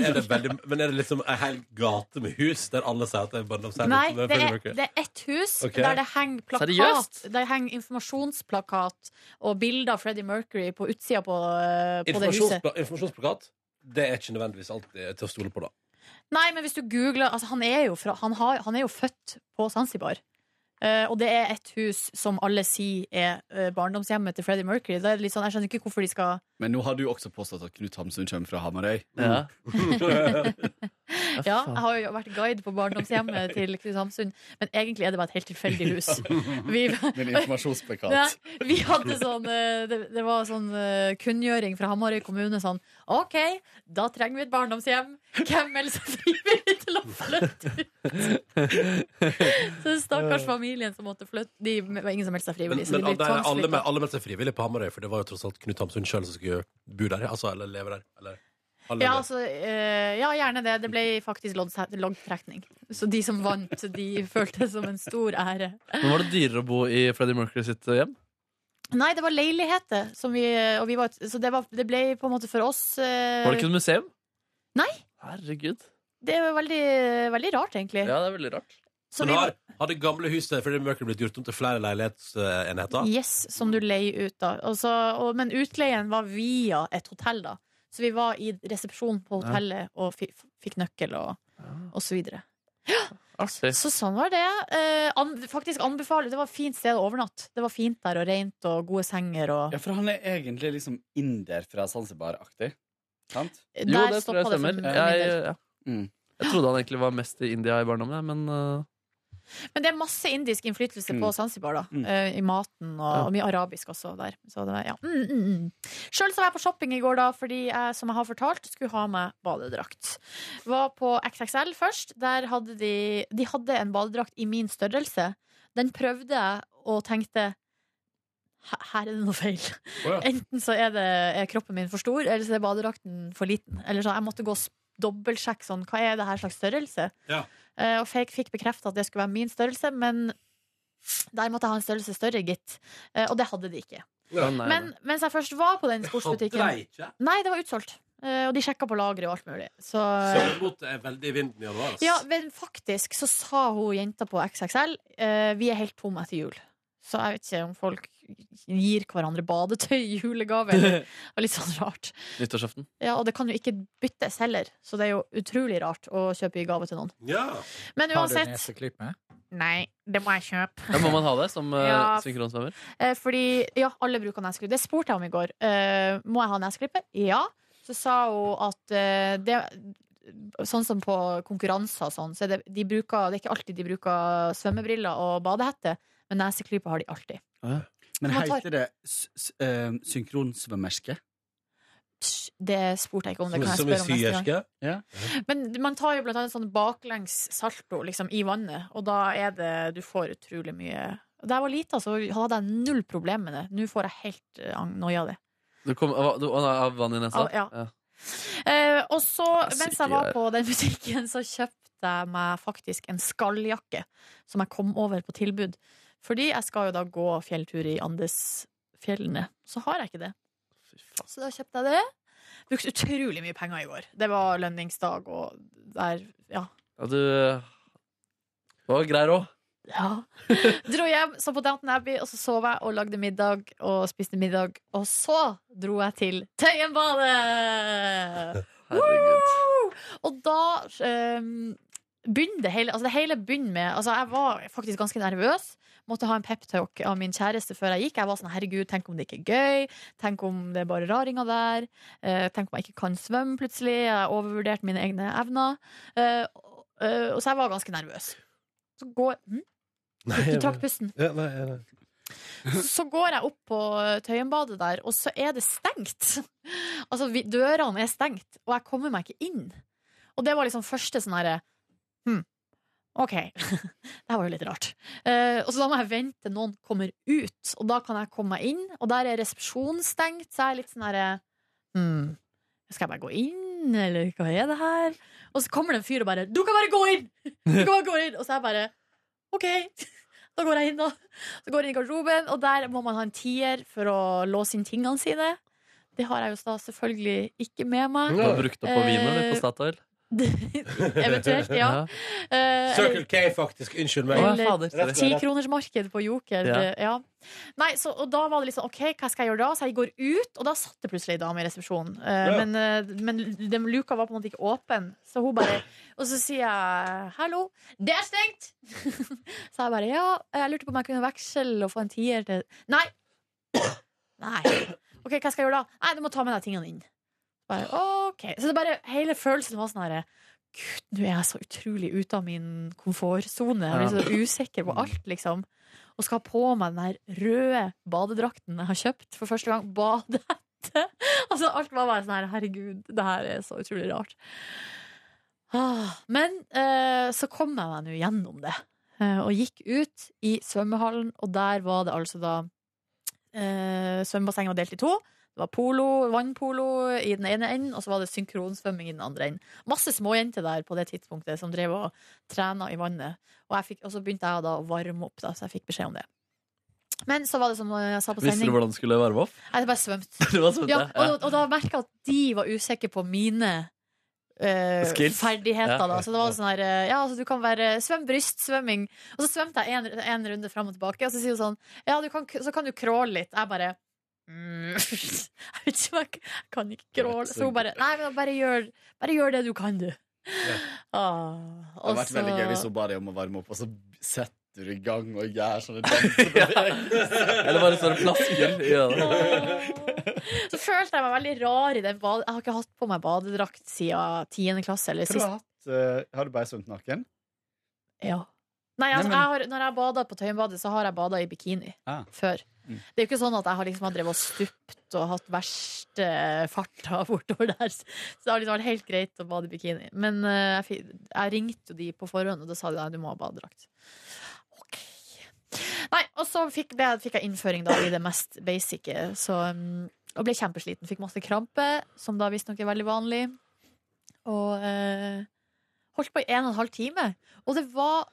er det veldig Men er det liksom ei hel gate med hus der alle sier at det er barndomshjem?
Nei, det er,
Freddie Mercury?
det er ett hus
Ok.
der det henger plakat.
Seriøst?
Det henger informasjonsplakat og bilder av Freddie Mercury på utsida på, eh, på det huset.
Informasjonspla informasjonsplakat det er ikke nødvendigvis alltid til å stole på, da.
Nei, men hvis du googler altså, han, er jo fra, han, har, han er jo født på Zanzibar. Eh, og det er et hus som alle sier er eh, barndomshjemmet til Freddie Mercury. Da er det litt sånn, jeg skjønner ikke hvorfor de skal
Men nå har du også påstått at Knut Hamsun kommer fra Hamarøy.
Ja.
Ja, jeg har jo vært guide på barndomshjemmet til Knut Hamsun, men egentlig er det bare et helt tilfeldig hus. Vi,
Med en
Nei,
informasjonsplakat.
vi hadde sånn eh, Det, det var sånn eh, kunngjøring fra Hamarøy kommune sånn OK, da trenger vi et barndomshjem. Hvem melder seg frivillig til å flytte ut? Så den stakkars familien som måtte flytte De det var ingen som meldte seg
Men,
frivillig. Så
men
de ble
alle, alle,
tvangsflytta.
alle meldte seg frivillig på Hamarøy, for det var jo tross alt Knut Hamsun sjøl som skulle bo der. Altså, eller leve der. Eller, alle
Ja,
lever.
altså, eh, ja, gjerne det. Det ble faktisk lodds- loddtrekning. Så de som vant, de følte det som en stor ære.
Men Var det dyrere å bo i Freddie Mercury sitt hjem?
Nei, det var leiligheter. Som vi, eh, og vi var, så det, var, det ble på en måte for oss eh,
Var det ikke et museum?
Nei.
Herregud.
Det var veldig, veldig rart, egentlig.
Ja, det er veldig rart.
Så
men
vi,
har, har det gamle huset Freddie Mercury blitt gjort om til flere leilighetsenheter?
yes, som du leier ut, da. Og så, og, men utleien var via et hotell, da. Så vi var i resepsjonen på hotellet og fi- fikk nøkkel og, og så videre.
Artig.
Så sånn var det. Eh, an, faktisk anbefaler Det var et fint sted å overnatte. Det var fint der og rent og gode senger og
Ja, for han er egentlig liksom inder fra Zanzibar-aktig. Sant?
Jo,
Der
det tror
stoppet
jeg
det for
stemmer.
min
Jeg,
del.
ja.
Mm.
jeg trodde han egentlig var mest i India i barndommen, jeg, men eh,
Men det er masse indisk innflytelse på
Mm.
Zanzibar, da.
Mm.
eh, I maten, og, og mye arabisk også der. Så det, var- ja. mm, mm, mm. Sjøl så var jeg på shopping i går, da, fordi jeg, som jeg har fortalt, skulle ha meg badedrakt. Var på XXL først. Der hadde de De hadde en badedrakt i min størrelse. Den prøvde jeg og tenkte "Her- her er det noe feil.
Å, ja.
Enten så er, det, er kroppen min for stor, eller så er badedrakten for liten. Eller så Jeg måtte gå og s- dobbeltsjekke sånn, hva er det her slags størrelse.
Ja.
Eh, og fikk, fikk bekrefta at det skulle være min størrelse, men der måtte jeg ha en størrelse større, gitt. Eh, og det hadde de ikke.
ja, nei,
Men mens jeg først var på den sportsbutikken
ikke.
Nei, det var utsolgt. Eh, og de sjekka på lageret og alt mulig. Så,
Sørmotet er eh, veldig i vinden i januar. ass.
ja, men faktisk så sa hun jenta på XXL eh, vi er helt tomme etter jul. Så jeg vet ikke om folk gir hverandre badetøy i julegave. Eller, det var litt sånn rart.
Nyttårsaften.
Ja, Og det kan jo ikke byttes heller, så det er jo utrolig rart å kjøpe i gave til noen.
Ja.
Men
Har du
uansett
neseklype?
Nei, det må jeg kjøpe.
Ja, må man ha det som eh,
Ja.
synkronsvømmer?
Eh, fordi Ja, alle bruker neseklipp. Det spurte jeg om i går. Eh, må jeg ha neseklippe? Ja. Så sa hun at eh, det Sånn som på konkurranser og sånn, så er det, de bruker, det er ikke alltid de bruker svømmebriller og badehette, men neseklype har de alltid.
Men
Man tar-
heter det s- s- eh, synkronsvømmerske?
Psj, Det spurte jeg ikke om. Det
Som,
kan jeg
som i
spørre om neste gang.
syerske.
Men man tar jo blant annet sånn baklengs salto liksom, i vannet, og da er det Du får utrolig mye Da jeg var lita, så hadde jeg null problem med det. Nå får jeg helt eh, ang- noia av det.
Du kom, av, du, av vann i nesa?
Av- ja. Eh, og så,
Jeg
mens
sier
jeg var
det.
på den butikken, så kjøpte jeg meg faktisk en skalljakke som jeg kom over på tilbud. Fordi jeg skal jo da gå fjelltur i Andesfjellene. Så har jeg ikke det. Så da kjøpte jeg det. Brukte utrolig mye penger i går. Det var lønningsdag og der Ja.
Ja, du Det var grei råd.
ja. Dro hjem, så på Downton Abbey, og så sov jeg og lagde middag og spiste middag. Og så dro jeg til Tøyenbadet!
Herregud.
Woo! Og da um, begynner det hele Altså det hele begynner med altså Jeg var faktisk ganske nervøs. Måtte ha en peptalk av min kjæreste før jeg gikk. Jeg var sånn, herregud, Tenk om det ikke er gøy? Tenk om det er bare raringer der? Eh, tenk om jeg ikke kan svømme plutselig? Jeg overvurderte mine egne evner. Eh, og- eh, og så jeg var ganske nervøs. Så går, hm?
Nei,
Du
jeg-
trakk pusten.
ja, nei, nei.
Så går jeg opp på Tøyenbadet der, og så er det stengt. Altså, vi, dørene er stengt, og jeg kommer meg ikke inn. Og det var liksom første sånn herre Hm, OK. det her var jo litt rart. Eh, og så da må jeg vente noen kommer ut, og da kan jeg komme meg inn. Og der er resepsjonen stengt, så jeg er litt sånn herre Hm, skal jeg bare gå inn, eller hva er det her? Og så kommer det en fyr og bare 'Du kan bare gå inn!' Du kan bare gå inn Og så er jeg bare OK. Da går jeg inn, da. Så går jeg inn i garderoben, og der må man ha en tier for å låse inn tingene sine. Det har jeg jo da selvfølgelig ikke med meg.
Du har brukt opp på vinen eller på Statoil?
Eventuelt, Eh, ja. Eh,
Circle K, faktisk. Unnskyld meg.
Å,
Eller-
fader.
eller Tikronersmarked på Joker.
Ja.
Ja. Nei, så, og da var det litt sånn OK, hva skal jeg gjøre da? Så jeg går ut, og da satt det plutselig ei dame i resepsjonen. Eh,
Ja.
Men, eh, men den luka var på en måte ikke åpen, så hun bare Og så sier jeg 'hallo, det er stengt'! så jeg bare 'ja, jeg lurte på om jeg kunne veksle og få en tier til Nei! Nei. OK, hva skal jeg gjøre da? Nei, du må ta med deg tingene inn. Bare, ok Så det bare, hele følelsen var sånn herre Gud, nå er jeg så utrolig ute av min komfortsone. Jeg blir så usikker på alt, liksom. Og skal ha på meg den her røde badedrakten jeg har kjøpt for første gang. Badehette. Altså, alt var bare sånn her Herregud, det her er så utrolig rart. Ah, Men eh, så kom jeg meg nå gjennom det. eh, og gikk ut i svømmehallen, og der var det altså da eh, Svømmebassenget var delt i to. Det var polo, vannpolo i den ene enden, og så var det synkronsvømming i den andre enden. Masse småjenter der på det tidspunktet som drev og trena i vannet. Og, jeg fikk, og så begynte jeg da å varme opp, da, så jeg fikk beskjed om det. Men så var det som eh, jeg sa på
Visste du
sending,
hvordan du skulle varme opp?
jeg bare svømte.
Det var sånn,
Ja,
ja.
og, og da merka jeg at de var usikre på mine eh,
Skills.
ferdigheter.
Ja.
Da. Så det var sånn her eh, Ja, altså, du kan være svøm brystsvømming. Og så svømte jeg en, en runde fram og tilbake, og så sier hun sånn Ja, du kan, så kan du crawle litt. Jeg bare mm, Jeg vet ikke om jeg k- jeg kan ikke crawle. Så hun bare Nei, men bare gjør, bare gjør det du kan, du. Ah,
Det
og
hadde vært
så-
veldig gøy hvis hun ba deg om å varme opp, og så setter du i gang og gjør sånne dansebevegelser.
Eller bare sånn flasker i øynene.
Så følte jeg meg veldig rar i den bade... Jeg har ikke hatt på meg badedrakt siden 10. klasse. Eller
Tror du
sist.
har hatt, eh, Har du bare svømt naken?
Ja. Nei, altså,
Nei, men-
jeg har, når jeg bader på Tøyenbadet, så har jeg bada i bikini
Ah.
før.
Mm.
Det er jo ikke sånn at jeg har liksom har drevet og stupt og hatt verst eh, farta bortover der. Så det har liksom vært helt greit å bade i bikini. Men eh, jeg, fi- jeg ringte jo de på forhånd, og da sa de nei, du må ha badedrakt. Ok. Nei, og så fikk, ble, jeg- fikk jeg innføring da i det mest basice, så mm, Og ble kjempesliten. Fikk masse krampe, som da visstnok er veldig vanlig. Og eh, holdt på i en og en halv time. Og det var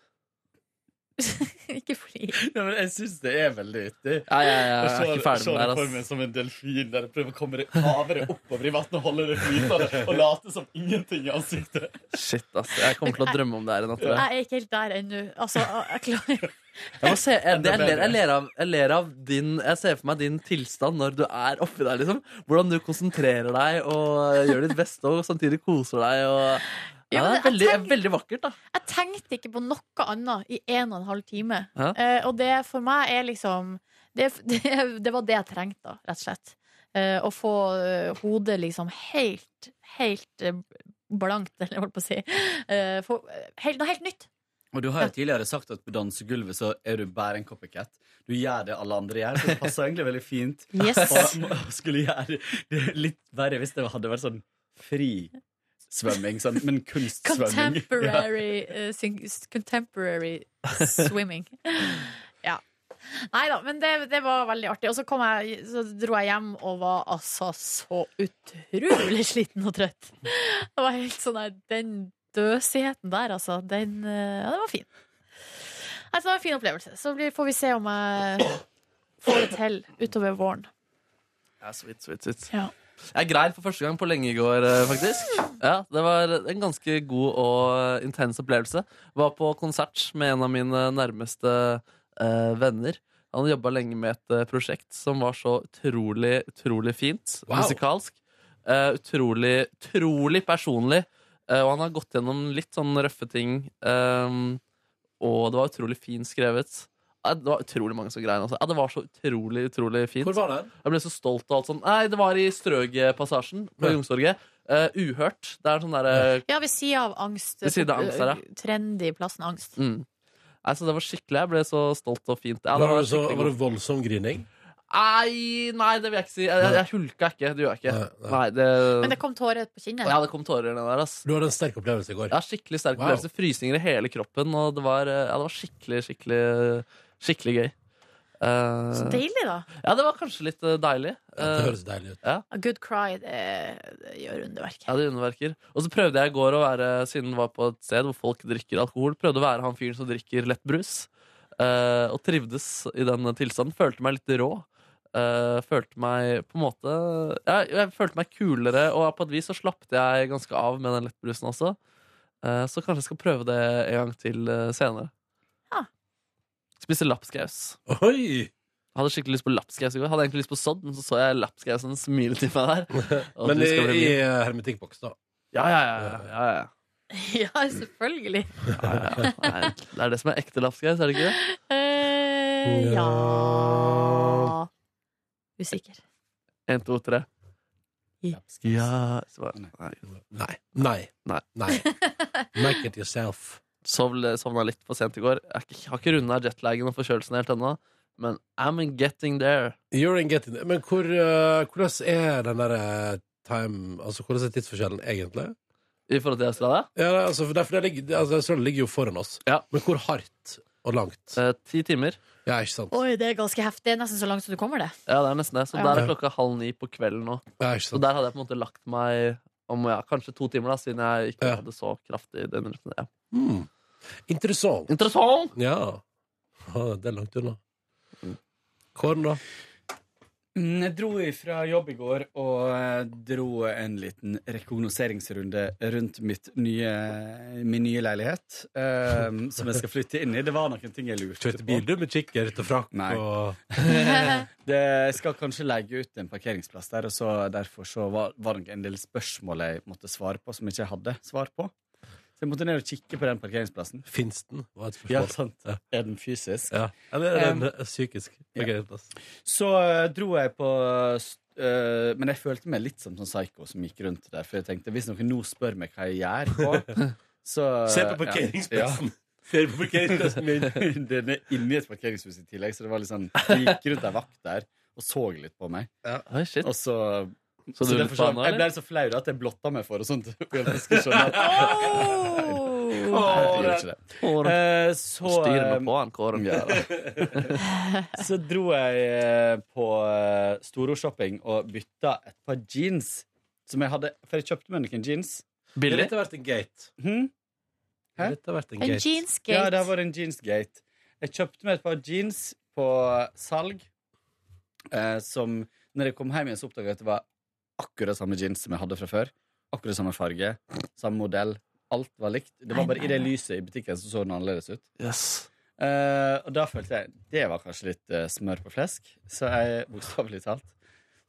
Ikke fly.
Ja, men jeg syns det er veldig vittig.
Ja, ja, ja,
Jeg
jeg er
så,
ikke ferdig
så
med det
det for
her,
meg
ass.
som en delfin der jeg prøver å komme deg havere oppover i vannet og holde det flytende og late som ingenting i ansiktet.
Shit, ass. Jeg kommer til å drømme om det her i natt. tror jeg.
Jeg er ikke helt der ennå. Altså, jeg jeg klarer
Jeg, må se, jeg, det, jeg, ler,
bedre.
jeg, ler av, jeg ler av din Jeg ser for meg din tilstand når du er oppi der. liksom Hvordan du konsentrerer deg og gjør ditt beste og samtidig koser deg. Og,
Ja,
ja,
men jeg
det er veldig,
tenker-
veldig vakkert, da.
Jeg tenkte ikke på noe annet i en og en halv time.
Ja.
Eh, og det for meg er liksom det, det, det var det jeg trengte, da, rett og slett. Eh, å få eh, hodet liksom helt, helt eh, blankt, eller hva jeg holdt på å si. Eh, få, helt, noe helt nytt.
Og du har jo tidligere sagt at på dansegulvet så er du bare en copycat. Du gjør det alle andre gjør, så det passer egentlig veldig fint.
Yes.
Og må- skulle gjøre det litt verre hvis det hadde vært sånn fri svømming, sånn, men kunstsvømming. Ja.
Contemporary, eh, syn- contemporary swimming. ja. Nei da, men det, det var veldig artig. Og så, kom jeg, så dro jeg hjem og var altså så utrolig sliten og trøtt. Det var helt sånn der, Den døsigheten der, altså, den eh, Ja, den var fin. Nei, så det var en fin opplevelse. Så blir, får vi se om jeg får det til utover våren.
Ja, sweet, sweet, sweet.
Ja.
Jeg grein for første gang på lenge i går, eh, faktisk. Ja, Det var en ganske god og eh, intens opplevelse. Var på konsert med en av mine nærmeste eh, venner. Han jobba lenge med et eh, prosjekt som var så utrolig, utrolig fint
Wow.
musikalsk. Eh, utrolig, utrolig personlig. Eh, og han har gått gjennom litt sånn røffe ting. eh, og det var utrolig fint skrevet. Ja, Det var utrolig mange som grein. Altså. Ja, det var så utrolig, utrolig fint.
Hvor var den?
Jeg ble så stolt og alt sånn. Nei, det var i Strøget-passasjen på
Ja.
Youngstorget. Eh, uhørt. Det er sånn derre
ja, ved sida av angst.
Ved siden av angst der, ja.
Trendy plassen angst.
mm. Nei, så det var skikkelig. Jeg ble så stolt og fint. Ja, det
var,
var
det så,
skikkelig
var det
god.
voldsom grining?
Nei, nei, det vil jeg ikke si. Jeg, jeg, jeg hulka ikke. Det gjør jeg ikke.
Nei, nei.
Nei, det
Men det kom tårer på kinnet.
Ja, det kom tårer ned der, ass.
Du hadde en sterk opplevelse i går.
Ja, skikkelig sterk
Wow.
opplevelse. Frysninger i hele kroppen, og det var, eh, ja, det var skikkelig, skikkelig, skikkelig gøy. Eh,
Så deilig, da.
ja, det var kanskje litt eh, deilig.
Ja, det
Eh,
høres deilig ut.
A good cry, det, det gjør underverk.
Ja, det underverker. Og så prøvde jeg i går å være, siden det var på et sted hvor folk drikker alkohol, prøvde å være han fyren som drikker lett brus. eh, og trivdes i den tilstanden. Følte meg litt rå. Eh, følte meg på en måte ja, Jeg følte meg kulere, og på et vis så slappet jeg ganske av med den lettbrusen også. Eh, så kanskje jeg skal prøve det en gang til eh, senere.
Ja.
Spise lapskaus.
Oi!
Hadde skikkelig lyst på lapskaus i går. Hadde egentlig lyst på sodd, men så så jeg lapskausen smile til meg der. Og at
Men i,
det skal bli
i
mye.
hermetikkboks, da.
ja, ja, ja, ja, ja.
Ja, selvfølgelig.
Ja, ja. Nei, Det er det som er ekte lapskaus, er det ikke det?
Eh, ja Usikker.
En, to, tre. Ja så bare, nei.
Nei. Nei.
Nei.
Nei. Make it yourself.
Sov, Sovna litt for sent i går. Jeg er ikke- har ikke runda jetlagen og forkjølelsen helt ennå, men I'm getting there.
You're in getting Men hvor, eh, hvordan er den derre time Altså, hvordan er tidsforskjellen egentlig?
I forhold til Australia?
Ja, nei, altså, for derfor det ligger, det- altså, Australia ligger jo foran oss.
Ja.
Men hvor hardt og langt?
Eh, ti timer.
Ja, ikke sant?
Oi, det er ganske heftig. Det er nesten så langt som du kommer, det.
Ja, det er nesten det. Så
Ja.
der er klokka halv ni på kvelden nå.
Ja, ikke
Så
sant?
der hadde jeg på en måte lagt meg om ja, kanskje to timer, da, siden jeg ikke
Ja.
hadde så kraftig den runden. Ja.
Hmm. Interessant.
Interessant!
Ja. Ah, Det er langt unna. Kåren, da?
Mm, Jeg dro ifra jobb i går og eh, dro en liten rekognoseringsrunde rundt mitt nye, min nye leilighet, eh, som jeg skal flytte inn i. Det var noen ting jeg lurte
Kjørte
på.
bil, du, med kikkert og frakk
Nei.
og
Det, jeg skal kanskje leie ut en parkeringsplass der, og så derfor så var, var det en del spørsmål jeg måtte svare på, som jeg ikke hadde svar på. Så jeg måtte ned og kikke på den parkeringsplassen.
Finsten var et
Ja,
spørsmål.
sant. Er den fysisk?
Ja. Eller er det en psykisk altså.
ja.
parkeringsplass?
Så eh, dro jeg på eh, Men jeg følte meg litt som sånn psycho som gikk rundt der. For jeg tenkte hvis noen nå spør meg hva jeg gjør på, så
Se på parkeringsplassen! Se på parkeringsplassen min!
Ja, ja. Den er inni et parkeringshus i tillegg, så det var litt sånn Jeg gikk rundt ei vakt der og så litt på meg.
Oi, shit.
Og så
Så du er litt
derfor så-
faen nå,
sånn- Jeg
eller?
ble så flau da at jeg blotta meg for og sånt. Og jeg skulle skjønne at-
Oh!
Nei, jeg gjorde ikke det.
Kåren.
Eh, Så
Styr
eh,
meg på han, Kåren.
Ja, da. Så dro jeg eh, på eh, Storo Shopping og bytta et par jeans. Som jeg hadde, for jeg kjøpte meg noen jeans.
Billig?
Dette har vært en gate.
Hm? Hæ?
Dette har vært en
En
gate.
jeansgate.
Ja, det var en jeansgate.
Jeg kjøpte meg et par jeans på salg eh, som Når jeg kom hjem igjen, så oppdaga jeg at det var akkurat samme jeans som jeg hadde fra før. Akkurat samme farge, samme modell. Alt var likt. Det var bare i det lyset i butikken så så den annerledes ut.
Yes.
Eh, og da følte jeg Det var kanskje litt eh, smør på flesk, så jeg bokstavelig talt.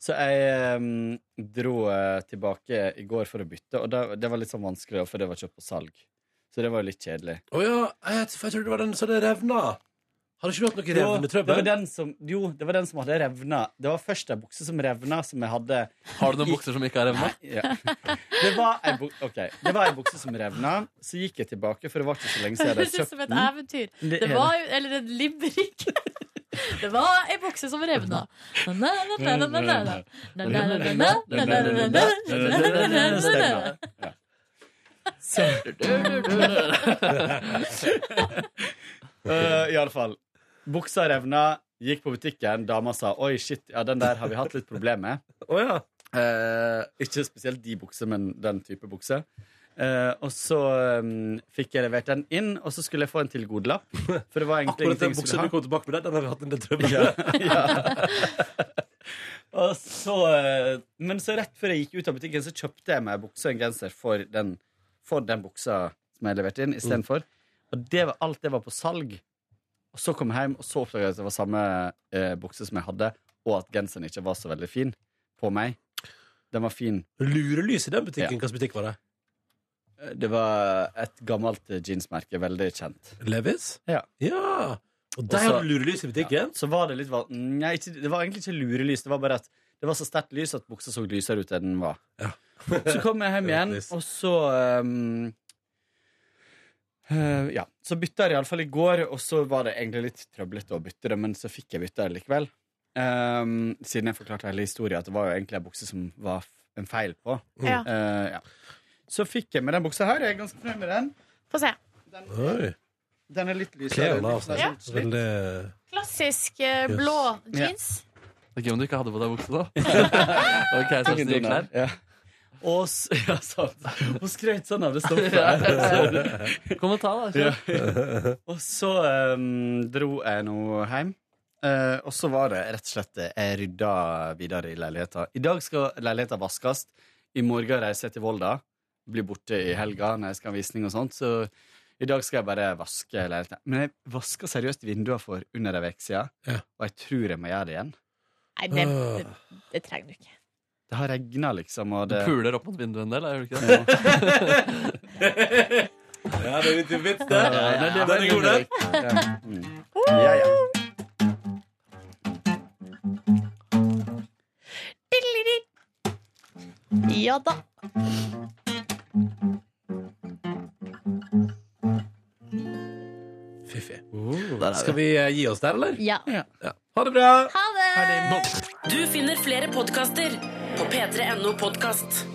Så jeg eh, dro eh, tilbake i går for å bytte, og da, det var litt sånn vanskelig, for det var kjøpt på salg. Så det var jo litt kjedelig.
Å ja, jeg, for jeg trodde det var den som hadde revna. Har du ikke hatt noe
Jo, det
revnetrøbbel?
var den som, jo, det var den som hadde revna. Det var først ei bukse som revna, som jeg hadde
Har du noen bukser som ikke har revna?
ja. Det var ei bu ok, det var ei bukse som revna, så gikk jeg tilbake, for det var ikke så lenge siden
Det
jeg hadde
høres ut
kjøpt
som et
den.
eventyr.
Det
Det
er
var jo Eller en limerick. Det var ei bukse som revna. Na, na, na, na, na, na, na. Na, na, na, na, na, na, na, na, na, na, na, na, na, na.
Stemmer. Ja. Så Uh, I alle fall Buksa revna, gikk på butikken Dama sa, oi shit, ja den der har vi hatt litt problem med
Å ja.
Eh, Ikke spesielt de bukser, men den type bukser Eh, og så um, fikk jeg levert den inn Og så skulle jeg få en tilgodelapp For det var egentlig
Akkurat
ingenting
den
jeg
buksa du
skulle ha
kom tilbake med, der, den har vi hatt en del trøbbel med.
ja, Og så eh, Men så rett før jeg gikk ut av butikken, så kjøpte jeg meg bukse og en genser for den, for den buksa som jeg leverte inn, istedenfor. Og det var alt det var på salg. Og så kom jeg hjem, og så oppdaga jeg at det var samme eh, bukse som jeg hadde, og at genseren ikke var så veldig fin på meg. Den var fin.
Lurelys i den butikken.
Ja.
Hvilken butikk var det?
Eh, Det var et gammelt eh, jeansmerke, veldig kjent.
Levis?
Ja.
ja. Og
Også-
der har du lurelys i butikken?
Så var det litt val- Nei, ikke, det var egentlig ikke lurelys. Det var bare at det var så sterkt lys at buksa så lysere ut enn den var.
Ja.
så kom jeg hjem igjen,
Lys.
og så um, eh, Ja. Så bytta jeg iallfall i går, og så var det egentlig litt trøblete å bytte det, men så fikk jeg bytta det likevel. Um, siden jeg forklarte hele historien, at det var jo egentlig ei bukse som var f- en feil på.
Ja,
Eh, ja. Så fikk jeg med den buksa her. Jeg er ganske fornøyd med den.
Få se.
Oi. eh,
Den er litt lysere.
Kler han av seg.
Ja.
Veldig
Klassisk eh, blå
Ja.
jeans.
Det er gøy om du ikke hadde på deg bukse, da. Ok, så
Takk,
hvis du gikk
Donald.
der.
Ja. Og, s- ja, sant. og skrøt sånn av det stoffet.
Kom og ta, da.
Ja.
kjør.
og så em, dro jeg nå hjem. Eh, og så var det rett og slett eh, Jeg rydda videre i leiligheta. I dag skal leiligheta vaskes. I morgen reiser jeg til Volda. Blir borte i helga når jeg skal ha visning og sånt. Så i dag skal jeg bare vaske leiligheta. Men jeg vaska seriøst vinduene for under ei uke siden,
Ja.
og jeg tror jeg må gjøre det igjen.
Nei, det, det, det trenger du ikke.
Det har regna, liksom, og
Du
det
puler opp mot vinduet en del, gjør du ikke det?
Ja, det er litt vits,
Ja,
det.
ja, ja.
Den er god, den.
Ja, ja.
Ja da.
Fiffi.
Der er vi.
Skal vi eh, gi oss der, eller?
Ja.
Ha det bra!
Ha det!
Du finner flere podkaster på p3.no podkast.